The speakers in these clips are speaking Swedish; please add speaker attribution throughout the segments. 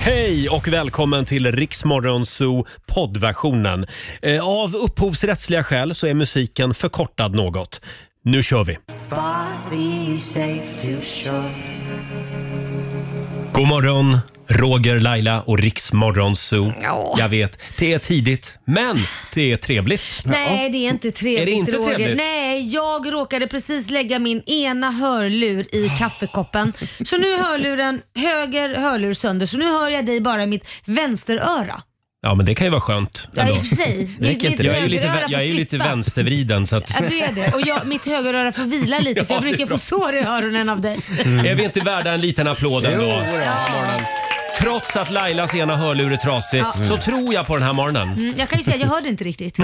Speaker 1: Hej och välkommen till Riksmorgonzoo poddversionen. Eh, Av upphovsrättsliga skäl så är musiken förkortad något. Nu kör vi!
Speaker 2: Body safe to shore.
Speaker 1: God morgon, Roger, Laila och Riksmorgonzoo.
Speaker 3: Ja.
Speaker 1: Jag vet, det är tidigt, men det är trevligt.
Speaker 3: Nej, det är inte trevligt
Speaker 1: Är det inte
Speaker 3: Roger.
Speaker 1: trevligt?
Speaker 3: Nej, jag råkade precis lägga min ena hörlur i kaffekoppen. Så nu är hörluren, höger hörlur sönder, så nu hör jag dig bara i mitt vänsteröra.
Speaker 1: Ja, men det kan ju vara skönt.
Speaker 3: Ja, i
Speaker 1: ändå.
Speaker 3: och för sig. Mitt, mitt
Speaker 1: Jag är ju lite,
Speaker 3: högeröra
Speaker 1: vä-
Speaker 3: får
Speaker 1: jag är ju lite
Speaker 3: slippa.
Speaker 1: vänstervriden. Så att,
Speaker 3: Ja, du är det. Och jag, mitt högeröra får vila lite för
Speaker 1: Ja,
Speaker 3: jag
Speaker 1: det är
Speaker 3: brukar
Speaker 1: bra. Mm.
Speaker 3: få sår i öronen av dig.
Speaker 1: Är vi inte värda en liten applåd ändå? Trots att Lailas ena hörlur är trasig
Speaker 3: Ja.
Speaker 1: så tror jag på den här morgonen.
Speaker 3: Mm, jag kan ju säga att jag hörde inte riktigt.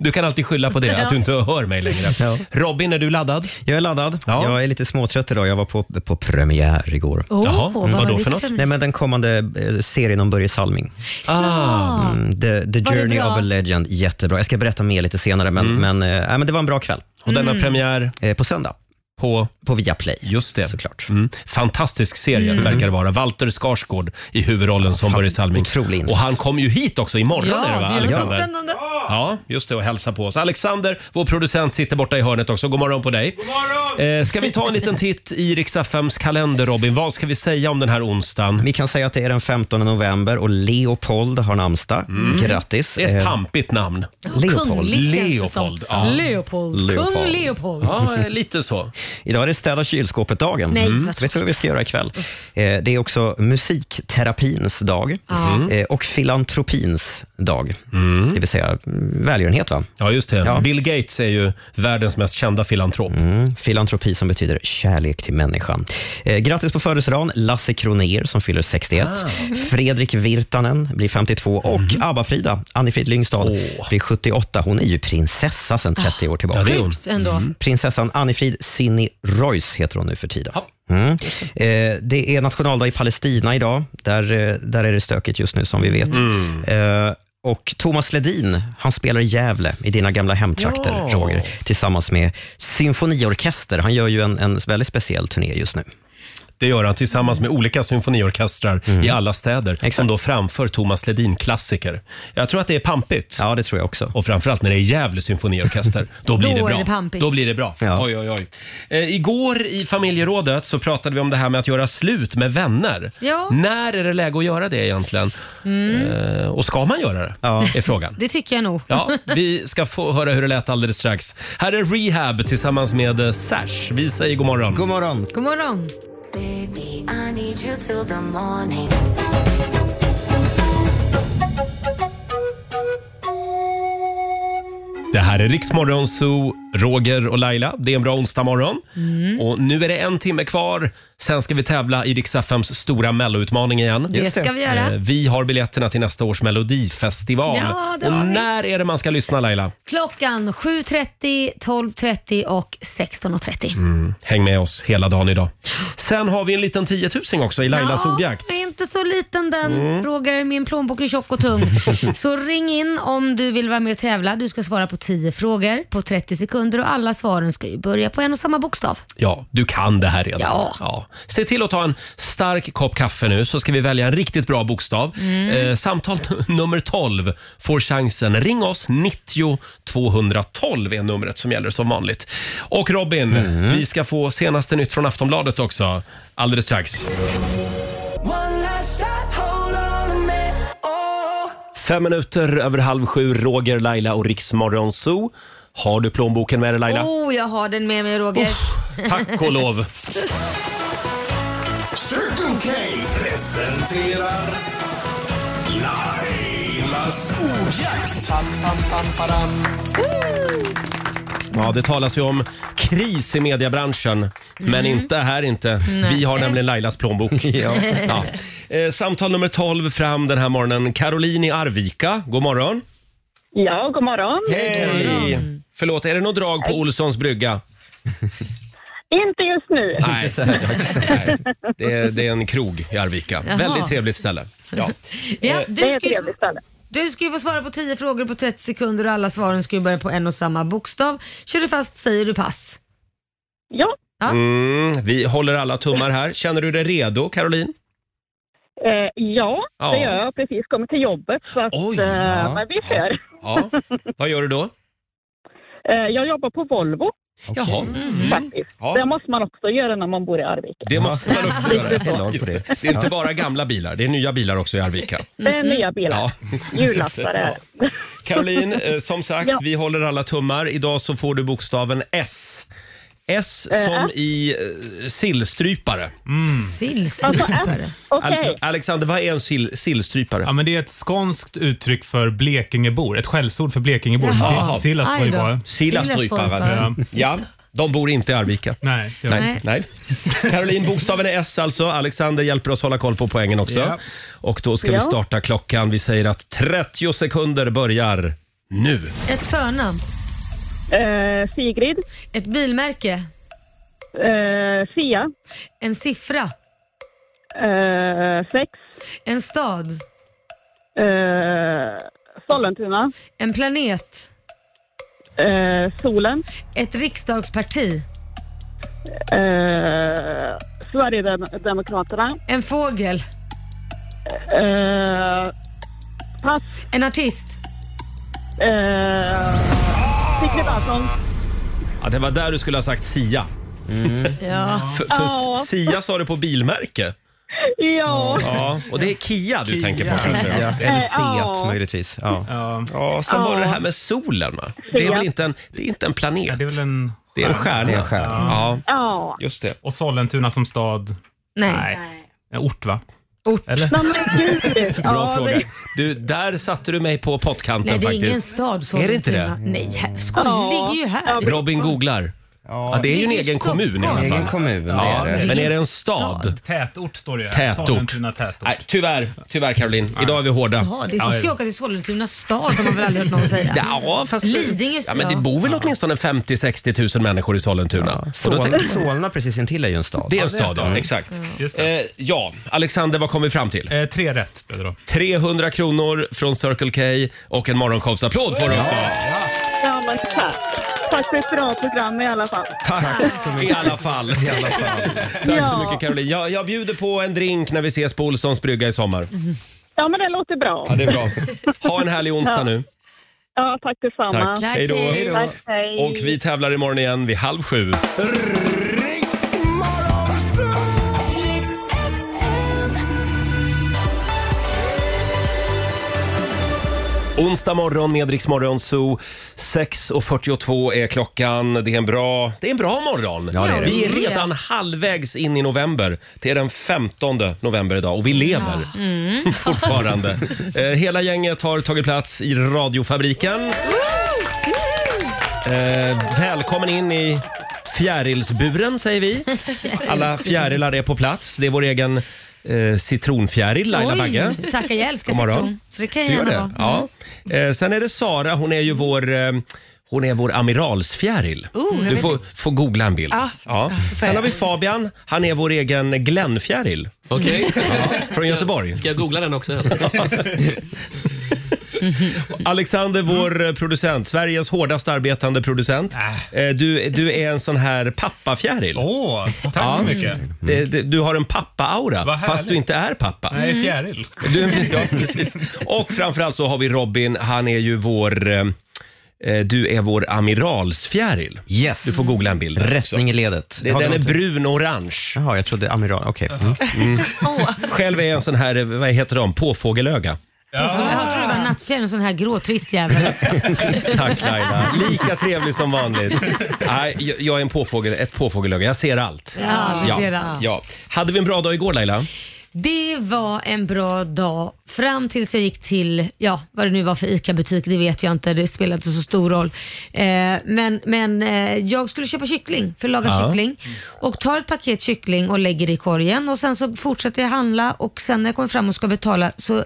Speaker 1: Du kan alltid skylla på det,
Speaker 3: Ja.
Speaker 1: att du inte hör mig längre. Robin, är du laddad?
Speaker 4: Jag är laddad.
Speaker 1: Ja.
Speaker 4: Jag är lite småtrött idag. Jag var på, på premiär igår.
Speaker 3: Oh,
Speaker 1: Jaha, vad då för något?
Speaker 4: Nej, men den kommande eh, serien om Börje Salming.
Speaker 3: Ah.
Speaker 4: Mm, The,
Speaker 3: Var
Speaker 4: the
Speaker 3: det
Speaker 4: Journey
Speaker 3: bra?
Speaker 4: of a Legend. Jättebra. Jag ska berätta mer lite senare, men, men, eh, nej, men det var en bra kväll.
Speaker 1: Mm. Och den
Speaker 3: Mm.
Speaker 1: har premiär
Speaker 4: Eh, På söndag,
Speaker 1: på...
Speaker 4: på Viaplay.
Speaker 1: Just det.
Speaker 4: Såklart.
Speaker 1: Mm. Fantastisk serie
Speaker 3: Mm.
Speaker 1: verkar det vara. Walter Skarsgård i huvudrollen som Börje Salming.
Speaker 4: otrolig insats.
Speaker 1: Och han kommer ju hit också imorgon
Speaker 3: Ja,
Speaker 1: är det va,
Speaker 3: det är så
Speaker 1: Alexander?
Speaker 3: spännande.
Speaker 1: Ja, just det och hälsa på oss. Alexander, vår producent, sitter borta i hörnet också. God morgon på dig. God morgon! Eh, ska vi ta en liten titt i Rix FMs kalender Robin? Vad ska vi säga om den här onsdagen?
Speaker 4: Vi kan säga att det är den 15 november och Leopold har namnsdag. Grattis.
Speaker 1: Mm. Det är ett
Speaker 4: Eh,
Speaker 1: pampigt namn.
Speaker 4: Leopold.
Speaker 3: Kungligt känns det som.
Speaker 1: Leopold, ja.
Speaker 3: Leopold. Kung
Speaker 4: Leopold.
Speaker 3: Leopold.
Speaker 1: Ja, eh, lite så.
Speaker 4: Idag är det städa kylskåpet-dagen. Mm.
Speaker 3: Nej, vad
Speaker 4: Vet du vad vi ska göra ikväll? Eh, det är också musikterapins dag
Speaker 3: Ah.
Speaker 4: eh, och filantropins dag. Det vill säga mm, välgörenhet. Va?
Speaker 1: Ja, just det.
Speaker 4: Ja.
Speaker 1: Bill Gates är ju världens mest kända filantrop.
Speaker 4: Mm. Filantropi som betyder kärlek till människan. Eh, grattis på födelsedagen Lasse Kronér som fyller 61.
Speaker 1: Ah.
Speaker 4: Fredrik Virtanen blir 52 och ABBA-Frida, Annie-Frid Lyngstad,
Speaker 1: Mhm. Åh. Ah.
Speaker 4: blir 78. Hon är ju prinsessa sedan 30 år tillbaka.
Speaker 1: Ja, det är hon. Mhm.
Speaker 3: Sjukt ändå.
Speaker 4: Prinsessan Anifrid Sinni Royce heter hon nu för tiden. Mm. Eh, det är nationaldag i Palestina idag. Där, eh, där är det stökigt just nu som vi vet.
Speaker 1: Mm.
Speaker 4: Eh, och Thomas Ledin, han spelar i Gävle, i dina gamla hemtrakter,
Speaker 1: Ja.
Speaker 4: Roger, tillsammans med symfoniorkester. Han gör ju en, en väldigt speciell turné just nu.
Speaker 1: Det gör han tillsammans med olika symfoniorkestrar i alla städer som
Speaker 4: Mm. Exakt.
Speaker 1: då framför Thomas Ledin-klassiker. Jag tror att det är pampigt.
Speaker 4: Ja, det tror jag också.
Speaker 1: Och framförallt när det är Gävle symfoniorkester. Då blir
Speaker 3: Då
Speaker 1: det
Speaker 3: är
Speaker 1: bra.
Speaker 3: det pampigt.
Speaker 1: Då blir det bra.
Speaker 4: Ja.
Speaker 1: Oj, oj, oj. Eh, igår i familjerådet så pratade vi om det här med att göra slut med vänner.
Speaker 3: Ja.
Speaker 1: När är det läge att göra det egentligen? Eh, och ska man göra det?
Speaker 4: Ja.
Speaker 1: Är frågan.
Speaker 3: Mm, Det tycker jag nog.
Speaker 1: Ja, vi ska få höra hur det lät alldeles strax. Här är Rehab tillsammans med eh, Sash. Vi säger god morgon.
Speaker 4: God morgon!
Speaker 3: God morgon.
Speaker 2: Baby, I need you till the morning.
Speaker 1: Det här är Riksmorgon Zoo, Roger och Laila. Det är en bra onsdagmorgon.
Speaker 3: Mm.
Speaker 1: Och nu är det en timme kvar. Sen ska vi tävla i Rix FMs stora melloutmaning igen.
Speaker 3: Det
Speaker 4: Just det.
Speaker 3: ska vi göra.
Speaker 1: Eh, Vi har biljetterna till nästa års melodifestival.
Speaker 3: Ja, det
Speaker 1: och
Speaker 3: har vi.
Speaker 1: när är det man ska lyssna Laila?
Speaker 3: Klockan 7.30, 12.30 och 16.30.
Speaker 1: Häng med oss hela dagen idag. Sen har vi en liten tiotusing också i Lailas
Speaker 3: Ja,
Speaker 1: ordjakt.
Speaker 3: det är inte så liten den,
Speaker 1: Mm.
Speaker 3: Roger. Min plånbok är tjock och tung. så ring in om du vill vara med och tävla. Du ska svara på 10 frågor på 30 sekunder och alla svaren ska ju börja på en och samma bokstav.
Speaker 1: Ja, du kan det här redan.
Speaker 3: Ja.
Speaker 1: Se till att ta en stark kopp kaffe nu så ska vi välja en riktigt bra bokstav. Eh, samtal nummer 12 får chansen. Ring oss, 90 212 är numret som gäller som vanligt. Och Robin, vi ska få senaste nytt från Aftonbladet också alldeles strax.
Speaker 2: One last shot, hold on a minute. Oh.
Speaker 1: Fem minuter över halv sju, Roger, Laila och Riksmorgon Zoo. Har du plånboken med dig Laila?
Speaker 3: Oh, jag har den med mig Roger.
Speaker 1: Tack och lov.
Speaker 5: Circle K presenterar Lailas ordjakt.
Speaker 1: Ja, det talas ju om kris i mediebranschen, men inte här inte. Vi har nämligen Lailas plånbok. ja. Eh, samtal nummer 12 fram den här morgonen. Caroline i Arvika, god morgon.
Speaker 6: Ja, god morgon.
Speaker 1: Hej! Förlåt, är det något drag på Olssons brygga?
Speaker 6: Eh, Inte just nu.
Speaker 1: Nej, Nej. Det, är, det är en krog i Arvika.
Speaker 3: Jaha.
Speaker 1: Väldigt trevligt ställe. Ja.
Speaker 3: Ja,
Speaker 6: Det är
Speaker 3: du,
Speaker 6: ett
Speaker 3: ska ju,
Speaker 6: trevligt ställe.
Speaker 3: du ska ju få svara på 10 frågor på 30 sekunder och alla svaren ska ju börja på en och samma bokstav. Kör du fast säger du pass.
Speaker 6: Ja,
Speaker 1: Mm, vi håller alla tummar här. Känner du dig redo, Caroline?
Speaker 6: Eh, ja,
Speaker 1: Ja.
Speaker 6: det gör jag. Precis kommit till jobbet. Så att,
Speaker 1: Oj,
Speaker 6: eh,
Speaker 4: ja.
Speaker 6: Men vi ser.
Speaker 1: Ja. Vad gör du då?
Speaker 6: Eh, jag jobbar på Volvo Eh,
Speaker 1: Jaha. Mm.
Speaker 6: faktiskt.
Speaker 1: Ja.
Speaker 6: Det måste man också göra när man bor i Arvika.
Speaker 1: Det måste man också göra.
Speaker 4: Det är lag på det.
Speaker 1: Det är inte bara gamla bilar, det är nya bilar också i Arvika.
Speaker 6: Det är nya bilar.
Speaker 1: Ja.
Speaker 6: Jullastare är det.
Speaker 1: Caroline, eh, som sagt,
Speaker 6: Ja.
Speaker 1: vi håller alla tummar. Idag så får du bokstaven S. S som i eh, sillstrypare.
Speaker 3: Sillstrypare.
Speaker 6: Alltså, Okej,
Speaker 1: Al- Alexander, vad är en sill- sillstrypare?
Speaker 7: Ja, men det är ett skånskt uttryck för blekingebor. Ett skällsord för blekingebor.
Speaker 1: Jaha.
Speaker 7: Si- Sillas var
Speaker 3: Aj
Speaker 7: ju
Speaker 3: då.
Speaker 7: bara...
Speaker 1: Sillastrypare.
Speaker 7: Ja.
Speaker 1: Ja, de bor inte i Arvika.
Speaker 7: Nej, det var-
Speaker 1: Nej. Nej. Caroline, bokstaven är S alltså. Alexander hjälper oss hålla koll på poängen också.
Speaker 7: Ja.
Speaker 1: Och då ska vi
Speaker 6: Ja.
Speaker 1: starta klockan. Vi säger att 30 sekunder börjar nu.
Speaker 3: Ett förnamn.
Speaker 6: eh, Sigrid,
Speaker 3: Ett bilmärke.
Speaker 6: eh, Fia,
Speaker 3: En siffra.
Speaker 6: eh, sex,
Speaker 3: En stad.
Speaker 6: eh, Sollentuna,
Speaker 3: En planet.
Speaker 6: eh, Solen,
Speaker 3: Ett riksdagsparti.
Speaker 6: eh, Sverigedemokraterna,
Speaker 3: En fågel.
Speaker 6: eh, pass,
Speaker 3: En artist.
Speaker 6: eh, Sigrid Persson.
Speaker 1: Ja, det var där du skulle ha sagt Sia.
Speaker 3: Ja.
Speaker 1: För, för
Speaker 6: Ja.
Speaker 1: Sia sa du på bilmärke.
Speaker 6: Ja,
Speaker 1: Ja, och det är Kia du tänker på kanske.
Speaker 4: Ja, eller
Speaker 6: Eh, ja.
Speaker 4: Fiat möjligtvis. Ja.
Speaker 7: Ja,
Speaker 1: Ja, sen var det det här med solen va? Det är väl inte en, det är inte en planet?
Speaker 7: det är väl en...
Speaker 1: Det är en stjärna.
Speaker 4: Det är en stjärna.
Speaker 1: Ja,
Speaker 6: ja.
Speaker 1: just det.
Speaker 7: Och Sollentuna som stad?
Speaker 3: Nej.
Speaker 7: Nej. En ort, va?
Speaker 3: Ort.
Speaker 7: Eller?
Speaker 6: Nej, men gud.
Speaker 1: Bra
Speaker 6: ja,
Speaker 1: fråga.
Speaker 6: det-
Speaker 1: Du, där satte du mig på pottkanten
Speaker 3: Nej, det är
Speaker 1: faktiskt.
Speaker 3: ingen stad.
Speaker 1: Är det inte det?
Speaker 3: Sollentuna. Nej, här- skoj.
Speaker 6: Ja.
Speaker 3: Det ligger ju här. i
Speaker 1: Robin
Speaker 3: Stockholm.
Speaker 1: googlar. Ja, det är ju en
Speaker 3: Det är
Speaker 1: egen
Speaker 3: ju
Speaker 1: kommun i alla
Speaker 3: Stockholm.
Speaker 4: Egen
Speaker 1: fall.
Speaker 4: kommun,
Speaker 1: Ja,
Speaker 4: det är det.
Speaker 1: men är det en
Speaker 3: Ingen
Speaker 1: stad?
Speaker 3: stad.
Speaker 7: Tätort står det ju här.
Speaker 1: Tätort.
Speaker 7: Sollentuna tätort.
Speaker 1: Nej, tyvärr, tyvärr Caroline. Idag är vi hårda.
Speaker 3: Ja, det man ska ju åka till Sollentuna stad har man väl aldrig hört någon säga.
Speaker 1: Ja, fast
Speaker 3: Lidingö,
Speaker 1: ja, men det
Speaker 3: ja.
Speaker 1: bor väl åtminstone 50-60 000 människor i Sollentuna. Och då
Speaker 4: Solna,
Speaker 1: tänker man,
Speaker 4: Solna precis intill är ju en stad.
Speaker 1: det är en stad, ja. Exakt.
Speaker 7: Just det.
Speaker 1: Eh, ja, Alexander, vad kom vi fram till?
Speaker 7: Eh, tre rätt blev det då.
Speaker 1: 300 kronor från Circle K och en morgonshowsapplåd får du också.
Speaker 6: Ja, men tack. Tack för ett bra program i alla fall.
Speaker 1: Tack i alla fall. Tack så mycket Caroline. Jag, jag bjuder på en drink när vi ses på Olssons brygga i sommar.
Speaker 6: Ja, men det låter bra.
Speaker 1: Ja, det är bra. Ha en härlig onsdag nu.
Speaker 6: Ja, tack detsamma.
Speaker 1: Tack.
Speaker 3: Tack,
Speaker 1: Hej då.
Speaker 3: hej då.
Speaker 6: Tack, hej.
Speaker 1: Och vi tävlar imorgon igen vid halv sju.
Speaker 5: Riks Morgonzoo!
Speaker 1: Onsdag morgon med Rix Morgon Zoo. 6.42 är klockan. Det är en bra, det är en bra morgon.
Speaker 4: Ja, det är det.
Speaker 1: Vi är redan halvvägs in i november. Det är den 15 november idag och vi lever
Speaker 3: Mm.
Speaker 1: fortfarande. Eh, Hela gänget har tagit plats i radiofabriken. Eh, välkommen in i fjärilsburen säger vi. Alla fjärilar är på plats. Det är vår egen eh, citronfjäril, Laila
Speaker 3: Oj,
Speaker 1: Bagge.
Speaker 3: Tackar, jag älskar
Speaker 1: God morgon.
Speaker 3: citron. Så det kan jag
Speaker 1: Du gör
Speaker 3: gärna
Speaker 1: det?
Speaker 3: vara.
Speaker 1: Ja. Eh, sen är det Sara, hon är ju vår, eh, hon är vår amiralsfjäril. du får, får googla en bild. Ja. Sen har vi Fabian, han är vår egen Glennfjäril.
Speaker 8: Okej,
Speaker 1: Från Göteborg.
Speaker 8: ska jag googla den också?
Speaker 1: Mm. Alexander, vår eh, producent, Sveriges hårdast arbetande producent. Eh, du, du är en sån här pappafjäril.
Speaker 7: Äh.
Speaker 1: Mm.
Speaker 7: Åh, tack så mycket.
Speaker 1: Det- det- Du har en pappa-aura,
Speaker 7: Vad
Speaker 1: fast
Speaker 7: härligt.
Speaker 1: du inte är pappa.
Speaker 6: Mm.
Speaker 1: Mm.
Speaker 7: Nej, fjäril.
Speaker 1: Du, ja, precis. Och framförallt så har vi Robin, han är ju vår... eh, eh, Du är vår amiralsfjäril.
Speaker 4: Yes.
Speaker 1: Du får googla en bild. där också.
Speaker 4: Rättning i ledet.
Speaker 1: Det-
Speaker 4: Har
Speaker 1: Den
Speaker 4: du
Speaker 1: är
Speaker 4: något-
Speaker 1: brun-orange.
Speaker 4: Jaha, jag trodde amiral. Okej. Mm.
Speaker 1: Själv är jag en sån här, eh, vad heter de, påfågelöga.
Speaker 3: Jag tror det var nattfjäril, en sån här grå trist jävel.
Speaker 1: Tack Laila. Lika trevlig som vanligt. Nej, jag- jag är en påfågel, ett påfågelöga. Jag ser allt.
Speaker 3: Ja, vi ser allt.
Speaker 1: Ja. Hade vi en bra dag igår Laila?
Speaker 3: Det var en bra dag fram tills jag gick till, ja vad det nu var för ICA-butik, det vet jag inte, det spelar inte så stor roll. Eh, men men eh, jag skulle köpa kyckling, för att laga
Speaker 1: Ja.
Speaker 3: kyckling. Och tar ett paket kyckling och lägger det i korgen och sen så fortsätter jag handla och sen när jag kommer fram och ska betala så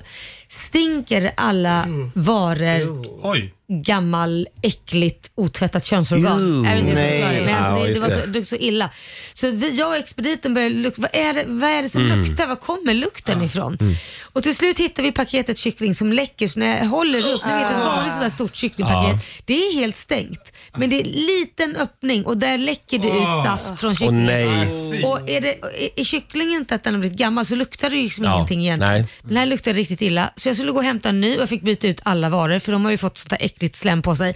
Speaker 3: stinker alla varor
Speaker 7: Oj.
Speaker 3: gammal, äckligt, otvättat könsorgan.
Speaker 4: Ew,
Speaker 3: jag vet inte hur jag ska
Speaker 4: nej.
Speaker 3: förklara det, men
Speaker 1: Ja,
Speaker 3: alltså det, det,
Speaker 1: just
Speaker 3: var
Speaker 1: det.
Speaker 3: så, det var så illa. Så vi,
Speaker 1: Mm.
Speaker 3: Mm. jag och expediten började lukta, vad är det, vad är det som luktar? Var kommer lukten ifrån? Och till slut hittar vi paketet kyckling som läcker så när jag håller upp, ni vet ett vanligt sådär stort kycklingpaket, det är helt stängt. Men det är en liten öppning och där läcker det ut saft från
Speaker 1: Ah. Åh
Speaker 3: kycklingen.
Speaker 1: nej.
Speaker 3: Och är, det, är- är kycklingen inte att den har blivit gammal så luktar det ju liksom
Speaker 1: Ja,
Speaker 3: ingenting egentligen.
Speaker 1: nej.
Speaker 3: Den här luktade riktigt illa så jag skulle gå och hämta en ny och jag fick byta ut alla varor för de har ju fått sånt där äckligt slem på sig.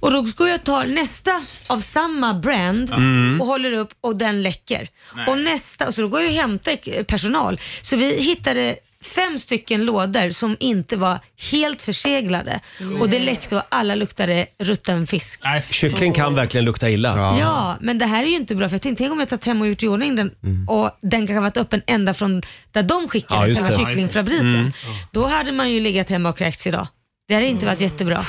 Speaker 3: Och då går jag och tar nästa av samma brand
Speaker 7: Mm.
Speaker 3: och håller upp och den läcker. Och nästa, och så då går jag och hämtar ek- personal. Så vi hittade fem stycken lådor som inte var helt förseglade och det läckte och alla luktade rutten fisk.
Speaker 7: Nej, fy.
Speaker 1: Kyckling kan verkligen lukta illa.
Speaker 3: Ja, men det här är ju inte bra för jag tänkte, tänk om jag tagit hem och gjort i ordning den och den kanske har varit öppen ända från där de
Speaker 1: Mm. Ja,
Speaker 3: skickade
Speaker 1: just
Speaker 3: själva
Speaker 1: det. Mm.
Speaker 3: kycklingfabriken. Då hade man ju legat hemma och kräkts idag. Det hade inte varit jättebra.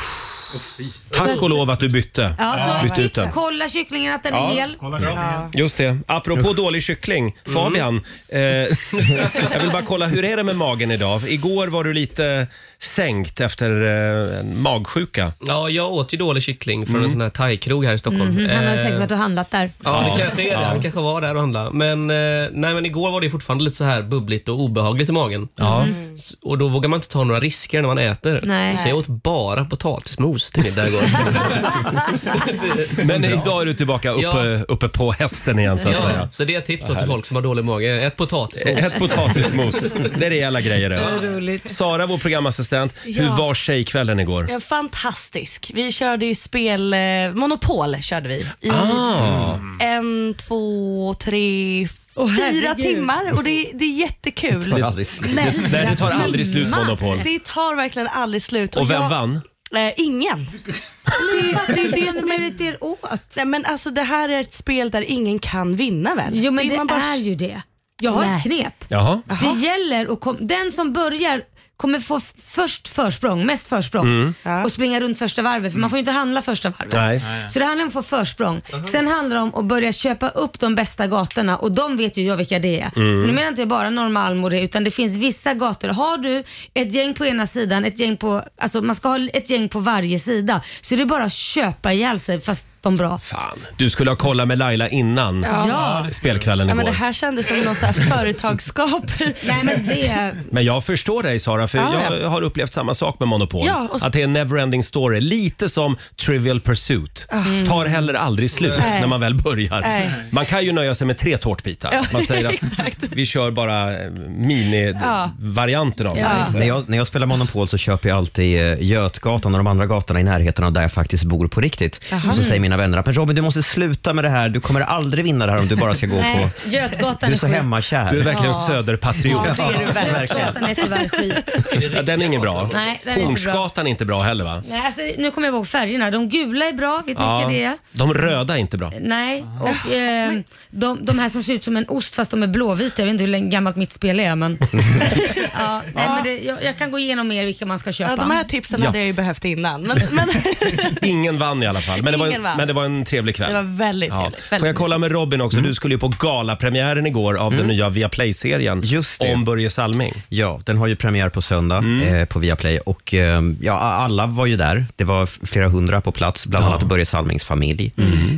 Speaker 1: Tack och lov att du bytte.
Speaker 3: Ja, så
Speaker 1: Bytte Äh, ut
Speaker 3: tips,
Speaker 1: den.
Speaker 3: kolla kycklingen att den är hel.
Speaker 7: Kolla ja.
Speaker 1: Just det. Apropå dålig kyckling, Fabian. Eh, jag vill bara kolla, hur är det med magen idag? Igår var du lite sänkt efter eh, en magsjuka. Mm.
Speaker 8: Ja, jag åt ju dålig kyckling från en sån här thai-krog här i Stockholm.
Speaker 3: Mm, han hade
Speaker 8: Eh,
Speaker 3: säkert varit och handlat där.
Speaker 8: Ja, det kanske är det. Han kanske var där och handlade. Men, eh, nej, men igår var det fortfarande lite så här bubbligt och obehagligt i magen. Mm. S- Och då vågar man inte ta några risker när man äter.
Speaker 3: Nej.
Speaker 8: Så jag åt bara potatismos till middag igår.
Speaker 1: Men idag är du tillbaka uppe, uppe på hästen igen så att
Speaker 8: ja,
Speaker 1: säga.
Speaker 8: så det är ett tips då till folk som har dålig mage. Ät potatismos.
Speaker 1: Ett potatismos. Det är rejäla grejer det.
Speaker 9: Roligt.
Speaker 1: Sara, vår programassistent. Hur
Speaker 9: Ja.
Speaker 1: var tjejkvällen igår?
Speaker 9: Ja, fantastisk. Vi körde ju spel, eh, Monopol körde vi i
Speaker 1: Ah.
Speaker 9: Mm. en, två, tre, fyra
Speaker 3: herregud.
Speaker 9: timmar och det, det är jättekul.
Speaker 4: Tar aldrig slut.
Speaker 9: Nej,
Speaker 1: Nej, det tar aldrig slut Monopol.
Speaker 9: det tar verkligen aldrig slut.
Speaker 1: Och vem
Speaker 9: jag-
Speaker 1: vann?
Speaker 9: Eh, ingen. Det, det är det som är...
Speaker 3: det er åt?
Speaker 9: Nej, men alltså, det här är ett spel där ingen kan vinna väl?
Speaker 3: Jo men
Speaker 9: är
Speaker 3: det
Speaker 9: man bara-
Speaker 3: är ju det. Jag har
Speaker 9: Nej.
Speaker 3: ett knep.
Speaker 1: Jaha.
Speaker 3: Det gäller att kom, den som börjar kommer få f- först försprång, mest försprång och springa runt första varvet för man får ju inte handla första varvet.
Speaker 1: Mm. Nej.
Speaker 3: Så det handlar om att få försprång. Sen handlar det om att börja köpa upp de bästa gatorna och de vet ju jag vilka det är.
Speaker 1: Mm.
Speaker 3: Nu menar inte jag bara Norrmalm och det utan det finns vissa gator. Har du ett gäng på ena sidan, ett gäng på, alltså man ska ha ett gäng på varje sida. Så det är bara att köpa ihjäl sig fast de bra.
Speaker 1: Fan, du skulle ha kollat med Laila innan
Speaker 3: Ja.
Speaker 1: spelkvällen
Speaker 9: Ja,
Speaker 1: igår.
Speaker 9: men det här kändes som något så här företagskap.
Speaker 3: Nej men det,
Speaker 1: Men jag förstår dig Sara, för
Speaker 9: Ja,
Speaker 1: jag har upplevt samma sak med Monopol.
Speaker 9: Ja, och så-
Speaker 1: Att det är en neverending story. Lite som Trivial Pursuit.
Speaker 3: Mm.
Speaker 1: Tar heller aldrig slut
Speaker 9: Mm. Nej.
Speaker 1: när man väl börjar.
Speaker 9: Nej.
Speaker 1: Man kan ju nöja sig med tre tårtbitar.
Speaker 9: Ja,
Speaker 1: man säger att
Speaker 9: exakt.
Speaker 1: vi kör bara eh, mini-varianten av det.
Speaker 4: När jag, när jag spelar Monopol så köper jag alltid eh, Götgatan och de andra gatorna i närheten av där jag faktiskt bor på riktigt. Och så säger mina vänner att "Men Robin, du måste sluta med det här. Du kommer aldrig vinna det här om du bara ska gå på...
Speaker 3: nej, Götgatan
Speaker 4: Du är
Speaker 3: är
Speaker 4: så
Speaker 3: skit.
Speaker 4: hemmakär.
Speaker 1: Du är verkligen
Speaker 9: Ja.
Speaker 1: söderpatriot.
Speaker 9: Ja, det är du verkligen.
Speaker 3: Götgatan är tyvärr skit.
Speaker 1: Ja, den är ingen bra.
Speaker 3: Nej, den är inte bra.
Speaker 1: Hornsgatan är inte bra heller va?
Speaker 3: Nej, alltså, nu kommer jag ihåg färgerna. De gula är bra, vet ni vilka det är?
Speaker 1: De röda är inte bra.
Speaker 3: Nej, och eh, de, de här som ser ut som en ost fast de är blåvita. Jag vet inte hur länge gammalt mitt spel är men... ja, nej, men det, jag, jag kan gå igenom mer vilka man ska köpa.
Speaker 9: Ja, de här tipsen
Speaker 1: Ja.
Speaker 9: hade jag ju behövt innan. Men, men
Speaker 1: Ingen vann i alla fall, men det, var en,
Speaker 9: Ingen vann.
Speaker 1: men det var en trevlig kväll.
Speaker 9: det var väldigt
Speaker 1: Ja.
Speaker 9: trevligt.
Speaker 1: Får jag
Speaker 9: väldigt
Speaker 1: kolla med Robin också?
Speaker 4: Mm.
Speaker 1: Du skulle ju på galapremiären igår av den nya Viaplay-serien
Speaker 4: Just det.
Speaker 1: om Börje Salming.
Speaker 4: Ja, den har ju premiär på söndag
Speaker 1: Mm.
Speaker 4: eh, på Viaplay och eh, ja, alla var ju där. Det var f- flera hundra på plats, bland annat Börje Salmings familj.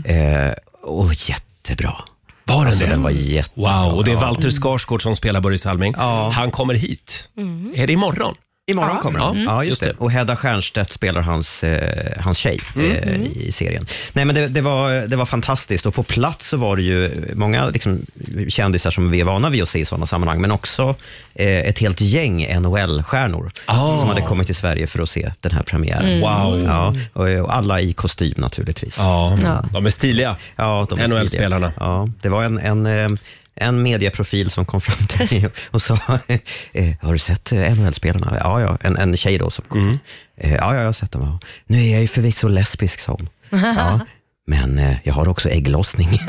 Speaker 4: Eh, och jättebra.
Speaker 1: Mm. Var den
Speaker 4: Alltså, den var jättebra. Mm.
Speaker 1: Wow, och det är Walter Skarsgård som spelar Börje Salming. Han kommer hit. Är det imorgon? Mm.
Speaker 4: Imorgon kommer han. Ja, just,
Speaker 1: Just
Speaker 4: det.
Speaker 1: det. Mm.
Speaker 4: Och Hedda Stiernstedt spelar hans, eh, hans tjej eh, i serien. Nej, men det, det, var, det var fantastiskt och på plats så var det ju många liksom, kändisar som vi är vana vid att se i sådana sammanhang, men också eh, ett helt gäng NHL-stjärnor
Speaker 1: Ah. Mm.
Speaker 4: som hade kommit till Sverige för att se den här premiären.
Speaker 1: Wow.
Speaker 4: Ja, och, och alla i kostym naturligtvis.
Speaker 1: Ja.
Speaker 3: Ja.
Speaker 1: de är stiliga.
Speaker 4: Ja, de är
Speaker 1: NHL-spelarna.
Speaker 4: stidiga. Ja, det var en, en, eh, en medieprofil som kom fram till mig och- och sa, eh, har du sett eh, NHL-spelarna? Ja, ja, en, en tjej då som kom.
Speaker 1: Mm.
Speaker 4: Eh, Ja, ja, jag har sett dem. ja. Nu är jag ju förvisso lesbisk, sa hon. Ja, men eh, jag har också ägglossning.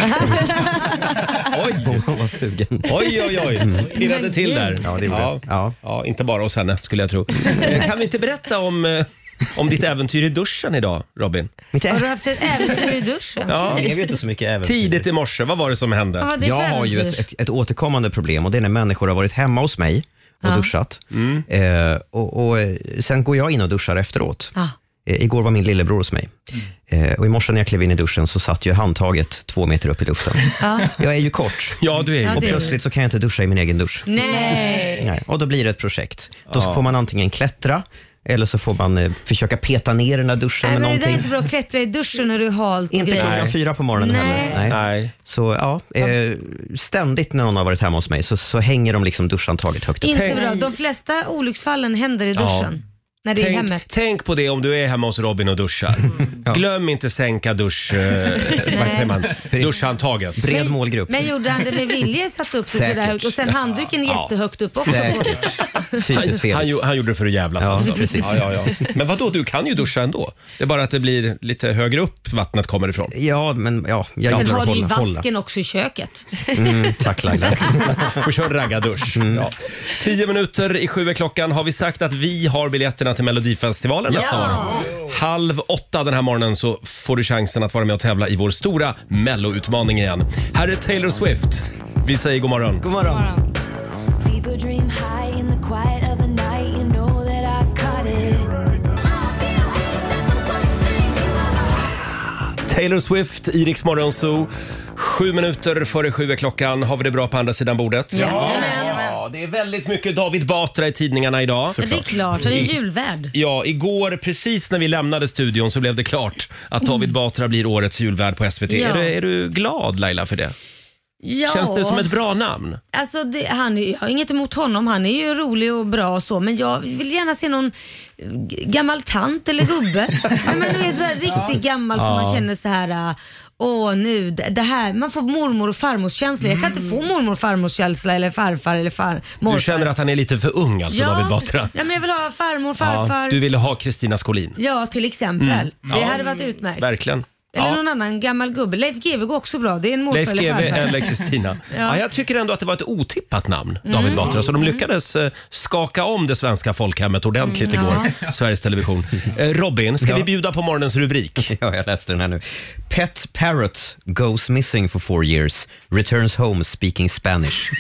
Speaker 1: Oj,
Speaker 4: Hon var sugen.
Speaker 1: oj, oj. oj. Klirrade
Speaker 3: Men
Speaker 1: till
Speaker 3: gud.
Speaker 1: där.
Speaker 4: Mm. Ja, det gjorde
Speaker 1: ja.
Speaker 4: det. Ja.
Speaker 1: Ja, inte bara hos henne skulle jag tro. Eh, kan vi inte berätta om, eh, om ditt äventyr i duschen idag, Robin?
Speaker 4: Mitt
Speaker 3: Har
Speaker 4: ägg
Speaker 3: du haft ett äventyr i duschen?
Speaker 1: Ja.
Speaker 4: blev ju inte så mycket äventyr.
Speaker 1: Tidigt i morse, vad var det som hände?
Speaker 3: Vad var det för
Speaker 4: jag har ju ett,
Speaker 3: äventyr?
Speaker 4: ett, ett återkommande problem och det är när människor har varit hemma hos
Speaker 1: Mm.
Speaker 4: mig och duschat. Eh, och, och eh, Sen går jag in och duschar efteråt.
Speaker 3: Ah.
Speaker 4: Eh, igår var min lillebror hos mig.
Speaker 1: Mm.
Speaker 4: Eh, och i morse när jag klev in i duschen så satt ju handtaget två meter upp i luften.
Speaker 3: Ja.
Speaker 4: Jag är ju kort.
Speaker 1: Ja, du är ju
Speaker 3: Ja,
Speaker 4: Och
Speaker 3: det är du.
Speaker 4: plötsligt så kan jag inte duscha i min egen dusch.
Speaker 3: Nej.
Speaker 4: Nej. Och då blir det ett projekt. Då får man antingen klättra, eller så får man eh, försöka peta ner den där duschen
Speaker 3: Nej,
Speaker 4: med
Speaker 3: men det där är
Speaker 4: någonting.
Speaker 3: inte bra. Klättra i duschen när du är halt. och
Speaker 4: Inte
Speaker 3: grejer.
Speaker 4: klockan fyra på morgonen
Speaker 3: Nej.
Speaker 4: heller.
Speaker 1: Nej.
Speaker 4: Så ja, eh, ständigt när någon har varit hemma hos mig så, så hänger de liksom duschhandtaget högt upp.
Speaker 3: Inte
Speaker 1: Tänk-
Speaker 3: bra. De flesta olycksfallen händer i duschen. När det är i
Speaker 1: Tänk,
Speaker 3: hemmet.
Speaker 1: tänk på det om du är hemma hos Robin och duschar.
Speaker 4: Mm.
Speaker 1: Glöm inte sänka dusch, eh, vad säger man? duschhandtaget.
Speaker 4: Bred målgrupp.
Speaker 3: Men gjorde han det med vilje? Satt upp sig sådär
Speaker 4: Säkert.
Speaker 3: högt och sen handduken jättehögt upp också.
Speaker 4: Säkert. Typiskt fel.
Speaker 1: Han, gjo- han gjorde det för att jävlas
Speaker 4: Ja,
Speaker 1: alltså.
Speaker 4: precis.
Speaker 1: Ja, ja, ja. Men vadå, du kan ju duscha ändå. Det är bara att det blir lite högre upp vattnet kommer ifrån.
Speaker 4: Ja, men ja, jag
Speaker 3: Sen
Speaker 4: gillar
Speaker 3: har
Speaker 4: att
Speaker 3: du ju
Speaker 4: hålla. hålla.
Speaker 3: vasken också i köket.
Speaker 4: Mm, tack Laila. Mm.
Speaker 1: Får köra raggardusch. Ja. Tio minuter i sju är klockan. Har vi sagt att vi har biljetterna till Melodifestivalen nästa år? Halv åtta den här morgonen så får du chansen att vara med och tävla i vår stora Mello-utmaning igen. Här är Taylor Swift. Vi säger god morgon.
Speaker 4: God morgon.
Speaker 10: People dream high in the quiet of the night. You know that I caught it.
Speaker 1: Taylor Swift, i Rix Morgon Zoo. Sju minuter före sju är klockan. Har vi det bra på andra sidan bordet?
Speaker 3: Jajamän.
Speaker 1: Ja, det är väldigt mycket David Batra i tidningarna idag.
Speaker 3: Men det är klart, han är julvärd.
Speaker 1: Ja, igår precis när vi lämnade studion så blev det klart att David Batra blir årets julvärd på SVT.
Speaker 3: Mm. Ja.
Speaker 1: Är, du, är du glad Laila för det?
Speaker 3: Ja,
Speaker 1: Känns det som ett bra namn?
Speaker 3: alltså det, han, är- jag har inget emot honom. Han är ju rolig och bra och så, men jag vill gärna se någon g- gammal tant eller gubbe. Nej, men du vet, så här, riktigt gammal som man känner så här. äh, Åh nu, det det här, man får mormor och farmorskänsla. Jag kan inte få mormor och farmorskänsla eller farfar eller far, morfar.
Speaker 1: Du känner att han är lite för ung alltså, David Batra?
Speaker 3: ja, men jag vill ha farmor, farfar.
Speaker 1: Ja,
Speaker 3: Ja, Mm.
Speaker 1: du ville ha Kristina Skolin. Mm.
Speaker 3: till exempel. Det hade varit utmärkt.
Speaker 1: Verkligen.
Speaker 3: Eller
Speaker 1: Ja.
Speaker 3: någon annan gammal gubbe. Leif GW går också bra. Det är en morfar
Speaker 1: Leif
Speaker 3: eller
Speaker 1: GW
Speaker 3: farfar.
Speaker 1: eller Kristina. ja. jag tycker ändå att det var ett otippat namn,
Speaker 3: Mm.
Speaker 1: David Batra. Så de lyckades eh, skaka om det svenska folkhemmet ordentligt
Speaker 3: Mm,
Speaker 1: igår, Sveriges Television. Eh, Robin, ska vi bjuda på morgonens rubrik?
Speaker 4: Ja, jag läste den här nu. Pet Parrot goes missing for four years, returns home speaking Spanish.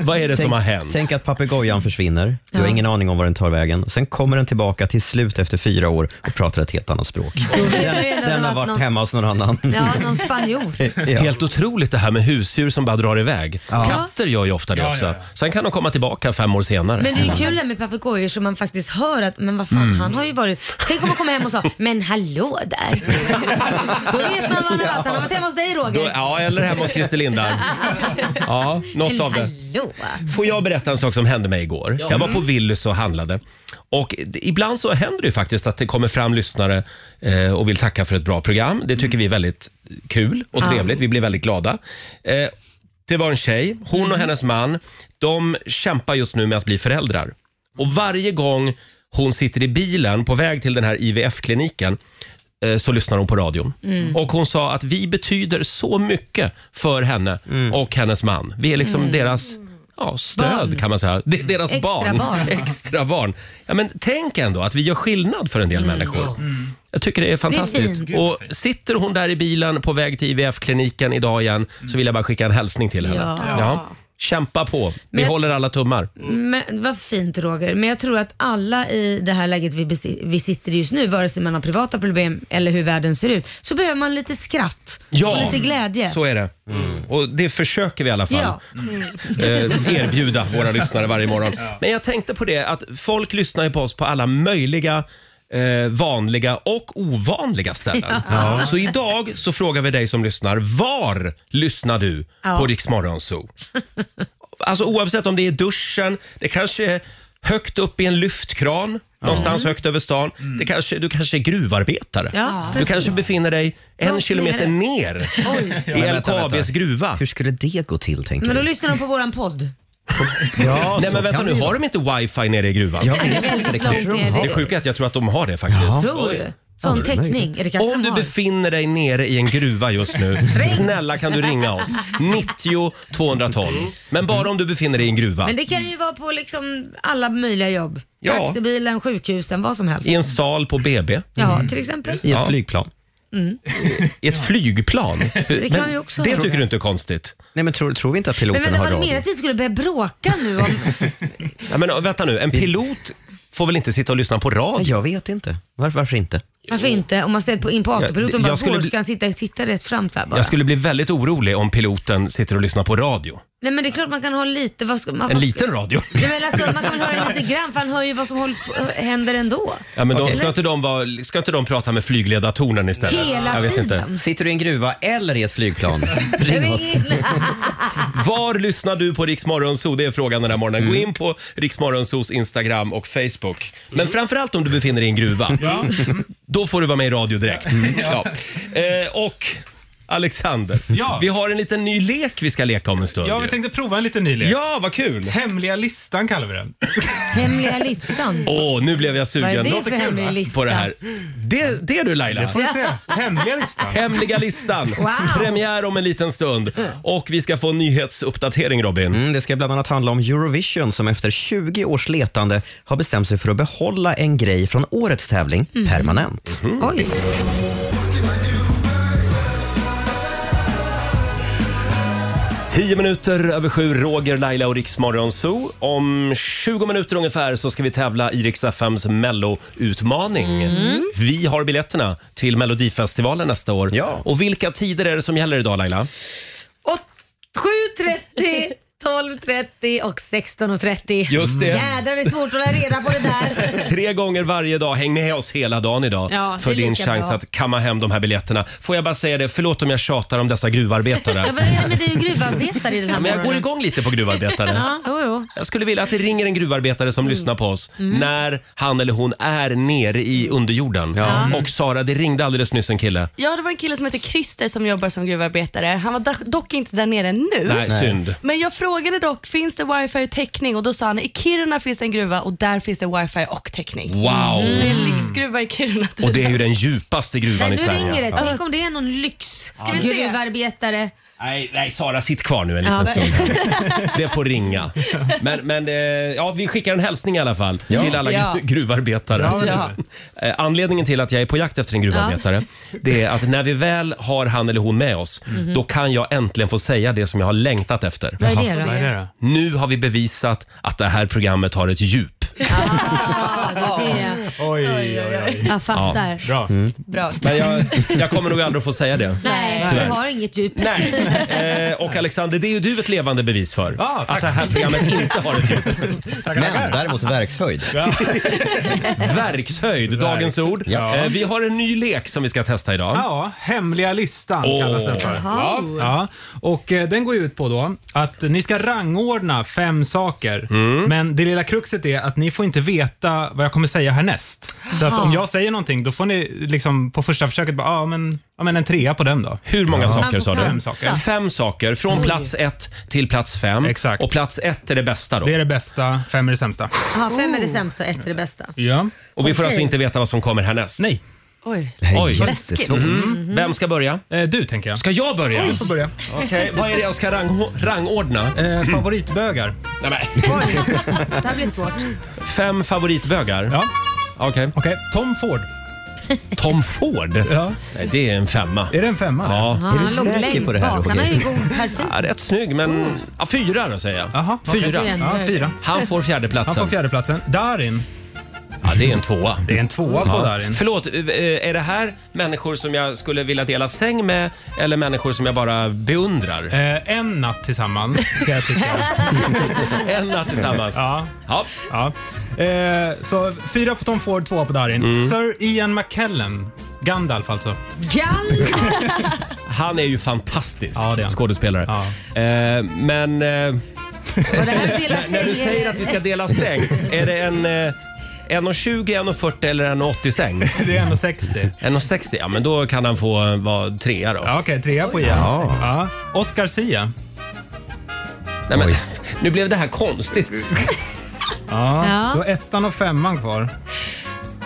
Speaker 1: Vad är det som har hänt?
Speaker 4: Tänk att papegojan försvinner, du har ingen aning om var den tar vägen. Och sen kommer den tillbaka till slut efter fyra år och pratar ett helt annat språk.
Speaker 3: Den,
Speaker 4: Den har varit
Speaker 3: någon,
Speaker 4: hemma hos någon annan.
Speaker 3: Ja, någon spanjor.
Speaker 4: Ja.
Speaker 1: Eh, Helt otroligt det här med husdjur som bara drar iväg. Katter gör ju ofta det
Speaker 7: Ja,
Speaker 1: också.
Speaker 7: ja, ja.
Speaker 1: Sen kan de komma tillbaka fem år senare.
Speaker 3: Men det är ju kul det här med papegojor som man faktiskt hör att, men vad fan,
Speaker 1: Mm.
Speaker 3: han har ju varit... Tänk om man kommer hem och sa, men hallå där. Då vet man var han har varit. Han har varit hemma hos dig Roger.
Speaker 1: Då, ja, eller hemma hos Christer Lindar. Ja, något av
Speaker 3: Eller Mm.
Speaker 1: det.
Speaker 3: hallå.
Speaker 1: Får jag berätta en sak som hände mig igår? Jag var på Willys och handlade. Och d- ibland så händer det ju faktiskt att det kommer fram lyssnare eh, och vill tacka för ett bra program. Det tycker vi är väldigt kul och trevligt. Vi blir väldigt glada. Eh, det var en tjej, hon
Speaker 3: Mm.
Speaker 1: och hennes man, de kämpar just nu med att bli föräldrar. Och varje gång hon sitter i bilen på väg till den här IVF-kliniken eh, så lyssnar hon på radion.
Speaker 3: Mm.
Speaker 1: Och hon sa att vi betyder så mycket för henne
Speaker 3: Mm.
Speaker 1: och hennes man. Vi är liksom deras ja, stöd kan man säga. De, deras
Speaker 3: Mm. Extra
Speaker 1: barn.
Speaker 3: barn.
Speaker 1: Extra barn. Ja, men tänk ändå att vi gör skillnad för en del
Speaker 3: Mm.
Speaker 1: människor. Jag tycker det är fantastiskt.
Speaker 3: fint.
Speaker 1: och sitter hon där i bilen på väg till IVF-kliniken idag igen så vill jag bara skicka en hälsning till henne.
Speaker 3: Ja.
Speaker 1: Kämpa på. Vi
Speaker 3: Men-
Speaker 1: håller alla tummar.
Speaker 3: Men, vad fint Roger, men jag tror att alla i det här läget vi, besi- vi sitter i just nu, vare sig man har privata problem eller hur världen ser ut, så behöver man lite skratt och lite glädje. Mm.
Speaker 1: Så är det. Och det försöker vi i alla fall
Speaker 3: Ja. Mm.
Speaker 1: eh, erbjuda våra lyssnare varje morgon. Men jag tänkte på det att folk lyssnar ju på oss på alla möjliga eh, vanliga och ovanliga ställen. Så idag så frågar vi dig som lyssnar, var lyssnar du
Speaker 3: Ja.
Speaker 1: på Rix Morgon Zoo? Alltså oavsett om det är duschen, det kanske är högt upp i en lyftkran, någonstans högt över stan. Det kanske, du kanske är gruvarbetare.
Speaker 3: Mm. Ja,
Speaker 1: du
Speaker 3: precis.
Speaker 1: kanske befinner dig en
Speaker 3: Långt
Speaker 1: kilometer
Speaker 3: nere.
Speaker 1: ner
Speaker 3: Oj.
Speaker 1: i LKABs gruva.
Speaker 4: Hur skulle det gå till, tänker
Speaker 3: Men då
Speaker 4: du?
Speaker 3: lyssnar de på våran podd.
Speaker 4: Ja,
Speaker 1: Nej
Speaker 4: så
Speaker 1: men vänta
Speaker 4: kan
Speaker 1: nu,
Speaker 4: det ju
Speaker 1: har
Speaker 4: vara.
Speaker 1: de inte wifi nere i gruvan?
Speaker 4: Jag vet
Speaker 3: Det är
Speaker 4: inte, det
Speaker 3: väldigt
Speaker 4: kanske
Speaker 3: långt
Speaker 4: de
Speaker 3: ner.
Speaker 4: har.
Speaker 1: Det sjuka är att jag tror att de har det faktiskt.
Speaker 4: Ja.
Speaker 3: Tror du? Sån
Speaker 4: det är möjligt.
Speaker 3: teknik. Är det kanske
Speaker 1: Om
Speaker 3: de
Speaker 1: du
Speaker 3: har.
Speaker 1: befinner dig nere i en gruva just nu, snälla kan du ringa oss. 90 212. Men bara om du befinner dig i en gruva.
Speaker 3: Men det kan ju vara på liksom alla möjliga jobb.
Speaker 1: Ja.
Speaker 3: Taxibilen, sjukhusen, vad som helst.
Speaker 1: I en sal på BB.
Speaker 3: alltså Ja, till exempel.
Speaker 4: I
Speaker 1: Ja.
Speaker 4: ett flygplan.
Speaker 3: Mm.
Speaker 1: I ett flygplan.
Speaker 3: Det kan vi också
Speaker 1: det
Speaker 3: ha.
Speaker 1: tycker du inte är konstigt?
Speaker 4: Nej, men tror, tror vi inte att
Speaker 3: Men
Speaker 4: piloten
Speaker 3: vänta,
Speaker 4: har
Speaker 3: var det meningen
Speaker 4: radio?
Speaker 3: att vi skulle börja bråka nu? Om,
Speaker 1: Ja, men vänta nu, en pilot får väl inte sitta och lyssna på radio?
Speaker 4: Jag vet inte. Varför, varför inte?
Speaker 3: Varför inte? Om man ställer på- in på autopiloten
Speaker 1: Jag-
Speaker 3: och bara
Speaker 1: jag skulle
Speaker 3: går
Speaker 1: bli-
Speaker 3: ska han sitta, sitta rätt fram så här bara.
Speaker 1: Jag skulle bli väldigt orolig om piloten sitter och lyssnar på radio.
Speaker 3: Nej men det är klart man kan ha lite, vad ska, man,
Speaker 1: En liten radio.
Speaker 3: Nej, men alltså, man kan väl höra lite grann för han hör ju vad som håller på, händer ändå.
Speaker 1: Ja, men de, ska,
Speaker 3: Eller?
Speaker 1: inte de vara, ska inte de prata med flygledartornen istället?
Speaker 3: Hela
Speaker 1: jag vet inte.
Speaker 3: tiden.
Speaker 4: Sitter du i en gruva eller i ett flygplan? Ring oss.
Speaker 1: Var lyssnar du på Riksmorgonzoo? Det är frågan den här morgonen. Gå
Speaker 4: Mm.
Speaker 1: in på Riksmorgonzoos Instagram och Facebook. Men
Speaker 4: Mm.
Speaker 1: framförallt om du befinner dig i en gruva.
Speaker 7: Ja. Mm.
Speaker 1: Då får du vara med i radio direkt. Ja. Eh, och Alexander,
Speaker 7: Ja.
Speaker 1: vi har en liten ny lek vi ska leka om en stund.
Speaker 7: Ja,
Speaker 1: ju.
Speaker 7: vi tänkte prova en liten ny lek.
Speaker 1: ja vad kul!
Speaker 7: Hemliga listan kallar vi den.
Speaker 3: Hemliga listan.
Speaker 1: Åh, nu blev
Speaker 3: Vad
Speaker 1: jag
Speaker 3: är
Speaker 1: sugen
Speaker 3: det
Speaker 7: låter
Speaker 3: för
Speaker 7: kul, va?
Speaker 3: hemlig lista?
Speaker 1: på det här. Det, det är du Laila!
Speaker 7: Det får vi se. Hemliga listan.
Speaker 1: Hemliga listan.
Speaker 3: Wow.
Speaker 1: Premiär om en liten stund. Och vi ska få en nyhetsuppdatering Robin.
Speaker 4: Mm, det ska bland annat handla om Eurovision som efter 20 års letande har bestämt sig för att behålla en grej från årets tävling permanent.
Speaker 1: Mhm. Mm.
Speaker 3: Oj.
Speaker 1: Tio minuter över sju, Roger, Laila och Riksmorgon Zoo. Om 20 minuter ungefär så ska vi tävla i Rix FMs Mello-utmaning.
Speaker 3: Mm.
Speaker 1: Vi har biljetterna till Melodifestivalen nästa år.
Speaker 4: Ja.
Speaker 1: Och vilka tider är det som gäller idag Laila?
Speaker 3: Och 7.30, 12.30 och 16.30.
Speaker 1: Just det.
Speaker 3: Jädrar det är svårt att hålla reda på det där.
Speaker 1: Tre gånger varje dag. Häng med oss hela dagen idag
Speaker 3: Ja, det är
Speaker 1: för din
Speaker 3: lika
Speaker 1: chans
Speaker 3: bra.
Speaker 1: att kamma hem de här biljetterna. Får jag bara säga det, förlåt om jag tjatar om dessa gruvarbetare.
Speaker 3: Ja, vad är det med dig och gruvarbetare i den här
Speaker 1: Men jag går
Speaker 3: morgonen?
Speaker 1: igång lite på gruvarbetare.
Speaker 3: Ja, Mm. jo, jo.
Speaker 1: Jag skulle vilja att det ringer en gruvarbetare som lyssnar på oss när han eller hon är nere i underjorden.
Speaker 3: Mm.
Speaker 1: Och Sara, det ringde alldeles nyss en kille.
Speaker 9: Ja, det var en kille som heter Christer som jobbar som gruvarbetare. Han var da- dock inte där nere nu.
Speaker 1: Nej, synd.
Speaker 9: Men jag frågade dock, finns det wifi-täckning? Och då sa han, i Kiruna finns det en gruva och där finns det wifi och täckning. Mm.
Speaker 1: Wow!
Speaker 9: Så det är en lyxgruva i Kiruna.
Speaker 1: Och det är ju den djupaste gruvan
Speaker 3: Nej,
Speaker 1: i
Speaker 3: nu
Speaker 1: Sverige.
Speaker 3: ringer det.
Speaker 1: Ja.
Speaker 3: Tänk om det är någon
Speaker 9: vi se?
Speaker 3: lyxgruvarbetare.
Speaker 1: Nej, nej, Sara, sitt kvar nu en liten
Speaker 3: Ja.
Speaker 1: stund. här. Det får ringa. Men, men eh, ja, vi skickar en hälsning i alla fall till alla
Speaker 9: Ja.
Speaker 1: gru- gruvarbetare.
Speaker 9: Ja.
Speaker 1: Eh, Anledningen till att jag är på jakt efter en gruvarbetare det är att när vi väl har han eller hon med oss då kan jag äntligen få säga det som jag har längtat efter.
Speaker 3: Mhm. Vad är det
Speaker 7: Vad är
Speaker 3: då?
Speaker 7: det då?
Speaker 1: Nu har vi bevisat att det här programmet har ett djup.
Speaker 3: Ja, det är det.
Speaker 7: Oj, oj, oj.
Speaker 3: Jag fattar.
Speaker 7: Bra.
Speaker 9: Bra.
Speaker 1: Mm. Men jag, jag kommer nog aldrig att få säga det.
Speaker 3: Nej, du
Speaker 1: Tyvärr.
Speaker 3: har inget djup.
Speaker 1: Nej. Eh, och Alexander, det är ju du ett levande bevis för.
Speaker 7: Ja, tack.
Speaker 1: att det här programmet inte har ett djup.
Speaker 4: Men däremot verkshöjd.
Speaker 1: Verkshöjd, dagens ord.
Speaker 4: Ja.
Speaker 1: Eh, vi har en ny lek som vi ska testa idag.
Speaker 7: Ja, hemliga listan
Speaker 1: Åh.
Speaker 7: kallas den för.
Speaker 3: Jaha.
Speaker 7: Ja, och eh, den går ju ut på då att ni ska rangordna fem saker.
Speaker 1: Mm.
Speaker 7: Men det lilla kruxet är att ni får inte veta vad jag kommer säga härnäst. Så att om jag säger någonting, då får ni liksom på första försöket bara, ja men, ja, men en trea på den då.
Speaker 1: Hur många saker
Speaker 3: Man
Speaker 1: sa
Speaker 3: får
Speaker 1: du?
Speaker 7: Fem saker.
Speaker 1: Fem saker, från plats ett till plats fem.
Speaker 7: Exakt.
Speaker 1: Och plats ett är det bästa då.
Speaker 7: Det är det bästa, fem är det sämsta.
Speaker 3: Aha, fem
Speaker 9: Oh.
Speaker 3: är det sämsta och ett är det bästa.
Speaker 7: Ja.
Speaker 1: Och vi får alltså inte veta vad som kommer härnäst.
Speaker 7: Nej,
Speaker 9: Oj.
Speaker 4: Det här är
Speaker 1: Oj.
Speaker 4: jättesvårt.
Speaker 1: Mm. Vem ska börja?
Speaker 7: eh, du tänker jag.
Speaker 1: Ska jag börja?
Speaker 7: Du får börja.
Speaker 1: Okej, vad är det jag ska rang- rangordna?
Speaker 7: Eh, favoritbögar.
Speaker 1: Nej, men.
Speaker 3: Det här blir svårt.
Speaker 1: Fem favoritbögar?
Speaker 7: Ja,
Speaker 1: Okej.
Speaker 7: okej. Tom Ford.
Speaker 1: Tom Ford?
Speaker 7: Ja.
Speaker 1: Nej, det är en femma.
Speaker 7: Är det en femma?
Speaker 1: Ja.
Speaker 3: Han
Speaker 4: du
Speaker 3: låg
Speaker 4: säker
Speaker 3: längst
Speaker 4: på det här,
Speaker 3: bak. Han
Speaker 4: Roger?
Speaker 3: är ju god, Mm. perfekt.
Speaker 1: ja. Rätt snygg, men... Ja, fyra då säger jag.
Speaker 7: Jaha, okej.
Speaker 1: fyra.
Speaker 3: Fyra.
Speaker 7: Ja, fyra.
Speaker 1: Han får
Speaker 7: Han
Speaker 1: fjärdeplatsen.
Speaker 7: får fjärdeplatsen. Darin.
Speaker 1: Ja, det är en tvåa.
Speaker 7: Det är en tvåa på
Speaker 1: Ja.
Speaker 7: Darin.
Speaker 1: Förlåt, eh, är det här människor som jag skulle vilja dela säng med eller människor som jag bara beundrar?
Speaker 7: Eh, en natt tillsammans, kan jag tycka.
Speaker 1: En natt tillsammans.
Speaker 7: Ja.
Speaker 1: Ja.
Speaker 7: Ja. Eh, så fyra på Tom Ford, tvåa på Darin.
Speaker 1: Mm.
Speaker 7: Sir Ian McKellen. Gandalf alltså.
Speaker 3: Jan!
Speaker 1: Han är ju fantastisk
Speaker 7: Ja, det är han.
Speaker 1: skådespelare.
Speaker 7: Ja.
Speaker 1: Eh, men eh,
Speaker 3: Och det här delar sig
Speaker 1: när du
Speaker 3: i-
Speaker 1: säger att vi ska dela säng, är det en eh, 1,20, 1,40 eller 1,80 säng?
Speaker 7: Det är 1,60.
Speaker 1: 1,60? Ja, men då kan han få eh, vara trea då.
Speaker 7: Ja, Okej, trea på Ian. Ja. Oscar Sia.
Speaker 1: Nej, men,
Speaker 4: Oj.
Speaker 1: nu blev det här konstigt.
Speaker 7: Ja.
Speaker 3: Ja.
Speaker 7: Då är ettan och femman kvar.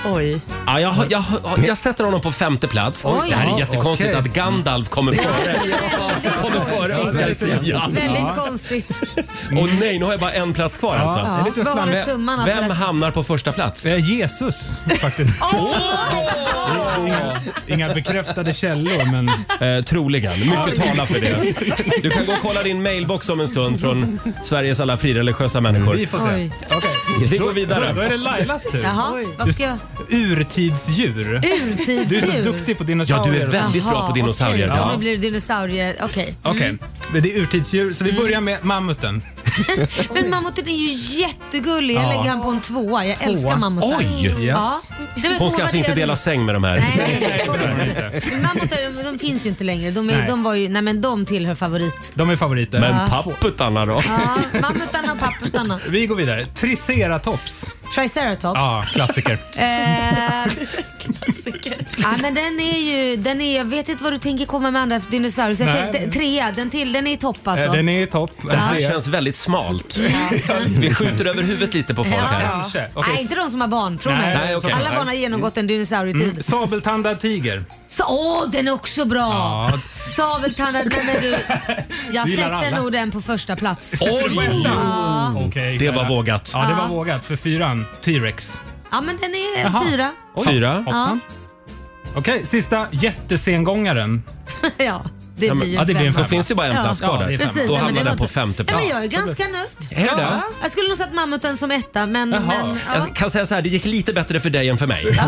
Speaker 9: Oj.
Speaker 1: Ja, jag, jag, jag, jag sätter honom på femte plats.
Speaker 3: Oj.
Speaker 1: det här är
Speaker 3: Ja,
Speaker 1: jättekonstigt
Speaker 7: okej.
Speaker 1: att Gandalf kommer före.
Speaker 3: kommer
Speaker 1: före Oscar Zia.
Speaker 3: Väldigt konstigt.
Speaker 1: Och nej, nu har jag bara en plats kvar
Speaker 7: Ja,
Speaker 1: alltså.
Speaker 7: det är lite Vad
Speaker 3: håller
Speaker 1: Vem-
Speaker 3: tummarna för
Speaker 1: Vem
Speaker 3: att-
Speaker 1: hamnar på första plats?
Speaker 7: Jesus, faktiskt. Inga, inga bekräftade källor, men...
Speaker 1: Eh, troligen. Mycket
Speaker 7: Oj.
Speaker 1: talar för det. Du kan gå och kolla din mailbox om en stund från Sveriges alla frireligiösa människor.
Speaker 7: Vi får se.
Speaker 3: Oj.
Speaker 1: Vi går vidare.
Speaker 7: Då, då är det Lailas tur.
Speaker 3: Jaha, vad ska jag...
Speaker 7: Urtidsdjur.
Speaker 3: Urtidsdjur?
Speaker 7: Du är så duktig på dinosaurier.
Speaker 1: Ja, du är väldigt bra
Speaker 3: Jaha,
Speaker 1: på dinosaurier.
Speaker 3: Okej, så
Speaker 1: Ja.
Speaker 3: nu blir Mm. det dinosaurier. Okej.
Speaker 7: Okej, men det är urtidsdjur, så vi
Speaker 3: Mm.
Speaker 7: börjar med mammuten.
Speaker 3: Men mammuten är ju jättegullig. Jag
Speaker 7: Ja.
Speaker 3: lägger han på en tvåa. Jag
Speaker 7: Tvåa.
Speaker 3: älskar mammutar.
Speaker 1: Oj! Yes.
Speaker 3: Ja. Nej, men
Speaker 1: Hon
Speaker 3: tvåa
Speaker 1: ska alltså inte
Speaker 3: deras-
Speaker 1: dela säng med de här.
Speaker 3: Nej, nej, nej. Mammutar de, de finns ju inte längre. De, är,
Speaker 7: Nej.
Speaker 3: de, var ju, nej, men de tillhör favorit.
Speaker 7: De är favoriter.
Speaker 1: Men
Speaker 3: Ja.
Speaker 1: papputarna då?
Speaker 3: Ja, mammutarna och papputarna.
Speaker 7: Vi går vidare. Triceratops.
Speaker 3: Triceratops.
Speaker 7: Ja, klassiker.
Speaker 3: Eh, ja, men den är ju, den är, jag vet inte vad du tänker komma med andra dinosaurier. Så jag
Speaker 7: Nej.
Speaker 3: tänkte, trea, den till, den är i topp alltså.
Speaker 7: Eh, Den är i topp. En
Speaker 1: Det här
Speaker 7: trea.
Speaker 1: känns väldigt smalt. Vi skjuter över huvudet lite på folk
Speaker 3: Ja.
Speaker 1: här.
Speaker 7: Kanske. Okej.
Speaker 3: Nej, inte de som har barn. Tro
Speaker 7: Nej, Mm.
Speaker 3: mig.
Speaker 1: nej, okej.
Speaker 3: Alla
Speaker 1: Nej.
Speaker 3: barn har genomgått en dinosaurietid.
Speaker 7: Sabeltandad tiger.
Speaker 3: Så, åh, den är också bra!
Speaker 7: Ja.
Speaker 3: Saveltandad, nej men du. Jag
Speaker 7: Gillar
Speaker 3: sätter
Speaker 7: alla.
Speaker 3: nog den på första plats.
Speaker 1: Oj!
Speaker 3: Ja.
Speaker 7: Okej,
Speaker 1: Det var
Speaker 7: Clara.
Speaker 1: vågat.
Speaker 7: Ja, det var
Speaker 3: Ja.
Speaker 7: vågat för fyran. T-rex.
Speaker 3: ja, men den är
Speaker 7: Jaha.
Speaker 3: fyra.
Speaker 7: Oj,
Speaker 1: Fyra.
Speaker 7: Hoppsan. Okej, sista. Jättesengångaren.
Speaker 3: Ja, det
Speaker 1: Ja, men-
Speaker 3: blir ju
Speaker 7: ja, det blir en
Speaker 3: femma.
Speaker 1: Då
Speaker 7: femma.
Speaker 1: finns det bara en
Speaker 3: Ja.
Speaker 1: plats kvar
Speaker 7: Ja, det är
Speaker 1: där.
Speaker 7: femma.
Speaker 3: Precis,
Speaker 1: Då
Speaker 3: ja, men
Speaker 1: hamnar
Speaker 3: det
Speaker 1: den på
Speaker 3: låter-
Speaker 1: femte
Speaker 3: Ja,
Speaker 1: plats.
Speaker 3: men jag är ganska nöjd.
Speaker 1: Är det det?
Speaker 3: Jag skulle nog satt mammuten som etta, men...
Speaker 7: Jaha.
Speaker 3: men ja.
Speaker 1: Jag kan säga så här, det gick lite bättre för dig än för mig.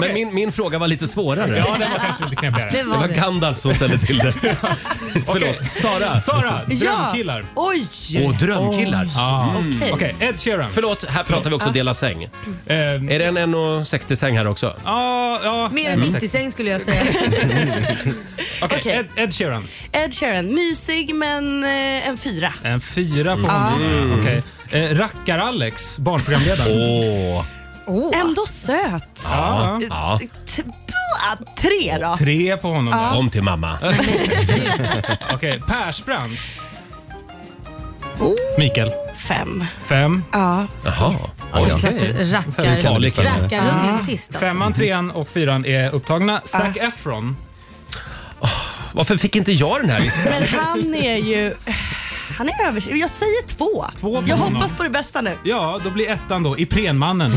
Speaker 1: Men min, min fråga var lite svårare.
Speaker 7: Ja, den var kanske lite
Speaker 3: Det
Speaker 7: knepigare.
Speaker 1: Det
Speaker 3: var
Speaker 1: var
Speaker 3: det.
Speaker 1: Gandalf som ställde till det. Förlåt.
Speaker 7: Okej.
Speaker 1: Sara.
Speaker 7: Sara, drömkillar.
Speaker 9: Oj!
Speaker 1: Och drömkillar. Mm.
Speaker 7: Ja.
Speaker 3: Okej.
Speaker 7: Okej, Ed Sheeran.
Speaker 1: Förlåt, här pratar vi också dela säng.
Speaker 7: Eh,
Speaker 1: Är det en 1,60 säng här också?
Speaker 7: Ja, ja.
Speaker 3: Mer än 90 säng skulle jag säga.
Speaker 7: Okej,
Speaker 9: Okej.
Speaker 7: Ed, Ed Sheeran.
Speaker 9: Ed Sheeran, mysig men eh, en fyra.
Speaker 7: En fyra på
Speaker 3: Ah.
Speaker 7: honom. Mm. Okej. Eh, Rackar-Alex, barnprogramledaren.
Speaker 1: Åh.
Speaker 3: Åh.
Speaker 9: Ändå söt.
Speaker 7: Ja.
Speaker 1: Ja,
Speaker 9: T- bra, tre då.
Speaker 7: Ah. Tre på honom. där.
Speaker 1: kom till mamma.
Speaker 7: Okej, Persbrandt.
Speaker 3: Oh.
Speaker 7: Mikael.
Speaker 9: Fem.
Speaker 7: Fem.
Speaker 9: Ja.
Speaker 1: Jaha. Oj,
Speaker 3: Jag
Speaker 1: ja.
Speaker 3: sätter
Speaker 1: Farlig
Speaker 3: rackar-
Speaker 1: kille. Mm.
Speaker 3: rackarungen sist alltså. Ah.
Speaker 7: Femman, trean och fyran är upptagna. Zac Efron.
Speaker 1: Ah, Varför fick inte jag den här listan?
Speaker 9: Men han är ju... Han är över... Jag säger två.
Speaker 7: Två på
Speaker 9: jag
Speaker 7: honom.
Speaker 9: hoppas på det bästa nu.
Speaker 7: Ja, då blir ettan då Iprenmannen.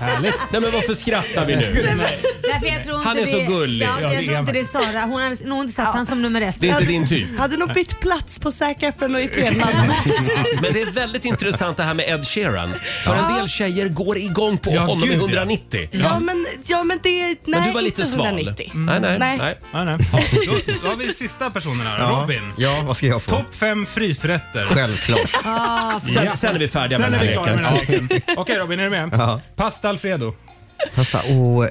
Speaker 7: Härligt.
Speaker 1: Nej men varför skrattar vi nu?
Speaker 3: Därför jag tror inte
Speaker 1: Han är så
Speaker 3: det,
Speaker 1: gullig.
Speaker 3: Ja,
Speaker 7: Ja, det
Speaker 3: jag
Speaker 7: är
Speaker 3: tror inte
Speaker 7: han.
Speaker 3: det är Sara. Hon har nog inte satt han som nummer ett.
Speaker 1: Det är inte din typ.
Speaker 9: Hade nog bytt plats på Zac Efron och Iprenmannen.
Speaker 1: Men det är väldigt intressant det här med Ed Sheeran. För en del tjejer går igång på
Speaker 7: Ja,
Speaker 1: honom
Speaker 7: gud,
Speaker 1: i
Speaker 7: ja.
Speaker 1: 190.
Speaker 9: ja, men, ja men det... Nej,
Speaker 1: Men du var lite
Speaker 9: inte
Speaker 1: sval.
Speaker 9: 190.
Speaker 1: Nej, nej, nej.
Speaker 9: Nej.
Speaker 7: Ja, nej. Då, då har vi sista personen här, Robin.
Speaker 4: Ja, vad ska jag få?
Speaker 7: Topp fem frysrätter.
Speaker 4: Självklart.
Speaker 1: Sen, sen är vi färdiga med
Speaker 7: Sen
Speaker 1: den
Speaker 7: är
Speaker 1: här
Speaker 7: vi klara med
Speaker 1: leken.
Speaker 7: den här leken. Okej Robin, är du med?
Speaker 4: Ja.
Speaker 7: Pasta Alfredo.
Speaker 4: Pasta. ah, Åh,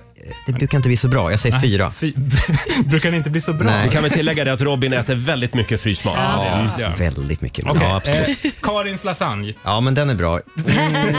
Speaker 4: det brukar inte bli så bra. Jag säger fyra.
Speaker 7: Fy, brukar det inte bli så bra?
Speaker 4: Nej.
Speaker 1: Vi kan väl tillägga det att Robin äter väldigt mycket frysmat.
Speaker 7: Ja. det gör vi.
Speaker 4: Väldigt mycket.
Speaker 7: Okej,
Speaker 4: Ja, absolut.
Speaker 7: eh, Karins lasagne.
Speaker 4: Ja, men den är bra.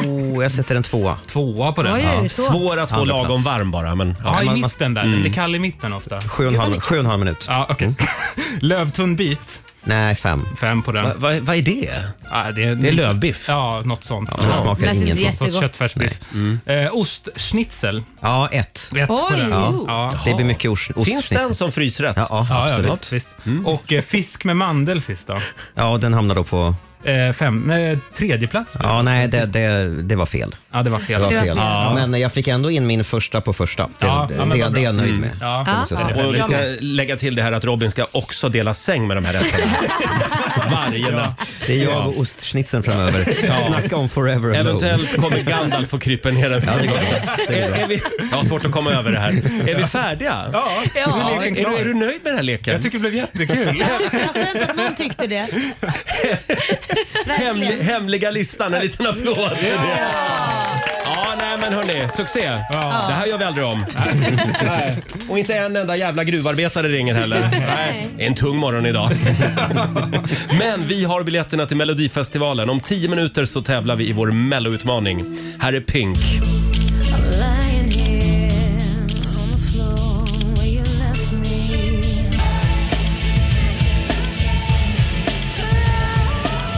Speaker 4: Oh, jag sätter en tvåa.
Speaker 7: Tvåa på den.
Speaker 3: Oj,
Speaker 7: Ja.
Speaker 3: oj, så.
Speaker 1: Svår att få
Speaker 4: Andra
Speaker 1: lagom
Speaker 4: plats.
Speaker 1: varm bara. Men,
Speaker 7: Ja,
Speaker 1: ja. Mm.
Speaker 7: i
Speaker 4: man- Mm.
Speaker 7: mitten där. Det blir kall i mitten ofta.
Speaker 4: Sju och en halv, sju och en halv minut. Mm.
Speaker 7: Ja, okej. Lövtunn bit.
Speaker 4: Nej, fem.
Speaker 7: Fem på den.
Speaker 1: Va- va- Vad är det?
Speaker 7: Ja, det, är,
Speaker 1: Det är lövbiff.
Speaker 7: Ja, något sånt.
Speaker 4: Den smakar
Speaker 3: Lät inte
Speaker 4: ingenting.
Speaker 3: jätte-
Speaker 7: Något köttfärsbiff. Eh, ostschnitzel.
Speaker 4: Ja, ett.
Speaker 7: Ett på
Speaker 3: Oj.
Speaker 7: den.
Speaker 3: Ja.
Speaker 7: Ja.
Speaker 4: Det blir mycket ost. ost-
Speaker 1: Finns den som frysrätt?
Speaker 4: Ja, ja,
Speaker 7: Ja, ja,
Speaker 4: absolut.
Speaker 7: visst. visst. Och eh, fisk med mandel sist då.
Speaker 4: Ja, den hamnar då på...
Speaker 7: Eh, fem, eh, tredje plats.
Speaker 4: Ja, nej, det, det, det var fel.
Speaker 7: Ja, det var fel.
Speaker 4: Det var
Speaker 3: Det var
Speaker 4: fel.
Speaker 3: fel.
Speaker 4: Ja. Men jag fick ändå in min första på första. Det,
Speaker 7: Ja,
Speaker 4: det,
Speaker 7: ja, men vad
Speaker 4: det,
Speaker 7: bra.
Speaker 4: är
Speaker 7: Mm.
Speaker 4: jag nöjd med.
Speaker 7: Ja.
Speaker 4: Det måste jag säga.
Speaker 1: Och vi ska lägga till det här att Robin ska också dela säng med de här rätterna. Varje natt.
Speaker 4: Det är jag och ostschnitzeln framöver. Snacka om forever alone.
Speaker 1: Eventuellt kommer Gandalf och kryper ner en stege. Är- är vi- Jag har svårt att komma över det här. Är vi färdiga?
Speaker 7: Ja, nu är
Speaker 1: Är,
Speaker 7: leken
Speaker 1: du,
Speaker 7: klar.
Speaker 1: är du nöjd med den här leken?
Speaker 7: Jag tycker det blev jättekul.
Speaker 3: Jag tror inte att någon tyckte det.
Speaker 1: Hemli,
Speaker 3: Verkligen.
Speaker 1: hemliga listan, en liten applåd. Ja, nej men hörni, succé. Det här gör vi aldrig om. Nej. Och inte en enda jävla gruvarbetare ringer heller. Nej. Det är en tung morgon idag. Men vi har biljetterna till Melodifestivalen. Om tio minuter så tävlar vi i vår melloutmaning. Här är Pink.
Speaker 10: lying here on the floor where you left me.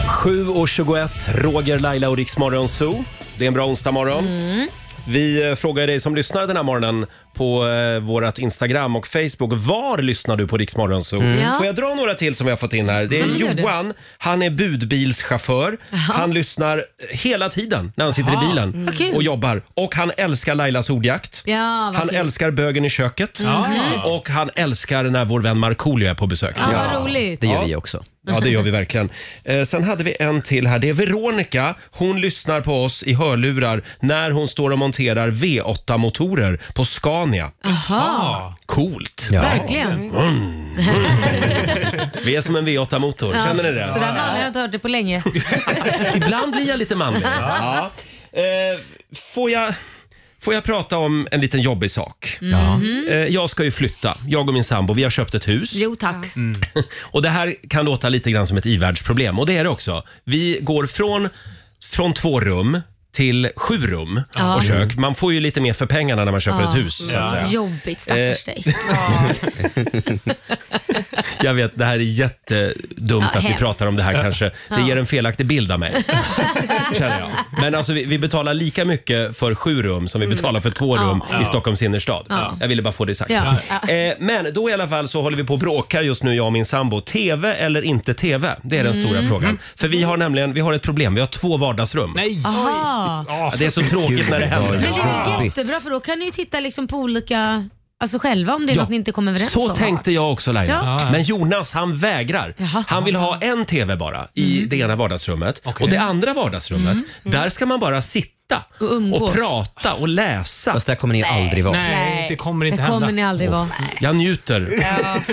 Speaker 1: 7.21, Roger, Laila och Riksmorgon Zoo. Det är en bra onsdag morgon.
Speaker 3: Mm.
Speaker 1: Vi eh, frågar dig som lyssnar den här morgonen på eh, vårt Instagram och Facebook. Var lyssnar du på Rix Morgon Zoo?
Speaker 2: Mm. Ja.
Speaker 1: Får jag dra några till som vi har fått in här? Det är
Speaker 2: Ja, gör det.
Speaker 1: Johan. Han är budbilschaufför. Han lyssnar hela tiden när han sitter
Speaker 2: Jaha.
Speaker 1: i bilen
Speaker 2: Mm. Vad kul.
Speaker 1: och jobbar. Och han älskar Lailas ordjakt.
Speaker 3: Ja, vad
Speaker 1: Han
Speaker 3: kul.
Speaker 1: älskar bögen i köket
Speaker 3: Mhm.
Speaker 1: och han älskar när vår vän Markoolio är på besök.
Speaker 3: Ja, vad Ja, roligt. det gör vi
Speaker 1: också. Ja, det gör vi verkligen. Eh, sen hade vi en till här. Det är Veronica. Hon lyssnar på oss i hörlurar när hon står och monterar V8-motorer på Scania.
Speaker 3: Jaha.
Speaker 1: Coolt!
Speaker 3: Verkligen.
Speaker 1: Mm. Vi är som en V8-motor,
Speaker 3: Ja,
Speaker 1: känner ni det?
Speaker 3: Så där man har jag inte hört det på länge.
Speaker 1: Ibland blir jag lite manlig. Ja. Eh, får, jag, får jag prata om en liten jobbig sak?
Speaker 3: Mhm.
Speaker 1: Eh, jag ska ju flytta. Jag och min sambo, vi har köpt ett hus.
Speaker 3: Jo tack.
Speaker 1: Och det här kan låta lite grann som ett ivärldsproblem och det är det också. Vi går från, från två rum till sju rum
Speaker 3: Ja.
Speaker 1: och kök. Man får ju lite mer för pengarna när man köper
Speaker 3: Ja.
Speaker 1: ett hus. Så att säga.
Speaker 3: Jobbigt stackars
Speaker 1: Eh,
Speaker 3: dig.
Speaker 1: Jag vet, det här är jättedumt
Speaker 3: Ja,
Speaker 1: att vi
Speaker 3: hemskt.
Speaker 1: pratar om det här kanske. Det
Speaker 3: Ja.
Speaker 1: ger en felaktig bild av mig. Mm. Känner jag. Men alltså, vi, vi betalar lika mycket för sju rum som vi
Speaker 2: Mm.
Speaker 1: betalar för två rum
Speaker 2: Ja.
Speaker 1: i Stockholms innerstad.
Speaker 2: Ja.
Speaker 1: Jag ville bara få det sagt.
Speaker 2: Ja.
Speaker 1: Eh, men då i alla fall så håller vi på och bråkar just nu, jag och min sambo. TV eller inte TV? Det är den
Speaker 2: Mm.
Speaker 1: stora frågan.
Speaker 2: Mm.
Speaker 1: För vi har nämligen, vi har ett problem. Vi har två vardagsrum.
Speaker 7: Nej!
Speaker 3: Aha.
Speaker 1: Ja, det är så tråkigt när det händer.
Speaker 3: Men det är väl jättebra för då kan ni ju titta liksom på olika, alltså själva om det är
Speaker 1: Ja.
Speaker 3: något ni inte kommer överens
Speaker 1: Så
Speaker 3: om.
Speaker 1: tänkte jag också Laila.
Speaker 3: Ja.
Speaker 1: Men Jonas han vägrar. Han vill ha en TV bara i
Speaker 3: Mm.
Speaker 1: det ena vardagsrummet. Och det andra vardagsrummet, där ska man bara sitta
Speaker 3: Och
Speaker 1: och,
Speaker 3: umgås.
Speaker 1: prata och läsa. Fast
Speaker 4: där kommer ni
Speaker 3: Nej. aldrig vara.
Speaker 1: Nej,
Speaker 3: Nej,
Speaker 1: det kommer inte
Speaker 3: det
Speaker 1: hända.
Speaker 3: kommer ni aldrig vara.
Speaker 1: Jag njuter.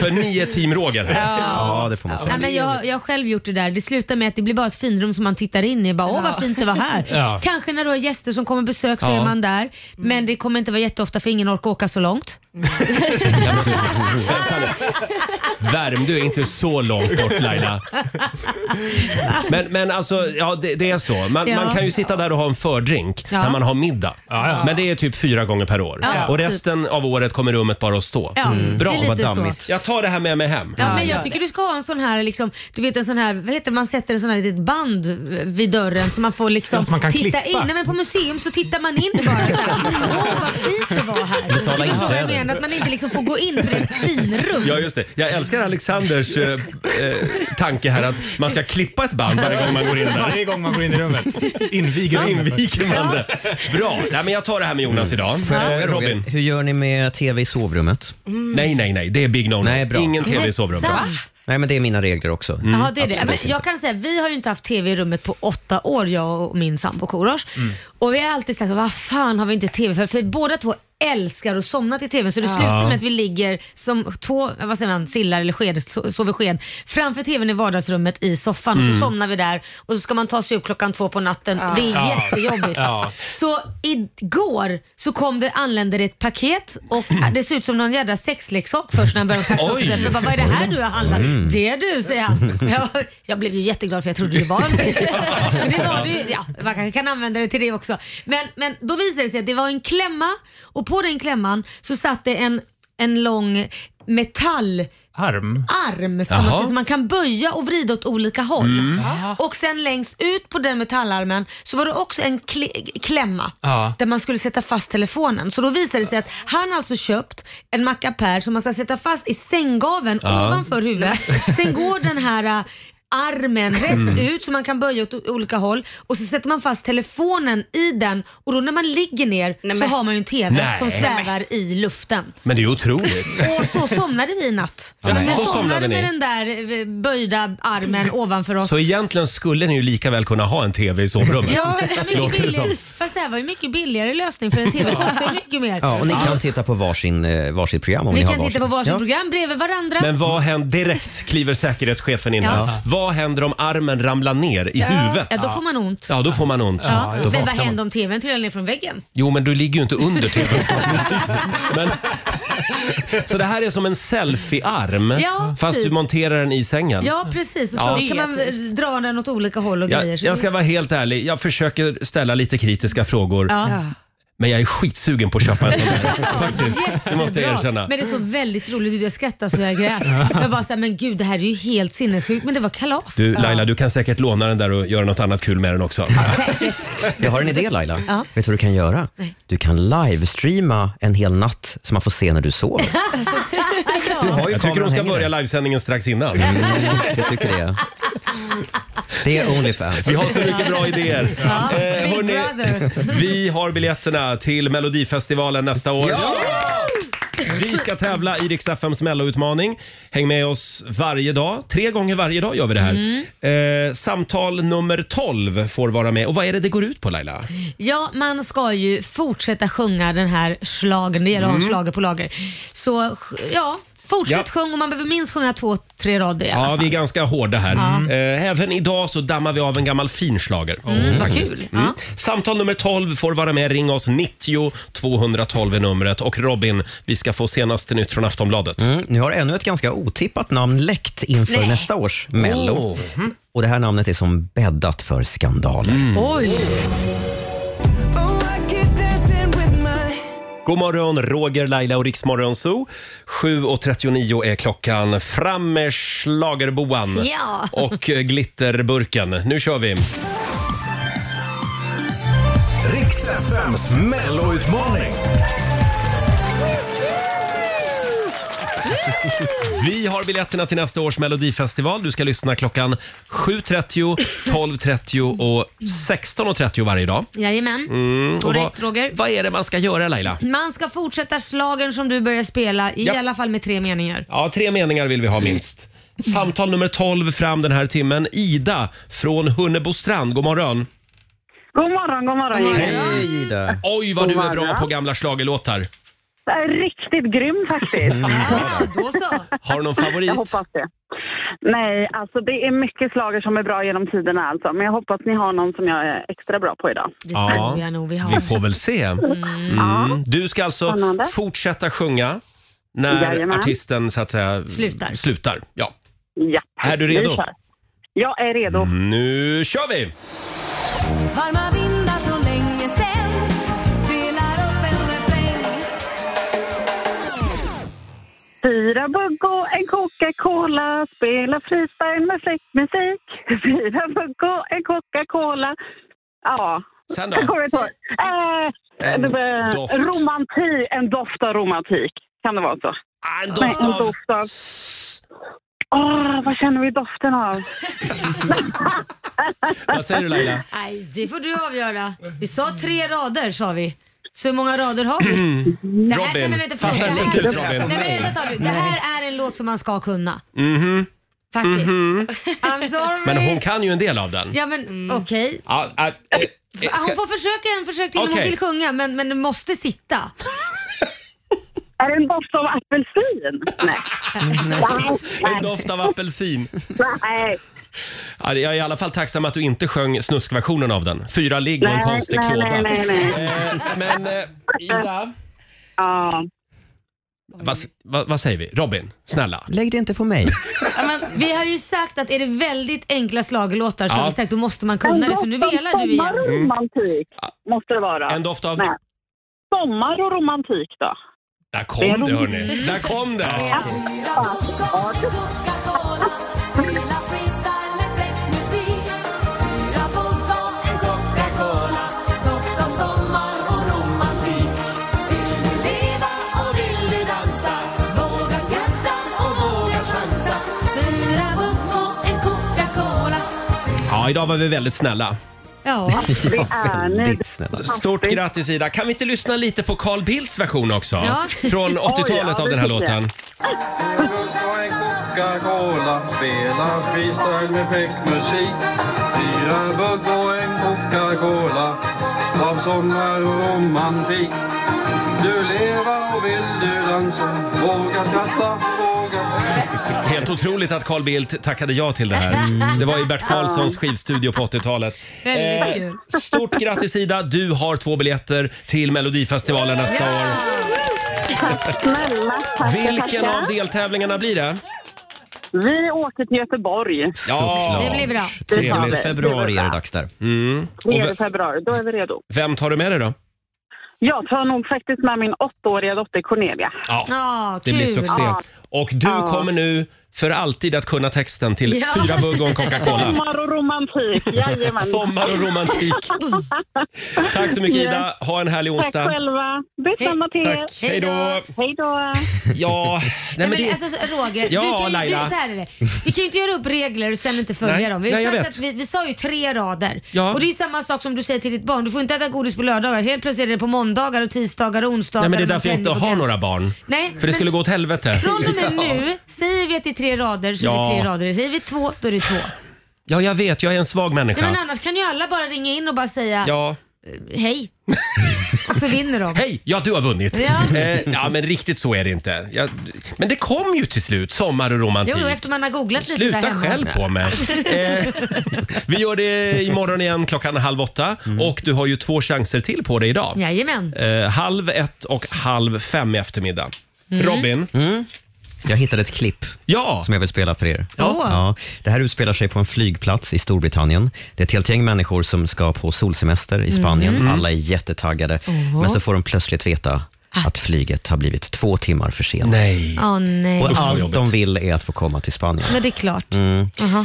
Speaker 1: För ni är team Roger här.
Speaker 3: Ja.
Speaker 1: det får man
Speaker 3: Nej, men jag, jag har själv gjort det där. Det slutar med att det blir bara ett finrum som man tittar in i. Bara, Åh vad fint det var här.
Speaker 1: Ja.
Speaker 3: Kanske när du har gäster som kommer besök så
Speaker 1: Ja.
Speaker 3: är man där. Men det kommer inte vara jätteofta för ingen orkar åka så långt.
Speaker 1: Värmdö är inte så långt bort Laila. Men, men alltså, ja det, det är så. Man,
Speaker 2: Ja.
Speaker 1: man kan ju sitta där och ha en fördrink
Speaker 2: Ja.
Speaker 1: när man har middag.
Speaker 2: ja.
Speaker 1: Men det är typ fyra gånger per år.
Speaker 2: Ja,
Speaker 1: Och
Speaker 2: typ.
Speaker 1: resten av året kommer rummet bara att stå.
Speaker 3: Ja, Mm.
Speaker 1: Bra,
Speaker 3: det är lite
Speaker 1: vad
Speaker 3: så.
Speaker 1: dammigt. Jag tar det här med mig hem.
Speaker 3: Ja, men jag tycker du ska ha en sån här, liksom, du vet en sån här, vad heter det, man sätter en sån här litet band vid dörren så man får liksom
Speaker 1: Ja, så man kan
Speaker 3: titta
Speaker 1: klippa.
Speaker 3: in. Nej, men på museum så tittar man in bara så här. Åh vad fint det var här.
Speaker 1: Betala
Speaker 3: du förstår vad jag
Speaker 1: inträde.
Speaker 3: menar, att man inte liksom får gå in för det är ett finrum.
Speaker 1: Ja, just det. Jag älskar Alexanders eh, eh, tanke här att man ska klippa ett band varje gång man går in där.
Speaker 7: Varje gång man går in i rummet. Inviger
Speaker 1: Så
Speaker 7: rummet.
Speaker 1: inviger man det. Bra. Nej, men jag tar det här med Jonas idag.
Speaker 4: Får jag
Speaker 1: Eh,
Speaker 4: fråga, Roger,
Speaker 1: Robin.
Speaker 4: hur gör ni med TV i sovrummet?
Speaker 1: Nej, nej, nej. Det är big no-no.
Speaker 4: Nej, bra.
Speaker 1: Ingen TV i sovrummet. Mm,
Speaker 3: Va?
Speaker 4: Nej, men det är mina regler också.
Speaker 3: Mm. Jaha, det är det. Men
Speaker 4: Absolut
Speaker 3: jag kan säga, vi har ju inte haft tv i rummet på åtta år, jag och min sambo Korosh.
Speaker 4: inte. Mm.
Speaker 3: Och vi har alltid sagt, vad fan har vi inte tv för? För båda två älskar att somna till tvn så det
Speaker 11: Ja.
Speaker 3: slutar
Speaker 11: Ja.
Speaker 3: med att vi ligger som två, vad säger man, sillar eller sked, so- sover sked framför tvn i vardagsrummet i soffan och
Speaker 1: Mm.
Speaker 3: så somnar vi där och så ska man ta sig upp klockan två på natten. Det är
Speaker 1: Ja.
Speaker 3: jättejobbigt.
Speaker 1: Ja.
Speaker 3: Så igår så kom det, anlände det ett paket och det ser ut som någon jädra sexleksak först när han började packa upp
Speaker 2: Oj.
Speaker 3: det. För jag bara, vad är det här du har handlat?
Speaker 2: Mm.
Speaker 3: Det är du, säger han. Jag, jag blev ju jätteglad för jag trodde det var en sexleksak. Men det var det ju, ja, man kanske kan använda det till det också. Men, men då visade det sig att det var en klämma och på den klämman så satt det en, en lång metall
Speaker 7: Arm.
Speaker 3: arm ska man,
Speaker 7: Jaha.
Speaker 3: säga, så man kan böja och vrida åt olika håll.
Speaker 7: Mm.
Speaker 3: Och sen längst ut på den metallarmen så var det också en kle- klämma
Speaker 2: Ja.
Speaker 3: där man skulle sätta fast telefonen. Så då visade det sig att han har alltså köpt en mackapär som man ska sätta fast i sänggaveln
Speaker 2: Ja.
Speaker 3: ovanför huvudet. Sen går den här äh, armen rätt
Speaker 2: Mm.
Speaker 3: ut så man kan böja åt o- olika håll och så sätter man fast telefonen i den och då när man ligger ner så
Speaker 2: men-
Speaker 3: har man ju en TV
Speaker 1: Nej.
Speaker 3: som svävar i luften.
Speaker 1: Men det är ju otroligt.
Speaker 3: Och så somnade vi i natt.
Speaker 1: Ja, nej.
Speaker 3: vi
Speaker 1: Så
Speaker 3: somnade,
Speaker 1: somnade ni.
Speaker 3: med den där eh, böjda armen ovanför oss.
Speaker 1: Så egentligen skulle ni ju lika väl kunna ha en TV i sovrummet.
Speaker 3: Ja, det var mycket
Speaker 1: Låter det
Speaker 3: billigare.
Speaker 1: som.
Speaker 3: Fast det här var ju mycket billigare lösning för en TV kostar ju mycket mer.
Speaker 4: Ja, och ni kan titta på varsin, eh, varsitt program om
Speaker 3: Vi
Speaker 4: ni har
Speaker 3: kan titta på varsin program bredvid varandra.
Speaker 1: Men vad händer direkt kliver säkerhetschefen in här.
Speaker 3: Ja.
Speaker 1: Vad händer om armen ramlar ner i
Speaker 3: Ja.
Speaker 1: huvudet?
Speaker 3: Ja, då får man ont.
Speaker 1: Ja, då får man ont.
Speaker 3: Ja.
Speaker 1: Då
Speaker 3: Men vad
Speaker 1: vaknar man.
Speaker 3: hände om TVn trillade ner från väggen?
Speaker 1: Jo, men du ligger ju inte under tvn. men, så det här är som en selfie-arm
Speaker 3: Ja,
Speaker 1: fast
Speaker 3: typ.
Speaker 1: du monterar den i sängen.
Speaker 3: Ja, precis. Och så
Speaker 1: Ja.
Speaker 3: kan man eh, dra den åt olika håll och grejer.
Speaker 1: Jag,
Speaker 3: Så
Speaker 1: jag
Speaker 3: det-
Speaker 1: ska vara helt ärlig, jag försöker ställa lite kritiska frågor.
Speaker 3: Ja.
Speaker 1: Men jag är skitsugen på att köpa en sån där. Faktiskt, det måste jag
Speaker 3: Jättebra.
Speaker 1: erkänna.
Speaker 3: Men det såg väldigt roligt ut. Jag skrattade så jag grät. Jag bara såhär, men gud det här är ju helt sinnessjukt. Men det var kalas.
Speaker 1: Du Laila, du kan säkert låna den där och göra något annat kul med den också.
Speaker 4: Jag har en idé Laila.
Speaker 3: Ja.
Speaker 4: Vet du vad du kan göra?
Speaker 3: Nej.
Speaker 4: Du kan livestreama en hel natt så man får se när du sover. Du har ju
Speaker 1: Jag tycker
Speaker 4: kameran Mm.
Speaker 1: hon ska
Speaker 4: hängande.
Speaker 1: börja livesändningen strax innan.
Speaker 4: Jag tycker det. Det är Onlyfans.
Speaker 1: Vi har så mycket bra idéer.
Speaker 3: Ja,
Speaker 1: Eh,
Speaker 3: Big
Speaker 1: hörni,
Speaker 3: Brother.
Speaker 1: vi har biljetterna till Melodifestivalen nästa år. Vi ska tävla i Rix FMs Mello-utmaning. Häng med oss varje dag. Tre gånger varje dag gör vi det här.
Speaker 3: Mm.
Speaker 1: Eh, samtal nummer 12 får vara med. Och vad är det det går ut på Laila?
Speaker 3: Ja, man ska ju fortsätta sjunga den här slagen. Det gäller att ha en
Speaker 1: Mm.
Speaker 3: schlager på lager. Så ja, fortsätt sjung och man behöver minst sjunga två, tre rader i alla
Speaker 1: Ja,
Speaker 3: fall.
Speaker 1: vi är ganska hårda här.
Speaker 3: Ja.
Speaker 1: Eh, även idag så dammar vi av en gammal finschlager.
Speaker 3: Mm, vad
Speaker 1: Faktiskt.
Speaker 3: kul.
Speaker 1: Mm. Samtal nummer 12 får vara med. Ring oss 90 212 är numret. Och Robin, vi ska få senaste nytt från Aftonbladet.
Speaker 4: Mm, nu har ännu ett ganska otippat namn läckt inför
Speaker 3: Nej.
Speaker 4: nästa års Mello.
Speaker 1: Oh.
Speaker 4: Och det här namnet är som bäddat för skandaler.
Speaker 1: Mm.
Speaker 3: Oj!
Speaker 1: God morgon, Roger, Laila och Riksmorgon Zoo. 7.39 är klockan. Fram med schlagerboan
Speaker 3: Ja.
Speaker 1: och eh, glitterburken. Nu kör vi!
Speaker 5: Riks FMs melloutmaning.
Speaker 1: Vi har biljetterna till nästa års Melodifestival. Du ska lyssna klockan 7.30, 12.30 och 16.30 varje dag.
Speaker 3: Jajamän.
Speaker 1: Mm, och
Speaker 3: Korrekt
Speaker 1: vad,
Speaker 3: Roger.
Speaker 1: vad är det man ska göra Laila?
Speaker 3: Man ska fortsätta slagen som du börjar spela, i
Speaker 1: Ja.
Speaker 3: alla fall med tre meningar.
Speaker 1: Ja, tre meningar vill vi ha minst. Samtal nummer 12 fram den här timmen. Ida från Hunnebostrand, god morgon.
Speaker 6: God morgon, god morgon gänget.
Speaker 4: Hej där.
Speaker 1: Oj, vad du
Speaker 6: God
Speaker 1: är bra
Speaker 6: morgon.
Speaker 1: på gamla schlagerlåtar.
Speaker 6: Det är riktigt grym faktiskt.
Speaker 3: Ja, då så.
Speaker 1: Har du någon
Speaker 6: Jag
Speaker 1: favorit?
Speaker 6: hoppas det. Nej, alltså det är mycket slager som är bra genom tiderna alltså. Men jag hoppas ni har någon som jag är extra bra på idag.
Speaker 3: Det
Speaker 1: Ja.
Speaker 3: tror jag nog vi har.
Speaker 1: Vi får väl se. Mm. Du ska alltså
Speaker 6: Spännande.
Speaker 1: fortsätta sjunga när
Speaker 6: Jajamän.
Speaker 1: artisten så att säga
Speaker 3: Slutar.
Speaker 1: slutar. Ja.
Speaker 6: Ja.
Speaker 1: Är du redo? Mm,
Speaker 6: Vi kör. Jag är redo.
Speaker 1: Nu kör vi!
Speaker 10: Varma vindar från länge sen spelar upp en refräng
Speaker 6: Fyra bugg och en Coca-Cola, spela freestyle med fläktmusik. Fyra bugg och en Coca-Cola. Ja,
Speaker 1: Sen
Speaker 6: jag
Speaker 1: då?
Speaker 6: kommer inte ihåg. Eh,
Speaker 1: En
Speaker 6: eh,
Speaker 1: doft.
Speaker 6: romantik, en doft av romantik. Kan det vara så?
Speaker 1: Ah, en
Speaker 6: Nej,
Speaker 1: doft
Speaker 6: en
Speaker 1: av...
Speaker 6: doft av... Åh, vad känner vi doften av?
Speaker 1: Vad säger du Laila?
Speaker 3: Nej, det får du avgöra. Vi sa tre rader sa vi. Så hur många rader har vi? Det här,
Speaker 1: Mm. Robin,
Speaker 3: nej, men vänta,
Speaker 1: fatta
Speaker 3: det
Speaker 1: inte
Speaker 3: här-
Speaker 1: slut,
Speaker 3: Nej,
Speaker 1: Robin.
Speaker 3: men vänta, Robin. det här är en låt som man ska kunna. Faktiskt. I'm sorry.
Speaker 1: Mm-hmm. Men hon kan ju en del av den.
Speaker 3: Ja men okej.
Speaker 1: Ja, ah, eh, eh,
Speaker 3: Hon
Speaker 1: ska...
Speaker 3: får försöka en försök till om hon
Speaker 1: Okej.
Speaker 3: vill sjunga men, men det måste sitta.
Speaker 6: Är det en doft av apelsin? Nej.
Speaker 1: En doft av apelsin.
Speaker 6: Nej.
Speaker 1: Ja, Jag är i alla fall tacksam att du inte sjöng snuskversionen av den. Fyra ligg och en
Speaker 6: Nej,
Speaker 1: konstig
Speaker 6: nej,
Speaker 1: klåda.
Speaker 6: nej, nej, nej.
Speaker 1: Eh, Men eh, Ida,
Speaker 6: Ja.
Speaker 1: vad, vad, vad säger vi? Robin, snälla.
Speaker 4: Lägg det inte på mig.
Speaker 3: Ja, men, vi har ju sagt att är det väldigt enkla slagelåtar så
Speaker 1: Ja. Mm.
Speaker 3: har vi sagt då måste man kunna det så nu velar du igen.
Speaker 6: Sommarromantik måste det vara.
Speaker 1: En doft av...
Speaker 6: Nej. Sommar och romantik då?
Speaker 1: Där kom det hörni. Där kom det.
Speaker 10: Fyra bugg och en Coca-Cola spela freestyle med fräck musik Fyra bugg och en Coca-Cola doft av sommar och romantik Vill du leva och vill du dansa våga skratta och våga chansa Fyra bugg och en Coca-Cola
Speaker 1: Ja, idag var vi väldigt snälla.
Speaker 3: Ja.
Speaker 4: Ja,
Speaker 6: är ni.
Speaker 4: väldigt snälla.
Speaker 1: Stort grattis Ida. Kan vi inte lyssna lite på Carl Bildts version också?
Speaker 3: Ja.
Speaker 1: Från 80-talet
Speaker 6: ja,
Speaker 1: av den här
Speaker 6: det tycker jag.
Speaker 1: låten.
Speaker 5: Coca-Cola, spela freestyle med fräck musik. Fyra bugg och en Coca-Cola av sommar och romantik. Du lever och vill du dansa, våga skratta, våga...
Speaker 1: Helt otroligt att Carl Bildt tackade ja till det här. Det var i Bert Karlssons skivstudio på 80-talet.
Speaker 3: Väldigt kul.
Speaker 1: Stort grattis Ida! Du har två biljetter till Melodifestivalen nästa år.
Speaker 6: Snälla, tackar,
Speaker 1: Vilken
Speaker 6: tackar.
Speaker 1: av deltävlingarna blir det?
Speaker 6: Vi åker till Göteborg.
Speaker 1: Ja,
Speaker 3: Det blir bra.
Speaker 1: Trevligt.
Speaker 6: Det
Speaker 4: Februari är det dags där.
Speaker 1: Mm. Och
Speaker 6: Det är
Speaker 1: ve-
Speaker 6: i februari, då är vi redo.
Speaker 1: vem tar du med dig då?
Speaker 6: Jag tar nog faktiskt med min åttaåriga dotter Cornelia.
Speaker 1: Ja,
Speaker 3: Ja,
Speaker 1: det blir
Speaker 3: kul.
Speaker 1: succé.
Speaker 6: Ja.
Speaker 1: Och du
Speaker 6: Ja.
Speaker 1: kommer nu för alltid att kunna texten till
Speaker 3: Ja.
Speaker 1: Fyra bugg och en Coca-Cola.
Speaker 6: Sommar och romantik. Jajamän.
Speaker 1: Sommar och romantik. Tack så mycket Ida. Ha en härlig
Speaker 6: Tack
Speaker 1: onsdag.
Speaker 6: själva. Detsamma till er.
Speaker 1: Tack. Hej då.
Speaker 6: Hej då.
Speaker 1: Ja, nej
Speaker 3: Nej,
Speaker 1: men
Speaker 3: men
Speaker 1: det...
Speaker 3: alltså, Roger,
Speaker 1: Ja,
Speaker 3: du kan ju,
Speaker 1: Laila.
Speaker 3: Du, så här är det. vi kan ju inte göra upp regler och sen inte följa
Speaker 1: Nej,
Speaker 3: dem. Vi, har ju
Speaker 1: nej, jag
Speaker 3: sagt
Speaker 1: vet.
Speaker 3: att vi, vi sa ju tre rader.
Speaker 1: Ja.
Speaker 3: Och det är ju samma sak som du säger till ditt barn. Du får inte äta godis på lördagar. Helt plötsligt är det på måndagar och tisdagar och onsdagar.
Speaker 1: Nej, men det är
Speaker 3: och
Speaker 1: därför jag inte
Speaker 3: fredag och
Speaker 1: har
Speaker 3: kväll.
Speaker 1: några barn.
Speaker 3: Nej,
Speaker 1: För det
Speaker 3: men-
Speaker 1: skulle gå åt helvete.
Speaker 3: Från och med nu, säger vi att det är tre rader så
Speaker 1: Ja.
Speaker 3: är det tre rader. Säger vi två, då är det två.
Speaker 1: Ja, jag vet. Jag är en svag
Speaker 3: Nej, men
Speaker 1: människa.
Speaker 3: annars kan ju alla bara ringa in och bara säga
Speaker 1: Ja.
Speaker 3: hej. och så vinner de.
Speaker 1: Hej! Ja, du har vunnit.
Speaker 3: Ja.
Speaker 1: Eh, ja, men riktigt så är det inte. Jag, men det kom ju till slut, sommar och romantik.
Speaker 3: Jo, efter man har googlat lite där
Speaker 1: Sluta
Speaker 3: hemma.
Speaker 1: själv på mig. Eh, vi gör det imorgon igen klockan halv åtta
Speaker 3: Mm.
Speaker 1: och du har ju två chanser till på dig idag.
Speaker 3: Jajamän.
Speaker 1: Eh, halv ett och halv fem i eftermiddag.
Speaker 3: Mm.
Speaker 1: Robin?
Speaker 4: Mm. Jag hittade ett klipp
Speaker 1: Ja!
Speaker 4: som jag vill spela för er.
Speaker 3: Ja.
Speaker 4: Ja, det här utspelar sig på en flygplats i Storbritannien. Det är ett helt gäng människor som ska på solsemester i Spanien. Alla är jättetaggade, men så får de plötsligt veta att flyget har blivit två timmar försenat.
Speaker 1: Nej.
Speaker 3: Åh nej.
Speaker 4: Och
Speaker 1: vad
Speaker 4: allt
Speaker 1: jobbigt.
Speaker 4: de vill är att få komma till Spanien. Mm.
Speaker 3: Men det är klart.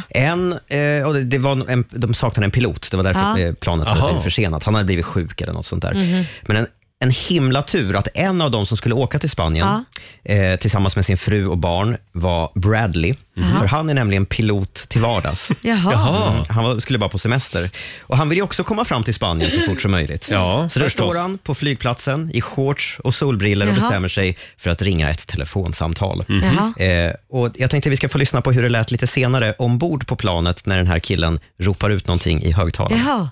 Speaker 4: En, eh, och det, det var en, de saknade en pilot, det var därför
Speaker 3: Ja. Mhm.
Speaker 4: eh, planet hade
Speaker 1: Aha.
Speaker 4: blivit försenat. Han hade blivit sjuk eller något sånt där. Men en, en himla tur att en av dem som skulle åka till Spanien eh, tillsammans med sin fru och barn var Bradley. För han är nämligen pilot till vardags.
Speaker 3: Mhm. Jaha.
Speaker 4: Mm, han var, skulle bara på semester. Och Han vill ju också komma fram till Spanien så fort som möjligt.
Speaker 1: Ja,
Speaker 4: så där
Speaker 1: förstås.
Speaker 4: står han på flygplatsen i shorts och solbriller och
Speaker 3: Jaha.
Speaker 4: bestämmer sig för att ringa ett telefonsamtal.
Speaker 3: Jaha.
Speaker 4: Eh, och jag tänkte vi ska få lyssna på hur det lät lite senare ombord på planet när den här killen ropar ut någonting i högtalaren.
Speaker 3: Jaha.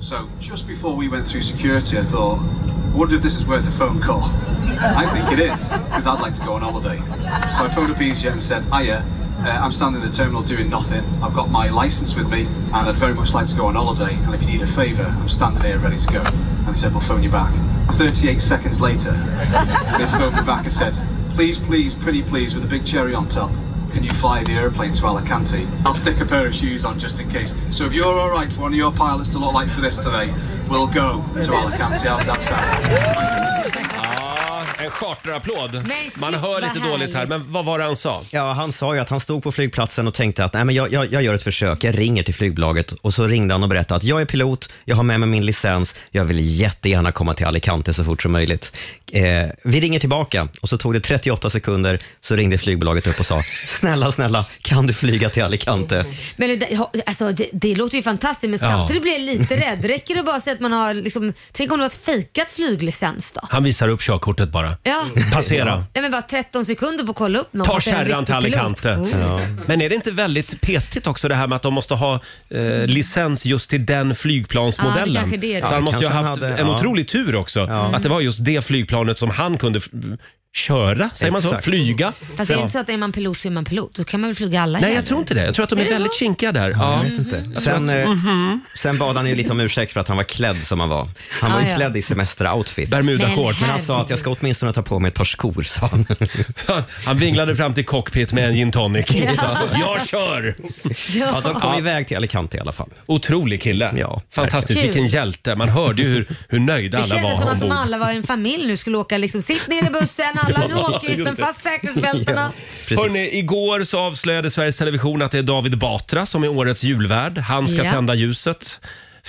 Speaker 5: So, just before we went through security, I thought, I wonder if this is worth a phone call. I think it is, because I'd like to go on holiday. So I phoned up EasyJet and said, Hiya, uh, I'm standing in the terminal doing nothing. I've got my license with me, and I'd very much like to go on holiday. And if you need a favour, I'm standing here ready to go. And he said, We'll phone you back. 38 seconds later, they phoned me back and said, Please, please, pretty please, with a big cherry on top. Can you fly the airplane to Alicante? I'll stick a pair of shoes on just in case. So if you're all right for one of your pilots to look like for this today, we'll go to Alicante. How's that sound?
Speaker 1: Ja, en charterapplåd.
Speaker 3: Men shit,
Speaker 1: Man hör
Speaker 3: vad
Speaker 1: lite dåligt här,
Speaker 3: härligt.
Speaker 1: men vad var det han sa?
Speaker 4: Ja, han sa ju att han stod på flygplatsen och tänkte att Nej, men jag, jag, jag gör ett försök, jag ringer till flygbolaget och så ringde han och berättade att jag är pilot, jag har med mig min licens, jag vill jättegärna komma till Alicante så fort som möjligt. Eh, vi ringer tillbaka och så tog det 38 sekunder så ringde flygbolaget upp och sa snälla, snälla, kan du flyga till Alicante?
Speaker 3: Men det, där- ja, alltså, det, det låter ju fantastiskt men samtidigt blir jag lite rädd. Räcker det bara att säga att man har liksom, tänk om du har ett fejkat flyglicens då?
Speaker 1: Han visar upp körkortet bara.
Speaker 3: Ja.
Speaker 1: Passera.
Speaker 3: Nej men bara 13 sekunder på att kolla upp någon.
Speaker 1: Ta
Speaker 3: Att det är en
Speaker 1: kärran
Speaker 3: riktig
Speaker 1: till
Speaker 3: pilot. Oh.
Speaker 1: Alicante. Men är det inte väldigt petigt också det här med att de måste ha eh, licens just till den
Speaker 3: Mm. Ja, det
Speaker 1: flygplansmodellen?
Speaker 3: kanske det är det.
Speaker 1: Så
Speaker 4: Ja,
Speaker 1: han måste ju ha haft
Speaker 4: kanske han hade,
Speaker 1: en
Speaker 4: ja.
Speaker 1: otrolig tur också. Att det var just det flygplanet som han kunde f- köra, säger man så?
Speaker 4: Exakt.
Speaker 1: Flyga?
Speaker 3: Fast det är
Speaker 1: Ja.
Speaker 3: inte så att är man pilot så är man pilot. Då kan man väl flyga alla
Speaker 1: Nej, jag
Speaker 3: jävlar.
Speaker 1: tror inte det. Jag tror att de är, väldigt kinkiga där. Ja.
Speaker 4: Jag vet inte. Sen, eh,
Speaker 1: Mhm.
Speaker 4: sen bad han ju lite om ursäkt för att han var klädd som han var. Han var
Speaker 3: Ah,
Speaker 4: ju
Speaker 3: ja.
Speaker 4: klädd i semesteroutfit.
Speaker 3: Men
Speaker 1: Bermuda-shorts.
Speaker 4: Men han sa att jag ska åtminstone ta på mig ett par skor, sa han.
Speaker 1: Han- Han vinglade fram till cockpit med en gin tonic och sa “Jag kör!”
Speaker 4: Ja, de kom iväg till Alicante i alla fall.
Speaker 1: Otrolig kille.
Speaker 4: Ja,
Speaker 1: Fantastisk,
Speaker 3: verkligen.
Speaker 1: vilken hjälte. Man hörde ju hur, hur nöjda
Speaker 3: Det
Speaker 1: alla
Speaker 3: kändes som
Speaker 1: var
Speaker 3: att de
Speaker 1: ombord.
Speaker 3: alla var en familj nu skulle åka liksom, sitt ner i bussen alla, nu
Speaker 1: Ja,
Speaker 3: åker vi,
Speaker 1: just
Speaker 3: spänn
Speaker 1: det.
Speaker 3: fast säkerhetsbältena.
Speaker 4: Precis.
Speaker 1: Hörrni, igår så avslöjade Sveriges Television att det är David Batra som är årets julvärd. Han ska
Speaker 3: Ja. Mm.
Speaker 1: tända ljuset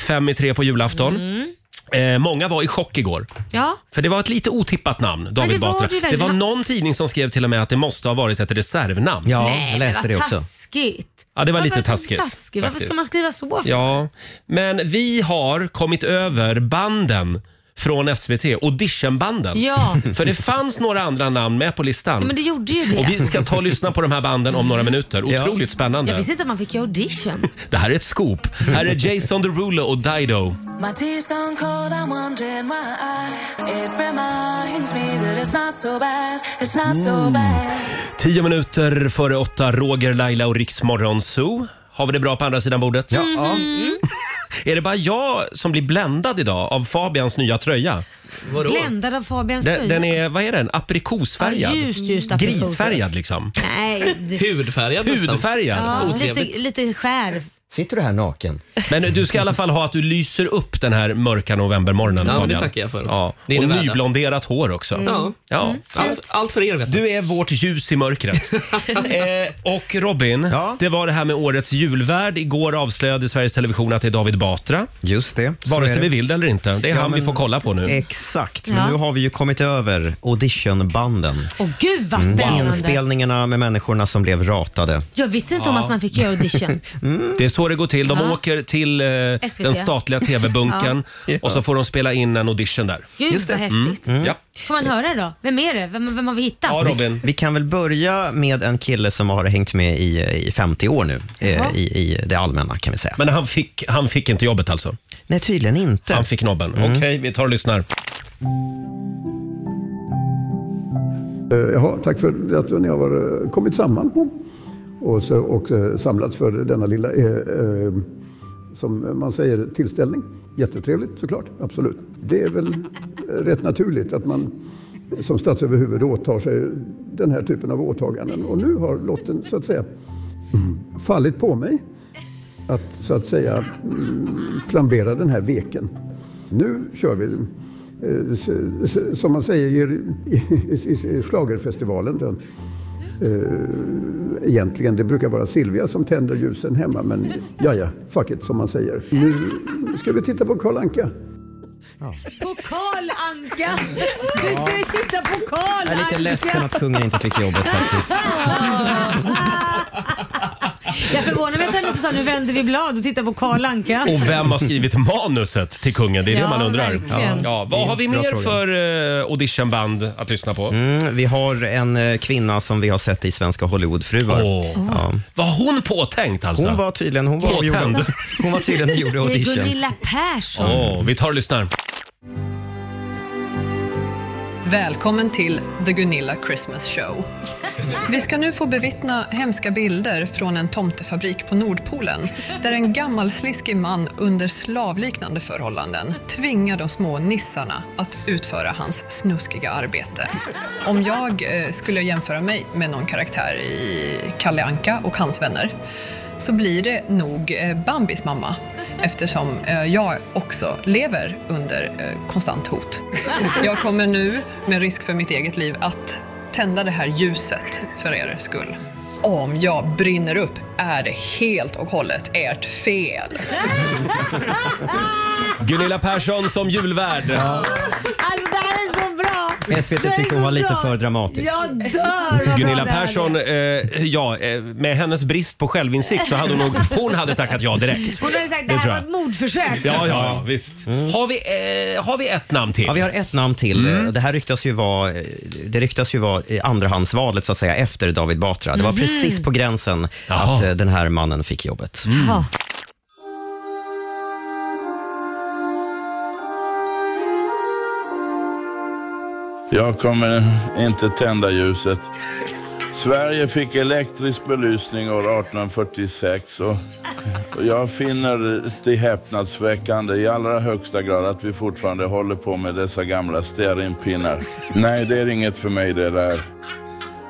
Speaker 1: fem i tre på julafton. Eh, många var i chock igår.
Speaker 3: Ja.
Speaker 1: För det var ett lite otippat namn, David
Speaker 3: det var
Speaker 1: Batra.
Speaker 3: det verkligen.
Speaker 1: det var någon tidning som skrev till och med att det måste ha varit ett reservnamn.
Speaker 4: Ja,
Speaker 3: Nej,
Speaker 4: jag läste
Speaker 3: men
Speaker 4: det
Speaker 3: vad
Speaker 4: också.
Speaker 3: taskigt.
Speaker 1: Ja, det var
Speaker 3: Varför
Speaker 1: lite
Speaker 3: är man
Speaker 1: taskigt,
Speaker 3: taskig? Varför ska
Speaker 1: faktiskt.
Speaker 3: man skriva så? För?
Speaker 1: Ja, men vi har kommit över banden från SVT, auditionbanden.
Speaker 3: Ja.
Speaker 1: För det fanns några andra namn med på listan.
Speaker 3: Men det gjorde ju det.
Speaker 1: Och vi ska ta och lyssna på de här banden om några minuter. Otroligt spännande.
Speaker 3: Jag visste inte att man fick göra audition.
Speaker 1: Det här är ett scoop. Här är Jason Derulo och Dido.
Speaker 2: My tea's gone cold, I'm wondering why. It reminds me that it's not so bad, it's not so bad.
Speaker 1: Tio minuter före åtta, Roger, Laila och Riksmorgon Zoo. Har vi det bra på andra sidan bordet? Ja.
Speaker 3: Mhm.
Speaker 1: Är det bara jag som blir bländad idag av Fabians nya tröja?
Speaker 8: Vadå?
Speaker 3: Bländad av Fabians
Speaker 1: Den,
Speaker 3: tröja.
Speaker 1: den är, vad är den? Aprikosfärgad?
Speaker 3: Ja, ljust, ljust aprikos.
Speaker 1: Grisfärgad liksom.
Speaker 3: Nej, det,
Speaker 8: Hudfärgad nästan.
Speaker 1: Hudfärgad?
Speaker 3: ja,
Speaker 8: Otrevligt.
Speaker 3: lite, lite skär
Speaker 4: Sitter du här naken?
Speaker 1: Men du ska i alla fall ha att du lyser upp den här mörka novembermorgonen
Speaker 8: Ja, men det
Speaker 1: Fabian.
Speaker 8: tackar jag för.
Speaker 1: Ja.
Speaker 8: Det är
Speaker 1: Och
Speaker 8: det värda.
Speaker 1: nyblonderat hår också.
Speaker 3: Mm.
Speaker 8: Ja.
Speaker 1: Ja.
Speaker 8: Allt, allt för er vet du.
Speaker 1: Du är vårt ljus i mörkret. eh, och Robin,
Speaker 4: Ja.
Speaker 1: det var det här med årets julvärd. Igår avslöjade Sveriges Television att det är David Batra.
Speaker 4: Just det. så
Speaker 1: Vare
Speaker 4: är
Speaker 1: sig
Speaker 4: det.
Speaker 1: vi vill det eller inte. Det är
Speaker 4: Ja,
Speaker 1: han vi
Speaker 4: men-
Speaker 1: får kolla på nu.
Speaker 4: Exakt, men
Speaker 3: Ja.
Speaker 4: nu har vi ju kommit över auditionbanden. Mm.
Speaker 3: Åh gud vad spännande.
Speaker 4: Inspelningarna med människorna som blev ratade.
Speaker 3: Jag visste inte om att man fick göra audition.
Speaker 1: Det är så det går till. De
Speaker 3: Ja.
Speaker 1: åker till eh,
Speaker 3: SVT.
Speaker 1: den statliga TV-bunkern
Speaker 4: Ja.
Speaker 1: och så får de spela in en audition där.
Speaker 3: Gud vad häftigt.
Speaker 1: Mm. Ja.
Speaker 3: Får man höra då? Vem är det? Vem, vem har vi hittat?
Speaker 1: ja, Robin.
Speaker 4: Vi kan väl börja med en kille som har hängt med i, i 50 år nu, eh, i, i det allmänna kan vi säga.
Speaker 1: Men han fick, han fick inte jobbet alltså?
Speaker 4: Nej, tydligen inte. Mm.
Speaker 1: Han fick nobben. Okej, vi tar och lyssnar.
Speaker 5: Eh, Jaha, tack för att ni har eh, kommit samman på och, så, och eh, samlats för denna lilla, eh, eh, som man säger, tillställning. Jättetrevligt såklart, absolut. Det är väl eh, rätt naturligt att man som statsöverhuvud åtar sig den här typen av åtaganden. Och nu har lotten så att säga mm, fallit på mig att så att säga mm, flambera den här veken. Nu kör vi. eh, s- s- Som man säger i, i, i, i schlagerfestivalen. Den, eh, egentligen, det brukar vara Silvia som tänder ljusen hemma. Men ja, ja, fuck it som man säger. Nu ska vi titta på Karl Anka.
Speaker 3: På Karl Anka! Nu ska vi titta på Karl
Speaker 4: Jag är lite ledsen
Speaker 3: Anka!
Speaker 4: att kungen inte fick jobbet faktiskt.
Speaker 3: Jag förvånar mig att han inte sa nu vänder vi blad och tittar på Karl Anka.
Speaker 1: Och vem har skrivit manuset till kungen? Det är det
Speaker 3: Ja,
Speaker 1: man undrar.
Speaker 3: verkligen.
Speaker 1: Ja, vad har vi
Speaker 4: Bra
Speaker 1: mer
Speaker 4: fråga.
Speaker 1: för eh, auditionband att lyssna på?
Speaker 4: Mm, vi har en eh, kvinna som vi har sett i Svenska Hollywoodfruar.
Speaker 1: Åh. Var hon påtänkt alltså?
Speaker 4: Hon var tydligen... Hon var,
Speaker 1: Påtänd.
Speaker 4: hon var tydligen och gjorde
Speaker 3: Det är
Speaker 4: audition.
Speaker 3: Gunilla Persson.
Speaker 1: Åh, vi tar och lyssnar.
Speaker 11: Välkommen till The Gunilla Christmas Show. Vi ska nu få bevittna hemska bilder från en tomtefabrik på Nordpolen där en gammalsliskig man under slavliknande förhållanden tvingar de små nissarna att utföra hans snuskiga arbete. Om jag eh, skulle jämföra mig med någon karaktär i Kalle Anka och hans vänner så blir det nog eh, Bambis mamma eftersom eh, jag också lever under eh, konstant hot. Jag kommer nu, med risk för mitt eget liv, att tända det här ljuset för er skull. Om jag brinner upp är det helt och hållet ert fel.
Speaker 1: Gunilla Persson som julvärd.
Speaker 3: Alltså det här är så bra!
Speaker 4: SVT
Speaker 3: Det här är
Speaker 4: tyckte hon
Speaker 3: så
Speaker 4: var lite
Speaker 3: bra.
Speaker 4: för dramatisk.
Speaker 3: Jag dör! vad
Speaker 1: Gunilla
Speaker 3: bra det här är.
Speaker 1: Persson, eh, ja, eh, med hennes brist på självinsikt så hade hon nog, hon hade tackat ja direkt.
Speaker 3: Hon hade sagt det här
Speaker 1: Det tror
Speaker 3: var
Speaker 1: jag.
Speaker 3: ett mordförsök.
Speaker 1: Ja, ja, ja visst. Har, vi, eh, har vi ett namn till?
Speaker 4: Mm.
Speaker 1: Mm.
Speaker 4: Ja, vi har ett namn till. Det här ryktas ju vara, eh, det ryktas ju vara i andrahandsvalet så att säga, efter David Batra. Det var precis på gränsen
Speaker 1: Mm. Jaha.
Speaker 4: att eh, den här mannen fick jobbet.
Speaker 1: Mm.
Speaker 3: Ja.
Speaker 5: Jag kommer inte tända ljuset. Sverige fick elektrisk belysning år 1846 och och jag finner det häpnadsväckande i allra högsta grad att vi fortfarande håller på med dessa gamla stearinpinnar. Nej, det är inget för mig det där.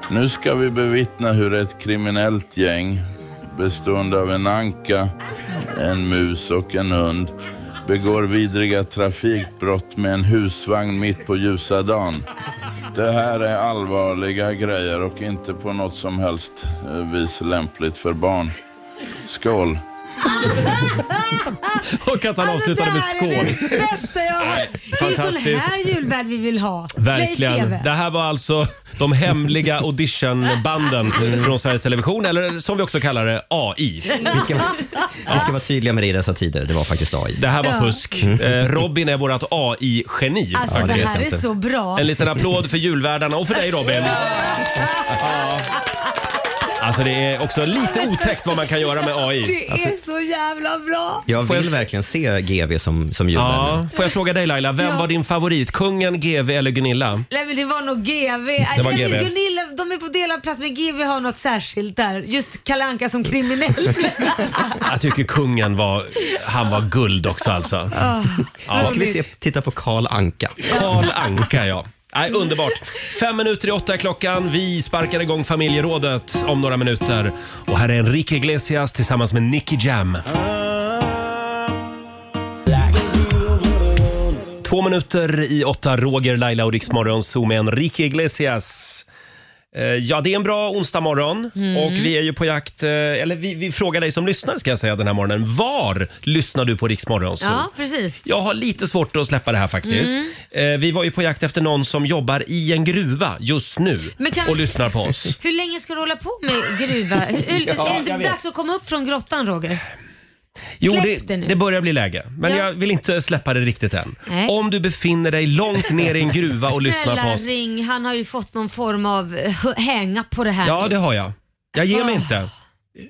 Speaker 5: Nu ska vi bevittna hur ett kriminellt gäng bestående av en anka, en mus och en hund begår vidriga trafikbrott med en husvagn mitt på ljusa dagen. Det här är allvarliga grejer och inte på något som helst eh, vis lämpligt för barn. Skål!
Speaker 1: Och att han avslutade med
Speaker 3: Det här
Speaker 1: skål.
Speaker 3: Alltså, är det bästa jag har hört. Det är ju sån
Speaker 1: fantastiskt.
Speaker 3: här julvärld vi vill ha.
Speaker 1: Verkligen.
Speaker 3: Leif
Speaker 1: Det
Speaker 3: GW.
Speaker 1: här var alltså de hemliga auditionbanden
Speaker 3: Mm.
Speaker 1: från Sveriges Television, eller som vi också kallar det, AI.
Speaker 4: Vi ska, vi ska vara tydliga med det i dessa tider. Det var faktiskt AI.
Speaker 1: Det här var
Speaker 3: Ja. Mm.
Speaker 1: fusk. Eh, Robin är vårt AI-geni.
Speaker 3: Alltså det
Speaker 4: det
Speaker 3: här är
Speaker 4: känns det.
Speaker 3: så bra.
Speaker 1: En liten applåd för julvärdarna och för dig Robin. Ja. Alltså det är också lite otäckt vad man kan göra med Alltså, AI.
Speaker 3: Det är så jävla bra.
Speaker 4: Jag vill verkligen se GV som, som julvärd nu.
Speaker 1: Ja. Får jag fråga dig Laila, vem
Speaker 3: Ja.
Speaker 1: var din favorit? Kungen, GV eller Gunilla?
Speaker 3: Nej men det var nog GV.
Speaker 1: Det var
Speaker 3: Nej, men
Speaker 1: GV.
Speaker 3: Gunilla, de är på delad plats men GV har något särskilt där. Just Kalle Anka som kriminell.
Speaker 1: Jag tycker kungen var, han var guld också alltså.
Speaker 4: Nu ska vi se, titta på Karl Anka.
Speaker 1: Karl Anka ja. Nej, underbart. Fem minuter i åtta är klockan. Vi sparkar igång familjerådet om några minuter. Och här är Enrique Iglesias tillsammans med Nicky Jam. Två minuter i åtta, Roger, Laila och Riksmorgon Zoom med Enrique Iglesias. Eh, Ja, det är en bra onsdag morgon
Speaker 10: Mm.
Speaker 1: och vi är ju på jakt, eh, eller vi, vi frågar dig som lyssnar ska jag säga den här morgonen. Var lyssnar du på Riksmorgon Zoom?
Speaker 3: Ja, precis.
Speaker 1: Jag har lite svårt att släppa det här faktiskt.
Speaker 3: Mm.
Speaker 1: Eh, vi var ju på jakt efter någon som jobbar i en gruva just nu
Speaker 3: Men kan-
Speaker 1: och lyssnar på oss.
Speaker 3: Hur länge ska du hålla på med gruva? Hur,
Speaker 1: Ja,
Speaker 3: är det
Speaker 1: jag
Speaker 3: inte
Speaker 1: vet.
Speaker 3: dags att komma upp från grottan, Roger?
Speaker 1: Jo,
Speaker 3: Släpp
Speaker 1: det,
Speaker 3: det nu.
Speaker 1: det börjar bli läge, men
Speaker 3: Ja.
Speaker 1: jag vill inte släppa det riktigt än.
Speaker 3: Nej.
Speaker 1: Om du befinner dig långt ner i en gruva och lyssnar på
Speaker 3: Snälla
Speaker 1: oss.
Speaker 3: ring, han har ju fått någon form av eh, hänga på det här.
Speaker 1: Ja,
Speaker 3: nu.
Speaker 1: det har jag. Jag ger mig
Speaker 3: Ah.
Speaker 1: inte.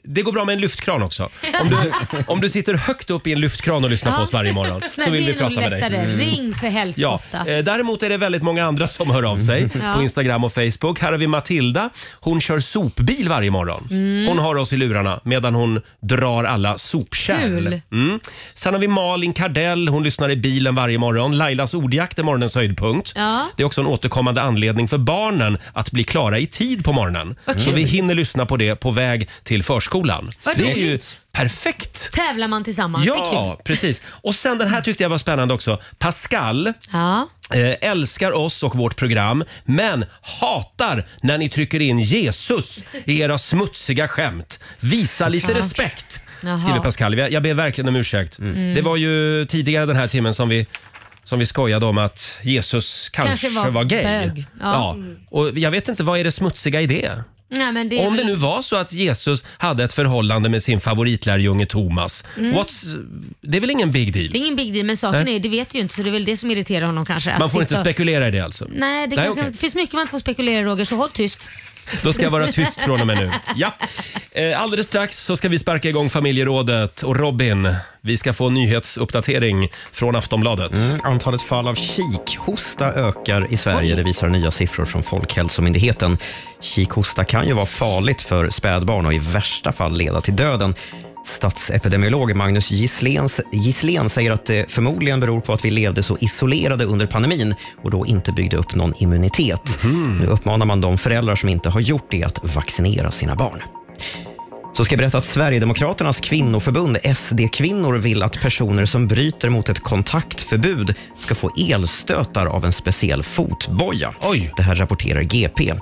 Speaker 1: Det går bra med en lyftkran också. Om du, om du sitter högt upp i en lyftkran och lyssnar på
Speaker 3: Ja.
Speaker 1: oss varje morgon
Speaker 3: Snälla,
Speaker 1: så vill
Speaker 3: det
Speaker 1: vi
Speaker 3: är nog
Speaker 1: prata med dig. Mm.
Speaker 3: lättare. Ring för
Speaker 1: Ja.
Speaker 3: helskotta.
Speaker 1: eh, Däremot är det väldigt många andra som hör av sig
Speaker 3: Ja.
Speaker 1: på Instagram och Facebook. Här har vi Matilda. Hon kör sopbil varje morgon.
Speaker 10: Mm.
Speaker 1: Hon har oss i lurarna medan hon drar alla sopkärl.
Speaker 10: Kul.
Speaker 1: Mm. Sen har vi Malin Kardell. Hon lyssnar i bilen varje morgon. Lailas ordjakt är morgonens höjdpunkt.
Speaker 10: Ja.
Speaker 1: Det är också en återkommande anledning för barnen att bli klara i tid på morgonen.
Speaker 3: Vad
Speaker 1: Så
Speaker 3: kul.
Speaker 1: vi hinner lyssna på det på väg till förskolan.
Speaker 3: Vad
Speaker 1: Det är ju
Speaker 3: roligt.
Speaker 1: perfekt.
Speaker 3: Tävlar man tillsammans? Det är
Speaker 1: Ja,
Speaker 3: kul.
Speaker 1: precis. Och sen den här tyckte jag var spännande också. Pascal
Speaker 3: Ja.
Speaker 1: eh, älskar oss och vårt program, men hatar när ni trycker in Jesus i era smutsiga skämt. Visa lite
Speaker 10: Såklart.
Speaker 1: respekt,
Speaker 10: Jaha.
Speaker 1: skriver Pascal. Jag, jag ber verkligen om ursäkt.
Speaker 10: Mm.
Speaker 1: Det var ju tidigare den här timmen som vi som vi skojade om att Jesus kanske,
Speaker 3: Kanske
Speaker 1: var,
Speaker 3: var
Speaker 1: gay.
Speaker 3: bög. Ja.
Speaker 1: Ja. Och jag vet inte, vad är det smutsiga i det?
Speaker 3: Nej, men det är
Speaker 1: Om det
Speaker 3: väl-
Speaker 1: nu var så att Jesus hade ett förhållande med sin favoritlärjunge Thomas.
Speaker 3: Mm.
Speaker 1: What's, det är väl ingen big deal?
Speaker 3: Det är ingen big deal, men saken
Speaker 1: Nej.
Speaker 3: är, det vet du ju inte, så det är väl det som irriterar honom kanske. att
Speaker 1: Man får inte
Speaker 3: sitta-
Speaker 1: spekulera i det alltså?
Speaker 3: Nej, det, kanske,
Speaker 1: okej.
Speaker 3: det finns mycket man inte får spekulera Roger, så håll tyst.
Speaker 1: Då ska jag vara tyst från och med nu. Ja. Eh, Alldeles strax så ska vi sparka igång familjerådet och Robin, vi ska få en nyhetsuppdatering från Aftonbladet.
Speaker 4: Mm, antalet fall av kikhosta ökar i Sverige. Det visar nya siffror från Folkhälsomyndigheten. Kikhosta kan ju vara farligt för spädbarn och i värsta fall leda till döden. Statsepidemiolog Magnus Gisslén, Gisslén säger att det förmodligen beror på att vi levde så isolerade under pandemin och då inte byggde upp någon immunitet. Nu uppmanar man de föräldrar som inte har gjort det att vaccinera sina barn. Så ska jag berätta att Sverigedemokraternas kvinnoförbund, SD-kvinnor, vill att personer som bryter mot ett kontaktförbud ska få elstötar av en speciell fotboja. Det här rapporterar GP.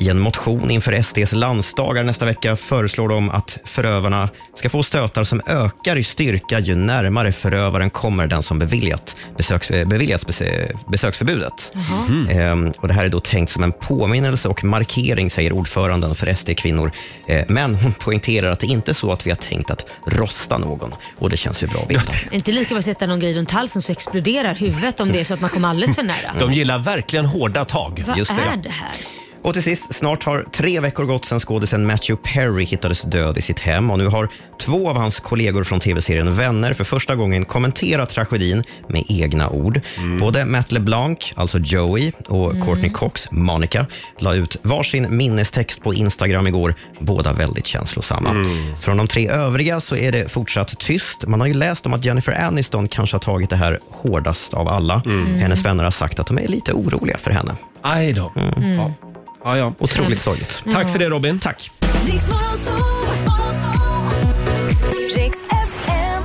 Speaker 4: I en motion inför SDs landsdagar nästa vecka föreslår de att förövarna ska få stötar som ökar i styrka ju närmare förövaren kommer den som beviljat besöks, eh, beviljats bes- besöksförbudet.
Speaker 10: Jaha.
Speaker 4: Mm. Ehm, Och det här är då tänkt som en påminnelse och markering, säger ordföranden för SD-kvinnor. Eh, Men hon poängterar att det inte är så att vi har tänkt att rosta någon. Och det känns ju bra att veta.
Speaker 3: Inte lika bra att sätta någon grej runt halsen så exploderar huvudet om det är så att man kommer alldeles för nära.
Speaker 1: De gillar verkligen hårda tag.
Speaker 3: Vad är det här?
Speaker 4: Och till sist, snart har tre veckor gått sedan skådisen Matthew Perry hittades död i sitt hem och nu har två av hans kollegor från tv-serien Vänner för första gången kommenterat tragedin med egna ord. Både Matt LeBlanc, alltså Joey, och Courtney Cox, Monica, la ut varsin minnestext på Instagram igår, båda väldigt känslosamma. Från de tre övriga så är det fortsatt tyst. Man har ju läst om att Jennifer Aniston kanske har tagit det här hårdast av alla. Hennes vänner har sagt att de är lite oroliga för henne.
Speaker 1: Aj då.
Speaker 4: Mm.
Speaker 1: Ja. Ja, ja.
Speaker 4: Otroligt sorgligt.
Speaker 1: Tack för det Robin.
Speaker 4: Tack.
Speaker 2: Riks FM.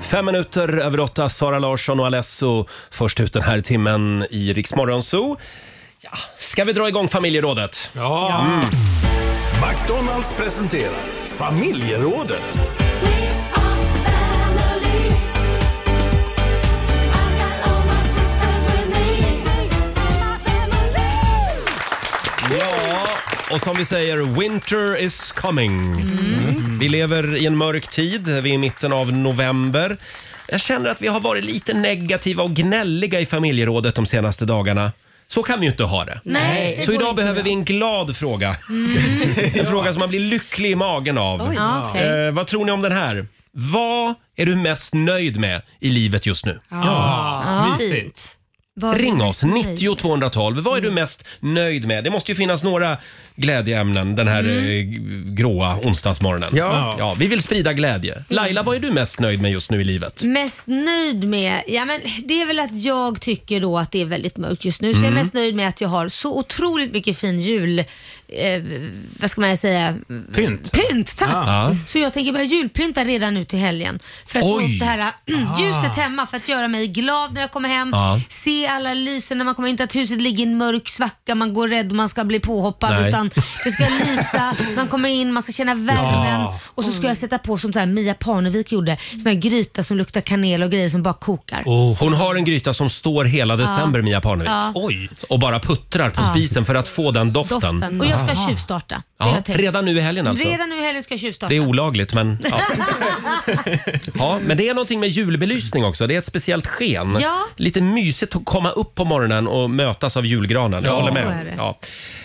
Speaker 1: Fem minuter över åtta, Sara Larsson och Alesso först ut den här timmen i Rix Morgon Zoo. Ja. Ska vi dra igång familjerådet?
Speaker 7: Ja.
Speaker 1: Mm.
Speaker 12: McDonalds presenterar familjerådet.
Speaker 1: Ja, och som vi säger, winter is coming.
Speaker 10: Mm.
Speaker 1: Vi lever i en mörk tid, vi är i mitten av november. Jag känner att vi har varit lite negativa och gnälliga i familjerådet de senaste dagarna. Så kan vi ju inte ha det.
Speaker 10: Nej, det
Speaker 1: Så
Speaker 10: går
Speaker 1: idag
Speaker 10: inte
Speaker 1: behöver
Speaker 10: bra.
Speaker 1: vi en glad fråga. Mm. En fråga som man blir lycklig i magen av.
Speaker 10: Oj. Ja, okej.
Speaker 1: eh, vad tror ni om den här? Vad är du mest nöjd med i livet just nu?
Speaker 3: Ja, Mm.
Speaker 1: Ring oss, 90 212. Vad är du mest nöjd med? Det måste ju finnas några glädjeämnen den här eh, g- gråa onsdagsmorgonen.
Speaker 3: Mm. Ja. Mm.
Speaker 1: ja, vi vill sprida glädje. Laila, vad är du mest nöjd med just nu i livet?
Speaker 3: Mest nöjd med? Ja, men det är väl att jag tycker då att det är väldigt mörkt just nu. Så jag
Speaker 1: Mm.
Speaker 3: är mest nöjd med att jag har så otroligt mycket fin jul... Eh, vad ska man säga?
Speaker 7: Pynt.
Speaker 3: Pynt, tack!
Speaker 1: Ah.
Speaker 7: Ja.
Speaker 3: Så jag tänker börja julpynta redan nu till helgen. För att få
Speaker 10: Oj.
Speaker 3: upp det här äh, mm,
Speaker 10: Ah.
Speaker 3: ljuset hemma för att göra mig glad när jag kommer hem.
Speaker 10: Ja.
Speaker 3: Se alla lysen när man kommer in, inte att huset ligger i en mörk svacka, man går rädd man ska bli påhoppad.
Speaker 10: Nej.
Speaker 3: Utan det ska lysa, man kommer in, man ska känna värmen.
Speaker 10: Ja.
Speaker 3: Och så ska jag sätta på som så här Mia Parnevik gjorde, sån här gryta som luktar kanel och grejer som bara kokar.
Speaker 1: Hon har en gryta som står hela december,
Speaker 3: Ja.
Speaker 1: Mia Parnevik.
Speaker 3: Ja.
Speaker 1: Oj. Och bara puttrar på
Speaker 3: Ja.
Speaker 1: spisen för att få den doften.
Speaker 3: Doften. Och jag ska
Speaker 1: Aha.
Speaker 3: tjuvstarta. Det har
Speaker 1: Ja,
Speaker 3: jag tänkt.
Speaker 1: redan nu i helgen alltså.
Speaker 3: Redan nu i helgen ska jag tjuvstarta.
Speaker 1: Det är olagligt men ja. ja. Men det är någonting med julbelysning också. Det är ett speciellt sken.
Speaker 3: Ja.
Speaker 1: Lite mysigt att komma upp på morgonen och mötas av julgranen. Jag
Speaker 7: Ja.
Speaker 1: håller
Speaker 7: Så är
Speaker 1: med.
Speaker 7: det.
Speaker 1: Ja.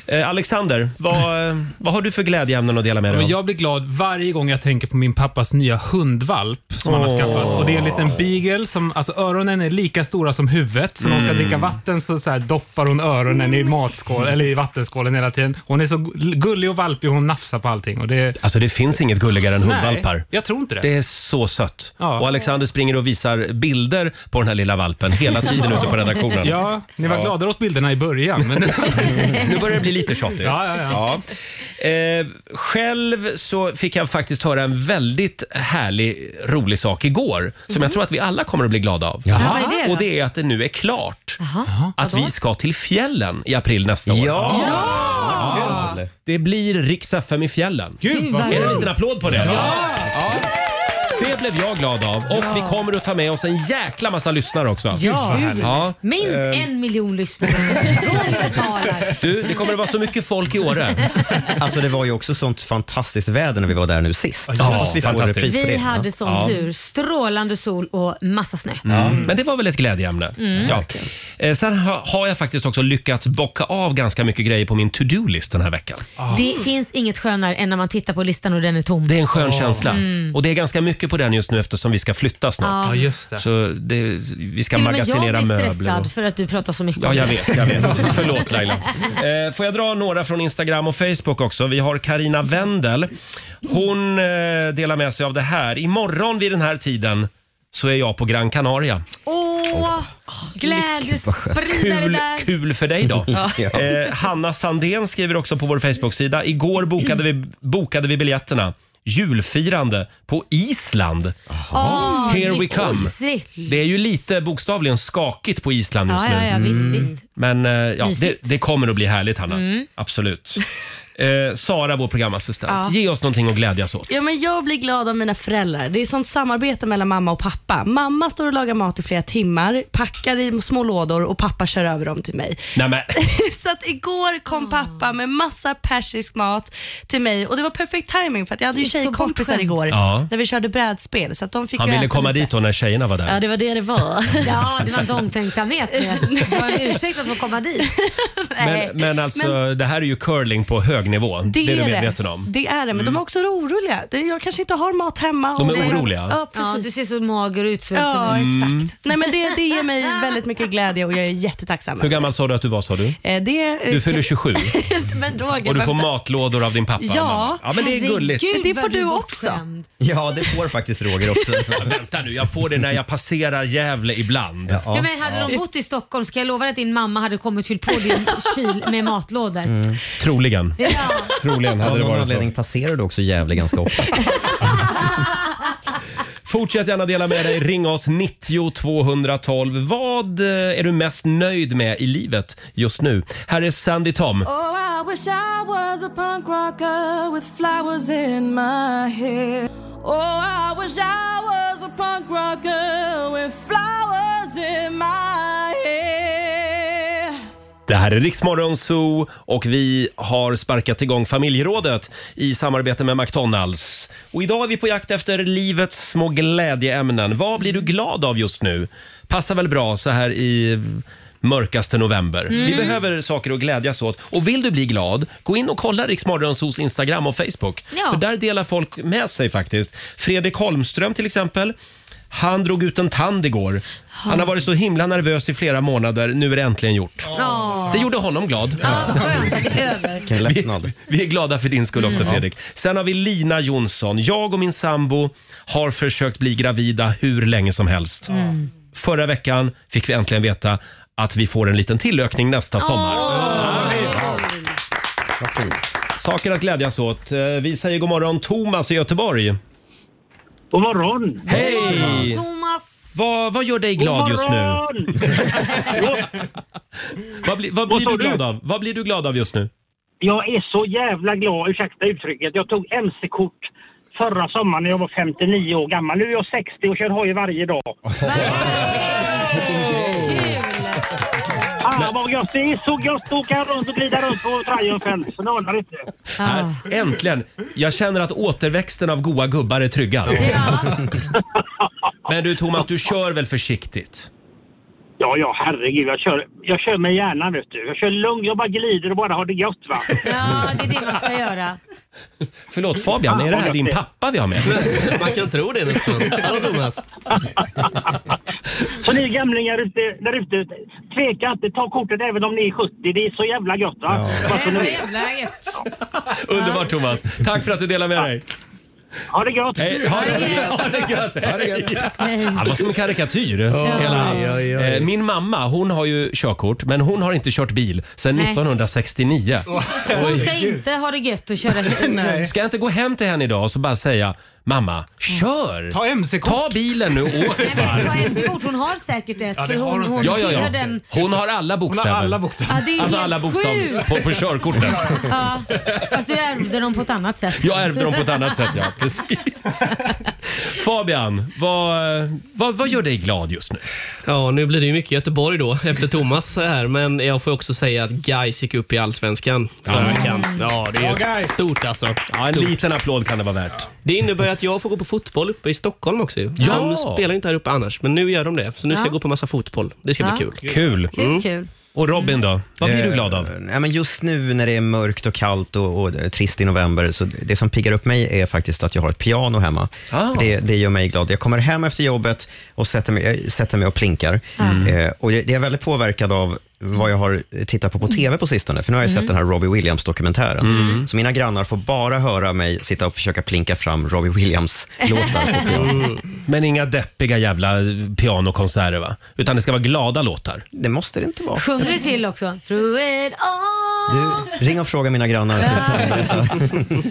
Speaker 1: Eh, Alexander, vad, eh, vad har du för glädjeämnen att dela med dig
Speaker 7: Men
Speaker 1: av?
Speaker 7: jag blir glad varje gång jag tänker på min pappas nya hundvalp som han har
Speaker 1: Åh.
Speaker 7: skaffat. Och Det är en liten beagle. Som, alltså, öronen är lika stora som huvudet. Så när hon ska
Speaker 1: Mm.
Speaker 7: dricka vatten så, så här, doppar hon öronen i matskål, eller i vattenskålen hela tiden. Hon är så gu- gullig och valpig och hon nafsar på allting. Och det,
Speaker 1: Alltså det finns inget gulligare än hundvalpar.
Speaker 7: Nej, jag tror inte det.
Speaker 1: Det är så sött. Och Alexander springer och visar bilder på den här lilla valpen hela tiden ute på redaktionen.
Speaker 7: Ja, ni var
Speaker 1: Ja.
Speaker 7: gladare åt bilderna i början. Men...
Speaker 1: Nu börjar det bli lite tjatigt.
Speaker 7: Ja, ja, ja.
Speaker 1: Ja. Eh, själv så fick jag faktiskt höra en väldigt härlig, rolig sak igår som
Speaker 7: Mm.
Speaker 1: jag tror att vi alla kommer att bli glada av.
Speaker 10: Jaha. Ja, vad är det då?
Speaker 1: Och det är att det nu är klart
Speaker 10: Jaha.
Speaker 1: att vi ska till fjällen i april nästa år.
Speaker 10: Ja!
Speaker 1: Det blir riks FM i fjällen.
Speaker 10: Gud, vad
Speaker 1: Är det en
Speaker 10: kul.
Speaker 1: liten applåd på det?
Speaker 10: Ja!
Speaker 1: Ja. Det blev jag glad av och vi kommer att ta med oss en jäkla massa lyssnare också.
Speaker 3: Ja,
Speaker 1: Ja.
Speaker 3: minst
Speaker 1: Eh,
Speaker 3: en miljon lyssnare.
Speaker 1: Du, det kommer att vara så mycket folk i Åre.
Speaker 4: Alltså det var ju också sånt fantastiskt väder när vi var där nu sist.
Speaker 1: Ja,
Speaker 4: Hoppas vi får
Speaker 1: fantastiskt.
Speaker 4: repris på
Speaker 3: Vi
Speaker 4: det.
Speaker 3: hade sån
Speaker 4: Ja.
Speaker 3: tur. Strålande sol och massa snö.
Speaker 1: Mm. Men det var väl ett glädjeämne.
Speaker 3: Mm.
Speaker 1: Ja. Eh, Sen ha, har jag faktiskt också lyckats bocka av ganska mycket grejer på min to-do-list den här veckan.
Speaker 3: Det finns inget skönare än när man tittar på listan och den är tom.
Speaker 1: Det är en skön känsla.
Speaker 3: Mm.
Speaker 1: Och det är ganska mycket på den just nu eftersom vi ska flytta snart.
Speaker 3: Ja. Ja, just det.
Speaker 1: Så det, vi ska
Speaker 3: Till och med jag
Speaker 1: magasinera
Speaker 3: blir
Speaker 1: möbler.
Speaker 3: stressad
Speaker 1: Och...
Speaker 3: för att du pratar så mycket
Speaker 1: Ja,
Speaker 3: om
Speaker 1: jag
Speaker 3: det.
Speaker 1: vet. Jag vet. Förlåt Laila. Eh, får jag dra några från Instagram och Facebook också? Vi har Karina Wendel. Hon eh, delar med sig av det här. Imorgon vid den här tiden så är jag på Gran Canaria.
Speaker 3: Åh, glädjespridare
Speaker 1: Kul,
Speaker 3: där.
Speaker 1: kul för dig då.
Speaker 3: Ja.
Speaker 1: eh, Hanna Sandén skriver också på vår Facebook-sida. Igår bokade vi, bokade vi biljetterna. Julfirande på Island.
Speaker 3: Åh,
Speaker 1: Here we
Speaker 3: vilket
Speaker 1: come.
Speaker 3: mysigt.
Speaker 1: Det är ju lite bokstavligen skakigt på Island just
Speaker 3: Ja,
Speaker 1: nu.
Speaker 3: ja, ja, visst, visst.
Speaker 1: Men eh, ja, det,
Speaker 3: Mysigt.
Speaker 1: det kommer att bli härligt, Hanna.
Speaker 9: Mm.
Speaker 1: Absolut. Eh, Sara, vår programassistent,
Speaker 9: Ja.
Speaker 1: ge oss någonting att glädjas åt.
Speaker 9: Ja, men jag blir glad av mina föräldrar. Det är sånt samarbete mellan mamma och pappa. Mamma står och lagar mat i flera timmar, packar i små lådor och pappa kör över dem till mig.
Speaker 1: Nej, men,
Speaker 9: Så att igår kom pappa med massa persisk mat till mig och det var perfekt timing för att jag hade ju tjejkompisar igår
Speaker 1: Ja.
Speaker 9: när vi körde brädspel. Så att de fick
Speaker 1: han
Speaker 9: ju
Speaker 1: ville
Speaker 9: äta
Speaker 1: komma
Speaker 9: lite.
Speaker 1: dit då när tjejerna var
Speaker 9: Ja,
Speaker 1: där.
Speaker 9: det var det det var.
Speaker 3: Ja, det var en omtänksamhet med. Det var en ursäkt att få komma dit.
Speaker 1: Men, men alltså, det här är ju curling på hög nivå. Det, är du medveten om.
Speaker 9: Det är det, men
Speaker 1: Mm.
Speaker 9: de är också oroliga. Det- Jag kanske inte har mat hemma.
Speaker 1: De är
Speaker 9: och-
Speaker 1: oroliga? Mm.
Speaker 9: Ja, precis.
Speaker 3: Ja, du ser så mager och utsvulten
Speaker 9: Ja,
Speaker 3: ut.
Speaker 9: exakt. Nej, men det, det ger mig väldigt mycket glädje och jag är jättetacksam.
Speaker 1: Hur gammal sa du att du var, sa du?
Speaker 9: Eh, Det, eh,
Speaker 1: Du fyller
Speaker 9: kan-
Speaker 1: 27
Speaker 9: men Roger,
Speaker 1: och du får
Speaker 9: vänta.
Speaker 1: matlådor av din pappa. och mamma.
Speaker 9: Ja.
Speaker 1: ja men det är gulligt.
Speaker 9: Men det får du också.
Speaker 4: Ja, det får faktiskt Roger också.
Speaker 1: Ja, vänta nu, jag får det när jag passerar Gävle ibland.
Speaker 3: Ja, men hade de bott i Stockholm ska jag lova dig att din mamma hade kommit och fyllt på din kyl med matlådor.
Speaker 1: Mm. Troligen.
Speaker 3: Ja.
Speaker 1: Troligen
Speaker 4: Av
Speaker 1: hade det
Speaker 4: någon
Speaker 1: varit
Speaker 4: anledning
Speaker 1: så.
Speaker 4: passerar du också Gävle ganska ofta.
Speaker 1: Fortsätt gärna dela med dig. Ring oss 90 212. Vad eh, är du mest nöjd med i livet just nu? Här är Sandy Tom.
Speaker 2: Oh, I wish I was a punk rocker with flowers in my hair. Oh, I wish I was a punk rocker with flowers in my hair.
Speaker 1: Det här är Riksmorgon Zoo och vi har sparkat igång familjerådet i samarbete med McDonalds. Och idag är vi på jakt efter livets små glädjeämnen. Vad blir du glad av just nu? Passar väl bra så här i mörkaste november.
Speaker 10: Mm.
Speaker 1: Vi behöver saker att glädjas åt. Och vill du bli glad, gå in och kolla Riksmorgon Zoos Instagram och Facebook.
Speaker 10: Ja.
Speaker 1: För där delar folk med sig faktiskt. Fredrik Holmström till exempel. Han drog ut en tand igår. Han har varit så himla nervös i flera månader. Nu är det äntligen gjort.
Speaker 3: Ja.
Speaker 1: Det gjorde honom glad.
Speaker 3: Skönt att det är över.
Speaker 1: Vi, vi är glada för din skull också
Speaker 3: Mm.
Speaker 1: Fredrik. Sen har vi Lina Jonsson. Jag och min sambo har försökt bli gravida hur länge som helst.
Speaker 10: Mm.
Speaker 1: Förra veckan fick vi äntligen veta att vi får en liten tillökning nästa sommar. Saker att glädjas åt. Eh, Vi säger god morgon Thomas i Göteborg. God morgon! Hej!
Speaker 3: Thomas.
Speaker 1: Vad, vad gör dig glad just nu? Vad, bli, vad
Speaker 13: Vad
Speaker 1: blir
Speaker 13: sa
Speaker 1: du glad
Speaker 13: du?
Speaker 1: av? Vad blir du glad av just nu?
Speaker 13: Jag är så jävla glad, ursäkta uttrycket. Jag tog MC-kort förra sommaren när jag var 59 år gammal. Nu är jag 60 och kör hoj varje dag. Ah, vad gött! Det är så gött att åka runt och glida runt på Triumphen. Så ni håller inte.
Speaker 1: Här, äntligen! Jag känner att återväxten av goa gubbar är tryggad. Men du Thomas, du kör väl försiktigt?
Speaker 13: Ja, ja, herregud. Jag kör, jag kör med hjärnan, vet du. Jag kör lugnt, jag bara glider och bara har det gött, va.
Speaker 3: Ja, det är det man ska göra.
Speaker 1: Förlåt Fabian, är det här din pappa vi har med?
Speaker 8: Man kan tro det nästan. Hallå Thomas.
Speaker 13: Så ni gamlingar ute, där ute, tveka inte. Ta kortet även om ni är 70. Det är så jävla gött, va. Bara så ni vet.
Speaker 1: Underbart Thomas! Tack för att du delade med dig.
Speaker 13: Ha det gött!
Speaker 1: Hej, ha, det, ha det gött! Hej. Han var som en karikatyr. Hela han.
Speaker 10: Oj, oj,
Speaker 1: Eh, Min mamma hon har ju körkort, men hon har inte kört bil sedan
Speaker 3: Nej.
Speaker 1: 1969.
Speaker 3: Hon ska inte ha det gött och köra hit.
Speaker 1: Ska jag inte gå hem till henne idag och så bara säga Mamma, kör! Ta
Speaker 7: MC-kort.
Speaker 1: Ta bilen nu och åk ett
Speaker 3: Ta
Speaker 1: varv.
Speaker 3: MC-kort, hon har säkert ett.
Speaker 1: Ja,
Speaker 3: för
Speaker 1: det har
Speaker 3: hon,
Speaker 1: hon
Speaker 3: hon,
Speaker 1: säkert. Ja, ja, ja.
Speaker 3: tillhör Den...
Speaker 1: Hon har alla bokstäver.
Speaker 7: alla
Speaker 1: bokstäver.
Speaker 3: Ja, det är
Speaker 1: alltså
Speaker 3: helt
Speaker 1: alla bokstavs
Speaker 3: sjukt.
Speaker 1: på, på körkortet.
Speaker 3: Ja, fast du ärvde dem på ett annat sätt.
Speaker 1: Jag ärvde dem på ett annat sätt, ja. Precis. Fabian, vad, vad, vad gör dig glad just nu?
Speaker 8: Ja, nu blir det ju mycket Göteborg då efter Thomas här, men jag får också säga att Gais gick upp i Allsvenskan förra
Speaker 1: Ja.
Speaker 8: veckan. Ja, det är
Speaker 1: Ja,
Speaker 8: ju stort alltså.
Speaker 1: Ja, en liten applåd kan det vara värt.
Speaker 8: Det innebär att jag får gå på fotboll uppe i Stockholm också. ju.
Speaker 1: Ja.
Speaker 8: De spelar inte här uppe annars, men nu gör de det. Så nu ska
Speaker 3: Ja.
Speaker 8: jag gå på massa fotboll. Det ska bli
Speaker 3: Ja.
Speaker 8: kul. Mm. Eh.
Speaker 1: Kul.
Speaker 3: Kul, kul.
Speaker 1: Och Robin då? Vad blir du glad av?
Speaker 4: Eh, Ja, men just nu när det är mörkt och kallt och, och trist i november, så det som piggar upp mig är faktiskt att jag har ett piano hemma.
Speaker 1: Ah.
Speaker 4: Det, det gör mig glad. Jag kommer hem efter jobbet och sätter mig, jag sätter mig och plinkar.
Speaker 1: Ah.
Speaker 10: Mm.
Speaker 4: Eh, och jag, det är väldigt påverkad av vad jag har eh, tittat på på TV på sistone, för nu har jag
Speaker 10: Mm.
Speaker 4: sett den här Robbie Williams-dokumentären.
Speaker 10: Mm.
Speaker 4: Så mina grannar får bara höra mig sitta och försöka plinka fram Robbie Williams-låtar på piano.
Speaker 1: Men inga deppiga jävla pianokonserter va? Utan det ska vara glada låtar.
Speaker 4: Det måste det inte vara.
Speaker 3: Sjunger du till också? Through it all.
Speaker 4: Du, ring och fråga mina grannar. så kan jag berätta.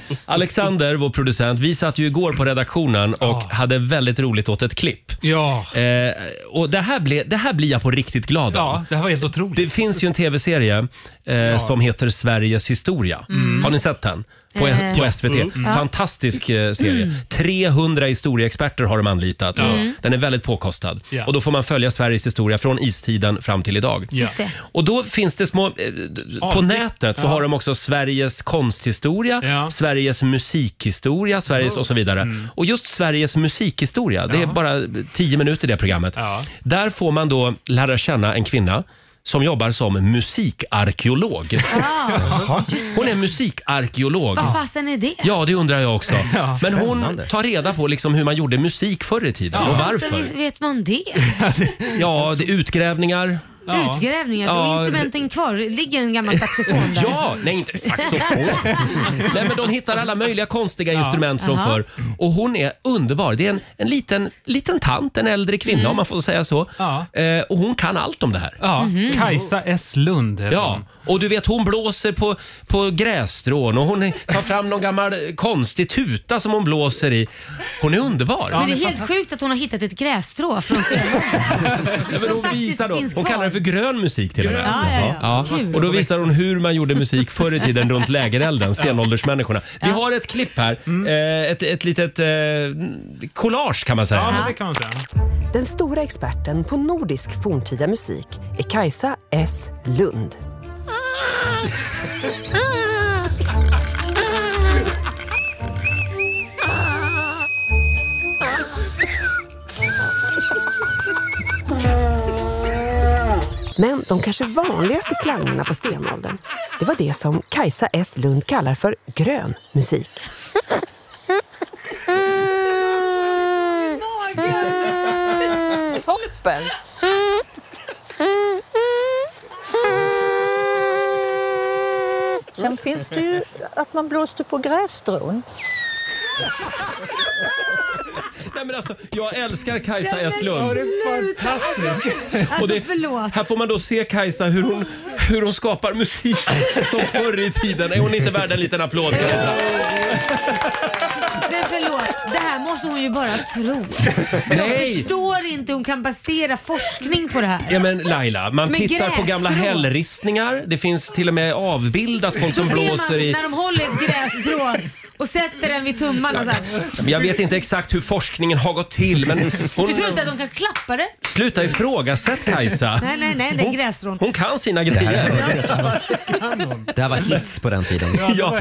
Speaker 1: Alexander, vår producent, vi satt ju igår på redaktionen och hade väldigt roligt åt ett klipp.
Speaker 7: Ja.
Speaker 1: Eh, och det här, ble, det här blir jag på riktigt glad
Speaker 7: Ja, det här var helt otroligt.
Speaker 1: Det finns ju en tv-serie eh, som heter Sveriges historia.
Speaker 7: Mm.
Speaker 1: Har ni sett den? På,
Speaker 7: Eh,
Speaker 1: på
Speaker 7: ja.
Speaker 1: SVT.
Speaker 7: Mm, mm.
Speaker 1: Fantastisk eh, serie.
Speaker 7: Mm.
Speaker 1: 300 historieexperter har de anlitat. och
Speaker 7: Mm.
Speaker 1: Den är väldigt påkostad.
Speaker 7: Ja.
Speaker 1: Och då får man följa Sveriges historia från istiden fram till idag.
Speaker 7: Ja. Just det.
Speaker 1: Och då finns det små... eh, d- På
Speaker 7: Avsnitt.
Speaker 1: nätet så
Speaker 7: Ja.
Speaker 1: har de också Sveriges konsthistoria, Sveriges musikhistoria,
Speaker 7: Mm.
Speaker 1: Sveriges och så vidare. Och just Sveriges musikhistoria, det är bara 10 minuter i det programmet. Där får man då lära känna en kvinna som jobbar som musikarkeolog. Hon är musikarkeolog.
Speaker 3: Ah. Vad fasen är det?
Speaker 1: Ja, det undrar jag också. Men hon
Speaker 3: Spännande.
Speaker 1: tar reda på liksom hur man gjorde musik förr i tiden och varför.
Speaker 3: Sen vet man det?
Speaker 1: Ja, det är utgrävningar.
Speaker 3: Utgrävningar, då
Speaker 1: Ja.
Speaker 3: är instrumenten kvar. Ligger en gammal saxofon där?
Speaker 1: Ja, nej inte saxofon. nej men de hittar alla möjliga konstiga instrument från
Speaker 3: Jaha.
Speaker 1: förr. Och hon är underbar. Det är en, en liten, liten tant, en äldre kvinna
Speaker 3: Mm.
Speaker 1: om man får säga så. Eh, och hon kan allt om det här. Mhm.
Speaker 7: Ja, Kajsa S. Lund heter
Speaker 1: Ja,
Speaker 7: hon.
Speaker 1: och du vet hon blåser på, på grässtrån och hon tar fram någon gammal eh, konstig tuta som hon blåser i. Hon är underbar.
Speaker 3: Men det är helt sjukt att hon har hittat ett grässtrå från
Speaker 1: Ja, men hon visar då, hon kallar det för grön musik till och med.
Speaker 3: Ja, ja, ja. Kul.
Speaker 1: Och då visar hon hur man gjorde musik förr i tiden runt lägerelden, stenåldersmänniskorna. Vi har ett klipp här, eh, ett, ett litet eh, collage kan man säga.
Speaker 7: Ja, men det kan man säga.
Speaker 14: Den stora experten på nordisk forntida musik är Kajsa S. Lund. Men de kanske vanligaste klangerna på stenåldern, det var det som Kajsa S. Lund kallar för grön musik.
Speaker 10: Magen!
Speaker 14: super.
Speaker 15: Sen finns det ju att man blåste på grässtrån.
Speaker 1: Nej, men alltså, jag älskar Kajsa
Speaker 10: Nej, men
Speaker 1: Eslund.
Speaker 10: sluta.
Speaker 1: Alltså, Och det, här får man då se Kajsa hur hon, hur hon skapar musik som förr i tiden. Är hon inte värd en liten applåd Kajsa?
Speaker 3: Men förlåt, det här måste hon ju bara tro. Jag
Speaker 1: Nej!
Speaker 3: förstår inte hon kan basera forskning på det här.
Speaker 1: Ja men Laila, man
Speaker 3: Men
Speaker 1: tittar på
Speaker 3: grässtrå.
Speaker 1: gamla hällristningar. Det finns till och med avbildat folk som
Speaker 3: Då ser
Speaker 1: blåser
Speaker 3: man
Speaker 1: i...
Speaker 3: När de håller ett grässtrå och sätter den vid tummarna så här.
Speaker 1: Jag vet inte exakt hur forskningen har gått till men
Speaker 3: Du
Speaker 1: hon...
Speaker 3: tror inte att de kan klappa det?
Speaker 1: Sluta ifrågasätt Kajsa.
Speaker 3: Nej, nej, nej, det är grässtrån.
Speaker 1: Hon kan sina grejer.
Speaker 4: Det här var hits på den tiden.
Speaker 1: Ja,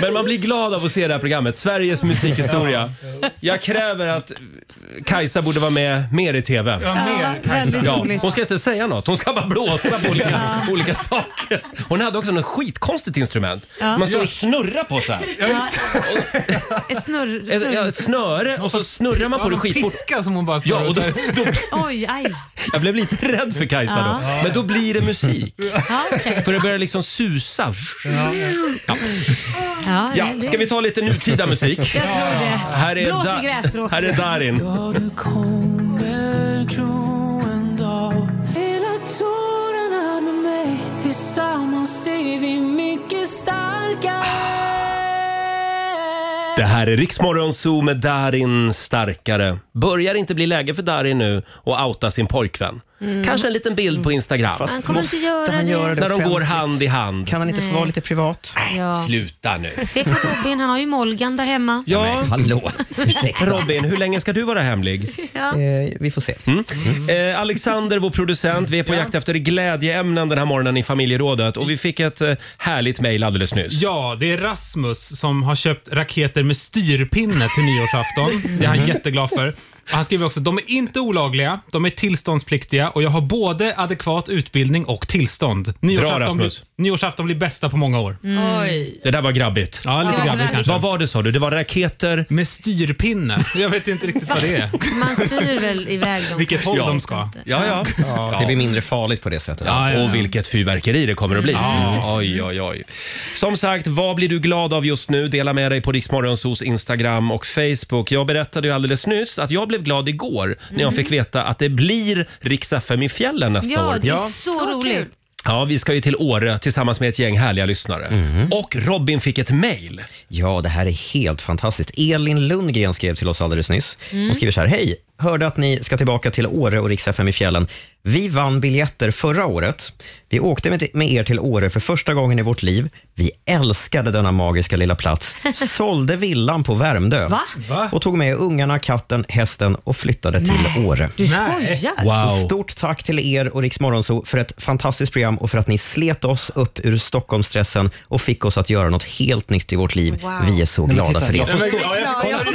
Speaker 1: men man blir glad av att se det här programmet, Sveriges musikhistoria. Jag kräver att Kajsa borde vara med mer i TV.
Speaker 10: Ja, mer Ja, Kajsa. väldigt roligt.
Speaker 1: hon ska inte säga något, hon ska bara blåsa på olika, olika saker. Hon hade också något skitkonstigt instrument.
Speaker 3: Ja.
Speaker 1: Man står
Speaker 3: Ja.
Speaker 1: och snurrar på så här.
Speaker 3: Ett snurr...
Speaker 1: Ett, ja,
Speaker 3: snurr.
Speaker 1: ett snöre och så snurrar man
Speaker 7: Ja,
Speaker 1: på det
Speaker 7: de
Speaker 1: skitfort.
Speaker 7: piskar som hon bara
Speaker 1: Ja, och då, då,
Speaker 3: Oj, aj.
Speaker 1: jag blev lite rädd för Kajsa då.
Speaker 3: Ja.
Speaker 1: Men då blir det musik.
Speaker 3: Ja, okej.
Speaker 1: För det börjar liksom susa. Ja.
Speaker 3: Ja,
Speaker 1: Ja,
Speaker 3: nej, det-
Speaker 1: ska vi ta lite nutida musik?
Speaker 3: Jag tror det.
Speaker 1: Här är,
Speaker 3: Blås i
Speaker 1: Da-
Speaker 3: grässtråt.
Speaker 1: här är Darin.
Speaker 10: Hela tårarna med mig Tillsammans är vi mycket starkare
Speaker 1: Det här är Riksmorgon Zoo med Darin Starkare. Börjar inte bli läge för Darin nu att outa sin pojkvän.
Speaker 3: Mm.
Speaker 1: Kanske en liten bild på Instagram.
Speaker 3: Fast Han kommer inte måste göra han det. göra det
Speaker 1: När de går
Speaker 4: offentligt?
Speaker 1: hand i hand.
Speaker 4: Kan han inte
Speaker 3: Nej.
Speaker 4: få vara lite privat?
Speaker 3: Ja.
Speaker 1: Sluta nu.
Speaker 3: Se på Robin, han har ju Molgan där hemma.
Speaker 1: Ja. hallå. Robin, hur länge ska du vara hemlig?
Speaker 3: Ja.
Speaker 1: vi får se. Mm. Eh, Alexander, vår producent, vi är på jakt efter glädjeämnen den här morgonen i familjerådet och vi fick ett eh, härligt mejl alldeles nyss.
Speaker 7: Ja, det är Rasmus som har köpt raketer med styrpinne till nyårsafton. Det är han
Speaker 1: Mhm.
Speaker 7: jätteglad för. Han skriver också de är inte olagliga, de är tillståndspliktiga och jag har både adekvat utbildning och tillstånd.
Speaker 1: Rasmus.
Speaker 7: Blir, nyårsafton blir bästa på många år.
Speaker 10: Mm. Oj.
Speaker 1: Det där var grabbigt.
Speaker 7: Ja,
Speaker 10: Det
Speaker 7: lite
Speaker 10: var
Speaker 7: grabbigt
Speaker 10: väldigt
Speaker 7: kanske.
Speaker 1: Vad var det sa du? Det var raketer?
Speaker 7: Med styrpinne. Jag vet inte riktigt vad det är.
Speaker 3: Man styr väl iväg dem.
Speaker 7: Vilket håll de ska.
Speaker 1: Ja, ja.
Speaker 4: Det blir mindre farligt på det sättet.
Speaker 1: Ja, Och vilket fyrverkeri det kommer att bli. Mm.
Speaker 4: Ja.
Speaker 1: Oj, oj, oj. Som sagt, vad blir du glad av just nu? Dela med dig på Riksmorgonsos Instagram och Facebook. Jag berättade ju alldeles nyss att jag blev glad igår när
Speaker 10: Mm.
Speaker 1: jag fick veta att det blir Rix FM i fjällen nästa år.
Speaker 10: Ja, det är så, roligt.
Speaker 1: Ja, vi ska ju till Åre tillsammans med ett gäng härliga lyssnare. Och Robin fick ett mejl.
Speaker 4: Ja, det här är helt fantastiskt. Elin Lundgren skrev till oss alldeles nyss.
Speaker 1: Mm.
Speaker 4: Hon skriver så här. Hej! Hörde att ni ska tillbaka till Åre och riks FM i fjällen. Vi vann biljetter förra året. Vi åkte med- med er till Åre för första gången i vårt liv. Vi älskade denna magiska lilla plats. Sålde villan på Värmdö.
Speaker 10: Va?
Speaker 4: Och tog med katten, katten, hästen och flyttade till Åre.
Speaker 10: du Nej. skojar. Wow.
Speaker 4: Så stort tack till er och Rix Morgonzoo för ett fantastiskt program och för att ni slet oss upp ur Stockholmsstressen och fick oss att göra något helt nytt i vårt liv.
Speaker 10: Wow.
Speaker 4: Vi är så
Speaker 1: Men
Speaker 4: glada
Speaker 1: titta,
Speaker 4: för
Speaker 1: jag får
Speaker 4: er.
Speaker 1: stå-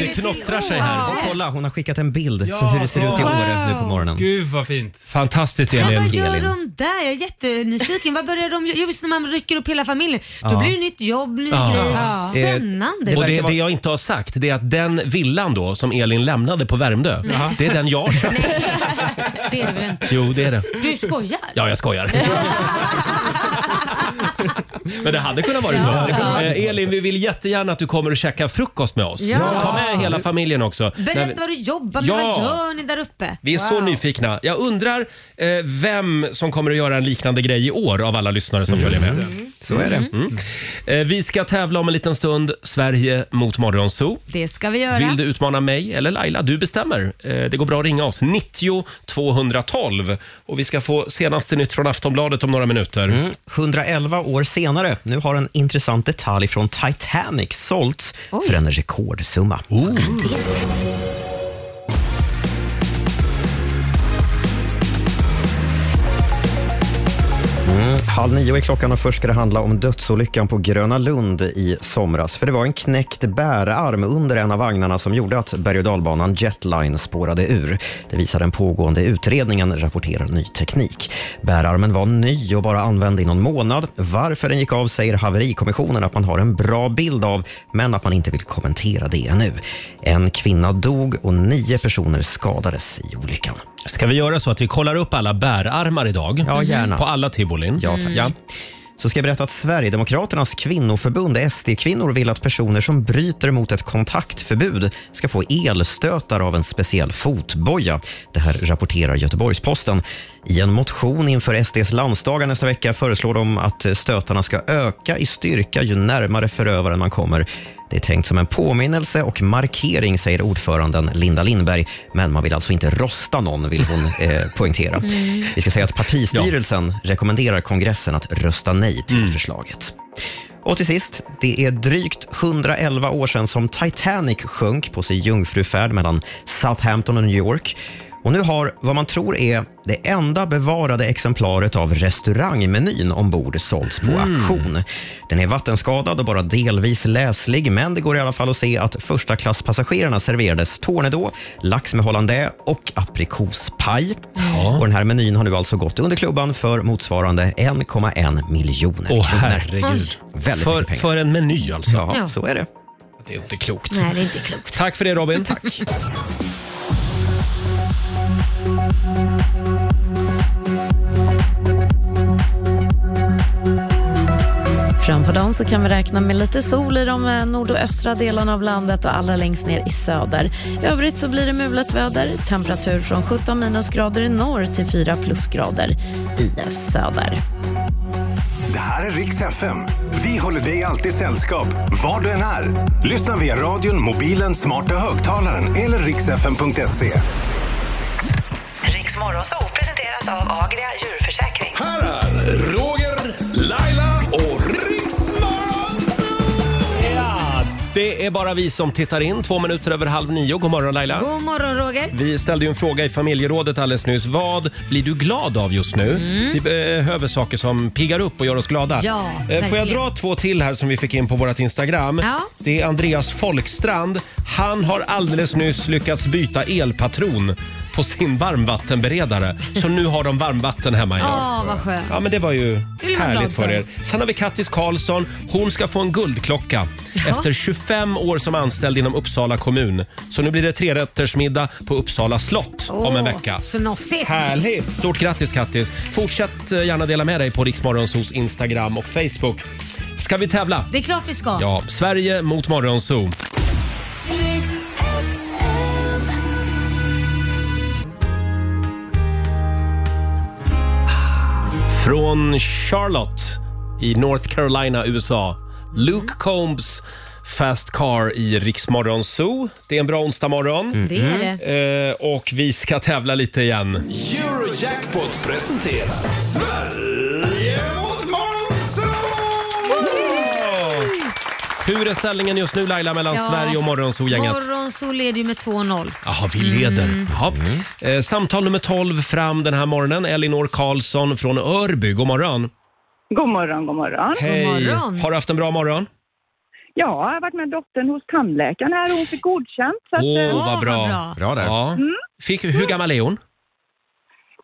Speaker 10: Det
Speaker 1: knottrar sig
Speaker 4: här. Kolla, hon har skickat en bild så hur det ser ut i Åre nu på morgonen.
Speaker 7: Gud vad fint.
Speaker 1: Fantastiskt
Speaker 3: Ja,
Speaker 1: Elin.
Speaker 3: vad gör de där? Jag är jättenyfiken. Vad börjar de göra? Just när man rycker upp hela familjen. Då
Speaker 1: Ja.
Speaker 3: blir det nytt jobb, ny
Speaker 1: Ja.
Speaker 3: grej.
Speaker 1: Eh,
Speaker 3: Spännande.
Speaker 1: Och det, det jag inte har sagt det är att den villan då som Elin lämnade på Värmdö,
Speaker 3: Mm.
Speaker 1: det är den jag har köpt.
Speaker 3: Det är det väl inte?
Speaker 1: Jo, det är det.
Speaker 3: Du skojar?
Speaker 1: Ja, jag skojar. Men det hade kunnat vara så.
Speaker 3: Ja.
Speaker 1: Eh, Elin, vi vill jättegärna att du kommer och käkar frukost med oss.
Speaker 3: Ja.
Speaker 1: Ta med hela familjen också. När vi-
Speaker 3: Berätta vad du jobbar med.
Speaker 1: Ja.
Speaker 3: Vad gör ni där uppe?
Speaker 1: Vi är så nyfikna. Jag undrar eh, vem som kommer att göra en liknande grej i år av alla lyssnare som
Speaker 4: Mm. Just
Speaker 1: följer med.
Speaker 4: det. Så är det.
Speaker 1: Mm. Eh, vi ska tävla om en liten stund. Sverige mot Morgonzoo.
Speaker 3: Det ska vi göra.
Speaker 1: Vill du utmana mig eller Laila? Du bestämmer. Eh, Det går bra att ringa oss. 90 212. Och vi ska få senaste nytt från Aftonbladet om några minuter.
Speaker 4: 111 Mm, år senare, nu har en intressant detalj från Titanic sålts för en rekordsumma.
Speaker 1: Oh.
Speaker 4: Mm. Halv nio är klockan och först ska det handla om dödsolyckan på Gröna Lund i somras. För det var en knäckt bärarm under en av vagnarna som gjorde att berg och dalbanan Jetline spårade ur. Det visar den pågående utredningen, rapporterar Ny Teknik. Bärarmen var ny och bara använd i någon månad. Varför den gick av säger haverikommissionen att man har en bra bild av, men att man inte vill kommentera det ännu. En kvinna dog och nio personer skadades i olyckan.
Speaker 1: Ska vi göra så att vi kollar upp alla bärarmar idag?
Speaker 4: Ja, gärna.
Speaker 1: På alla tivolin?
Speaker 4: Ja, tack. Så ska jag berätta att Sverigedemokraternas kvinnoförbund, SD-kvinnor, vill att personer som bryter mot ett kontaktförbud ska få elstötar av en speciell fotboja. Det här rapporterar Göteborgs-Posten. I en motion inför SDs landsdagar nästa vecka föreslår de att stötarna ska öka i styrka ju närmare förövaren man kommer. Det är tänkt som en påminnelse och markering, säger ordföranden Linda Lindberg. Men man vill alltså inte rosta någon, vill hon eh, poängtera.
Speaker 10: Mm.
Speaker 4: Vi ska säga att partistyrelsen rekommenderar kongressen att rösta nej till förslaget. Och till sist, det är drygt 111 år sedan som Titanic sjönk på sin jungfrufärd mellan Southampton och New York. Och nu har vad man tror är det enda bevarade exemplaret av restaurangmenyn ombord sålts på
Speaker 10: Mm.
Speaker 4: auktion. Den är vattenskadad och bara delvis läslig, men det går i alla fall att se att första klasspassagerarna serverades tornedå, lax med hollandaise och aprikospaj. Och den här menyn har nu alltså gått under klubban för motsvarande 1,1 miljoner
Speaker 1: Åh
Speaker 4: kronor.
Speaker 1: herregud.
Speaker 4: Mm. Väldigt
Speaker 1: för,
Speaker 4: mycket pengar.
Speaker 1: för en meny alltså.
Speaker 4: Ja, Ja. så är det.
Speaker 1: Det är inte klokt.
Speaker 3: Nej, det är inte klokt.
Speaker 1: Tack för det Robin. Tack.
Speaker 16: Fram på dagen så kan vi räkna med lite sol i de eh, nordöstra delarna av landet och allra längst ner i söder. I övrigt så blir det mulet väder. Temperatur från 17 minusgrader i norr till 4 plusgrader i söder.
Speaker 12: Det här är Rix FM. Vi håller dig alltid sällskap, var du än är. Lyssna via radion, mobilen, smarta högtalaren eller rixfm.se.
Speaker 17: Riks Morgonzoo presenteras av Agria djurförsäkring.
Speaker 12: Roger, Laila och Rix
Speaker 1: Ja, Ah, det är bara vi som tittar in. Två minuter över halv nio. God morgon Laila.
Speaker 3: God morgon Roger.
Speaker 1: Vi ställde ju en fråga i familjerådet alldeles nyss. Vad blir du glad av just nu?
Speaker 3: Mm.
Speaker 1: Vi behöver saker som piggar upp och gör oss glada.
Speaker 3: Ja,
Speaker 1: Eh, Får jag
Speaker 3: verkligen.
Speaker 1: dra två till här som vi fick in på vårt Instagram?
Speaker 3: Ja.
Speaker 1: Det är Andreas Folkstrand. Han har alldeles nyss lyckats byta elpatron på sin varmvattenberedare. Så nu har de varmvatten hemma idag.
Speaker 3: Ja, vad skönt.
Speaker 1: Ja, men det var ju
Speaker 3: vill man
Speaker 1: härligt
Speaker 3: glad
Speaker 1: för
Speaker 3: för.
Speaker 1: er. Sen har vi Kattis Karlsson. Hon ska få en guldklocka
Speaker 3: Ja.
Speaker 1: efter 25 år som anställd inom Uppsala kommun. Så nu blir det trerättersmiddag på Uppsala slott om en
Speaker 3: Åh,
Speaker 1: vecka.
Speaker 3: Snofsigt.
Speaker 1: Härligt! Stort grattis Kattis! Fortsätt eh, gärna dela med dig på Riksmorgonsos Instagram och Facebook. Ska vi tävla?
Speaker 3: Det är klart vi ska.
Speaker 1: Ja, Sverige mot Morgonzoo. Från Charlotte i North Carolina, USA. Luke Combs Fast Car i Riksmorgon Zoo. Det är en bra onsdag morgon.
Speaker 12: Det är
Speaker 1: det. Och vi ska tävla lite igen.
Speaker 12: Eurojackpot presenterar Sverige mot Morgonzoo!
Speaker 1: Hur är ställningen just nu Laila mellan
Speaker 3: Ja.
Speaker 1: Sverige och Morgonzoo-gänget?
Speaker 3: Morgonzoo leder ju med 2-0.
Speaker 1: Jaha, vi leder. Jaha. Eh, samtal nummer 12 fram den här morgonen. Elinor Karlsson från Örby. God morgon.
Speaker 18: God morgon, god morgon.
Speaker 1: Hej. Har du haft en bra morgon?
Speaker 18: Ja, jag har varit med dottern hos tandläkaren här och hon fick godkänt. Så att,
Speaker 1: Åh,
Speaker 18: eh,
Speaker 1: vad bra. där. Ja.
Speaker 18: Mm.
Speaker 1: Fick, hur gammal är hon?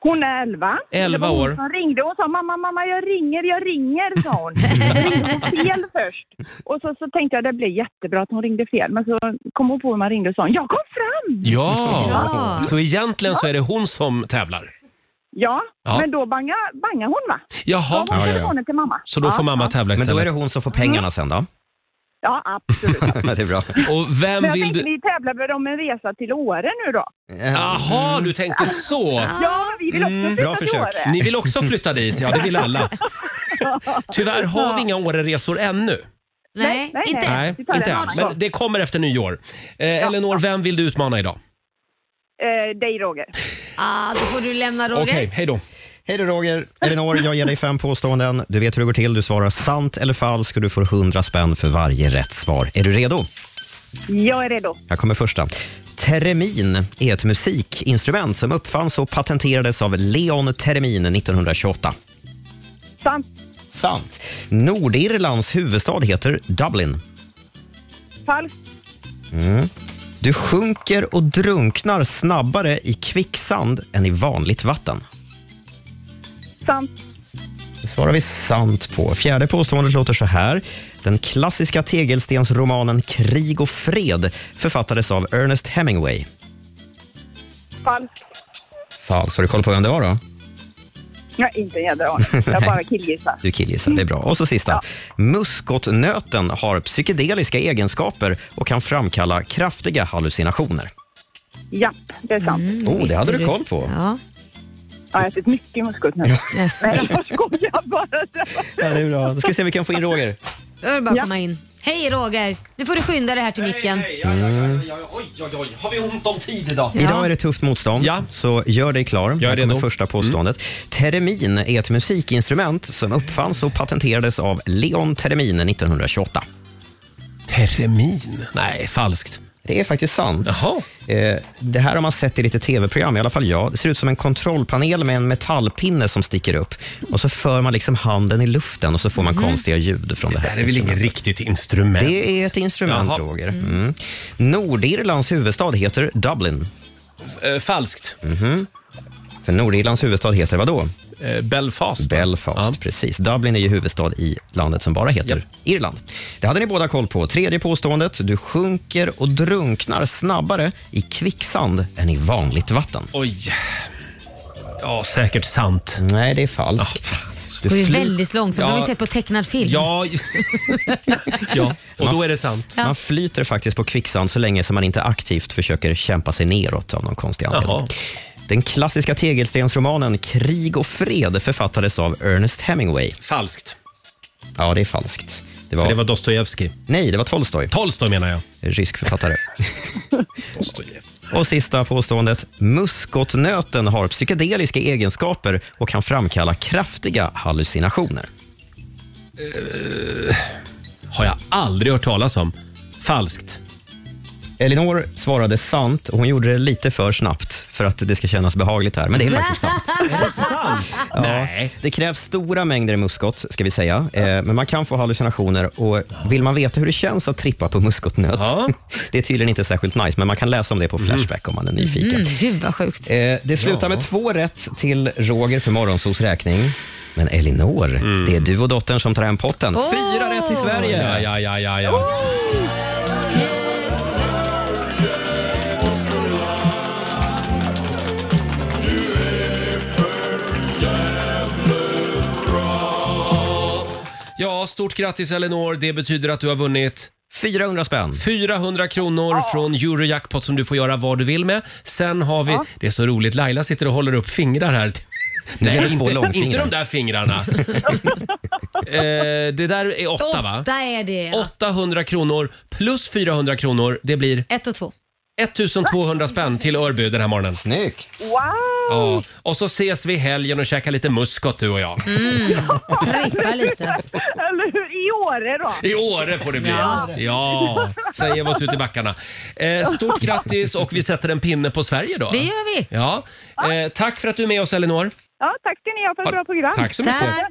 Speaker 18: Hon är 11.
Speaker 1: Elva
Speaker 18: Det var hon
Speaker 1: år.
Speaker 18: Hon ringde och sa mamma, mamma, jag ringer, jag ringer, sa hon. Jag ringde på fel först. Och så, så tänkte jag det blev jättebra att hon ringde fel. Men så kom hon på hur man ringde och sa jag kom fram!
Speaker 1: Ja!
Speaker 18: Ja.
Speaker 1: Så egentligen så är det hon som tävlar.
Speaker 18: Ja,
Speaker 1: Ja.
Speaker 18: men då bangade banga hon va?
Speaker 1: Jaha.
Speaker 18: Då hon
Speaker 1: Ja, ja, ja.
Speaker 18: telefonen till mamma.
Speaker 1: Så då
Speaker 18: ja.
Speaker 1: får mamma tävla istället.
Speaker 4: Men då är det hon som får pengarna sen då?
Speaker 18: Ja, absolut.
Speaker 4: det är bra.
Speaker 1: Och vem
Speaker 18: Men jag tänkte vi tävlar väl om en resa till Åre nu då?
Speaker 1: Jaha, du tänkte så.
Speaker 18: Ja, vi vill också flytta
Speaker 1: Mm, bra
Speaker 18: till
Speaker 1: försök.
Speaker 18: Åre.
Speaker 1: Ni vill också flytta dit? Ja, det vill alla. Tyvärr har vi inga Åre-resor ännu.
Speaker 3: Nej, inte
Speaker 1: Nej,
Speaker 3: än. Vi tar
Speaker 1: inte
Speaker 3: det
Speaker 1: än.
Speaker 3: snart.
Speaker 1: Men det kommer efter nyår. Eh, Elinor, vem vill du utmana idag?
Speaker 18: Eh, dig Roger.
Speaker 3: Ah, då får du lämna Roger.
Speaker 1: hej då.
Speaker 4: Hej då Roger. Elinor, jag ger dig fem påståenden. Du vet hur det går till. Du svarar sant eller falskt och du får 100 spänn för varje rätt svar. Är du redo?
Speaker 18: Jag är redo.
Speaker 4: Här kommer första. Teremin är ett musikinstrument som uppfanns och patenterades av Leon Teremin 1928.
Speaker 18: Sant.
Speaker 4: Sant. Nordirlands huvudstad heter Dublin.
Speaker 18: Falskt.
Speaker 4: Mm. Du sjunker och drunknar snabbare i kvicksand än i vanligt vatten.
Speaker 18: Sant.
Speaker 4: Det svarar vi sant på. Fjärde påståendet låter så här. Den klassiska tegelstensromanen Krig och fred författades av Ernest Hemingway.
Speaker 18: Falskt.
Speaker 4: Falskt. Har du koll på vem det var då?
Speaker 18: Jag har inte en jädra aning. Jag bara killgissar.
Speaker 4: Du killgissar, det är bra. Och så sista. Muskotnöten har psykedeliska egenskaper och kan framkalla kraftiga hallucinationer.
Speaker 18: Japp, det är sant.
Speaker 6: Mm.
Speaker 4: oh, det hade du koll på.
Speaker 3: Ja.
Speaker 18: jag har ätit mycket muskot nu. Nej, jag skojar bara.
Speaker 4: Ja, det är bra. Då ska vi se om vi kan få in Roger.
Speaker 3: Då är det bara att komma in. Hej Roger! Nu får du skynda dig här till micken.
Speaker 4: Mm.
Speaker 1: Oj, oj, oj. Har vi ont om tid idag?
Speaker 4: Idag är det tufft motstånd, så gör dig klar. Jag är redo.
Speaker 1: Mm.
Speaker 4: första påståendet. Teremin är ett musikinstrument som uppfanns och patenterades av Leon Teremin 1928.
Speaker 1: Teremin? Nej, falskt.
Speaker 4: Det är faktiskt sant. Eh, det här har man sett i lite tv-program, i alla fall jag. Det ser ut som en kontrollpanel med en metallpinne som sticker upp. Och så för man liksom handen i luften och så får man
Speaker 1: Mhm.
Speaker 4: konstiga ljud från det,
Speaker 1: Det
Speaker 4: här.
Speaker 1: här är väl inget riktigt instrument?
Speaker 4: Det är ett instrument,
Speaker 1: Jaha.
Speaker 4: Roger. Mm. Nordirlands huvudstad heter Dublin.
Speaker 1: Eh, falskt.
Speaker 4: Mhm. För Nordirlands huvudstad heter vad då?
Speaker 1: Eh, Belfast.
Speaker 4: Belfast, precis. Dublin är ju huvudstad i landet som bara heter Irland. Det hade ni båda koll på. Tredje påståendet. Du sjunker och drunknar snabbare i kvicksand än i vanligt vatten.
Speaker 1: Oj. Ja, säkert sant. Ah,
Speaker 4: Nej, det är falskt.
Speaker 3: Det går ju väldigt långsamt. Det har vi sett på tecknad film.
Speaker 1: Ja, ja, och då
Speaker 4: Man-
Speaker 1: är det sant.
Speaker 3: Ja.
Speaker 4: Man flyter faktiskt på kvicksand så länge som man inte aktivt försöker kämpa sig neråt av någon konstig anledning. Den klassiska tegelstensromanen Krig och fred författades av Ernest Hemingway.
Speaker 1: Falskt.
Speaker 4: Ja, det är falskt. Det
Speaker 1: För det var Dostojevskij.
Speaker 4: Nej, det var Tolstoj.
Speaker 1: Tolstoj menar jag.
Speaker 4: Rysk författare. Och sista påståendet. Muskotnöten har psykedeliska egenskaper och kan framkalla kraftiga hallucinationer.
Speaker 1: Har jag aldrig hört talas om. Falskt.
Speaker 4: Elinor svarade sant och hon gjorde det lite för snabbt för att det ska kännas behagligt här. Men det är faktiskt sant.
Speaker 10: Är det sant?
Speaker 4: Ja, Det krävs stora mängder muskot, ska vi säga. Eh, men man kan få hallucinationer. Och Vill man veta hur det känns att trippa på muskotnöt? Det är tydligen inte särskilt nice, men man kan läsa om det på
Speaker 1: Mm.
Speaker 4: Flashback om man är nyfiken.
Speaker 3: Mm, gud vad sjukt.
Speaker 4: Eh, det slutar med två rätt till Roger för Morgonsols räkning. Men Elinor, det är du och dottern som tar hem potten. Fyra rätt till Sverige!
Speaker 1: Mm. Ja, ja, ja, ja, ja. Ja, stort grattis Elinor. Det betyder att du har vunnit
Speaker 4: 400 spänn.
Speaker 1: 400 kronor från Eurojackpot som du får göra vad du vill med. Sen har vi, det är så roligt, Laila sitter och håller upp fingrar här.
Speaker 4: Nu är det
Speaker 1: Nej,
Speaker 4: två
Speaker 1: inte, inte
Speaker 4: långfingrar.
Speaker 1: de där fingrarna. eh, det där är åtta va?
Speaker 3: Åtta är det.
Speaker 1: 800 kronor plus 400 kronor. Det blir
Speaker 3: Ett och två.
Speaker 1: 1200 spänn till Örby den här morgonen.
Speaker 4: Snyggt!
Speaker 18: Wow!
Speaker 1: Ja. Och så ses vi i helgen och käkar lite muskot du och jag.
Speaker 18: Mm.
Speaker 3: Trippa lite.
Speaker 18: Eller hur? I Åre då?
Speaker 1: I Åre får det bli.
Speaker 18: Ja.
Speaker 1: Ja, sen ger vi oss ut i backarna. Eh, stort grattis och vi sätter en pinne på Sverige då.
Speaker 18: Det gör vi.
Speaker 1: Ja. Eh, tack för att du är med oss Elinor.
Speaker 18: Ja, tack ska ni ha för ett
Speaker 1: Ja,
Speaker 18: bra program.
Speaker 1: tack så mycket. Tack.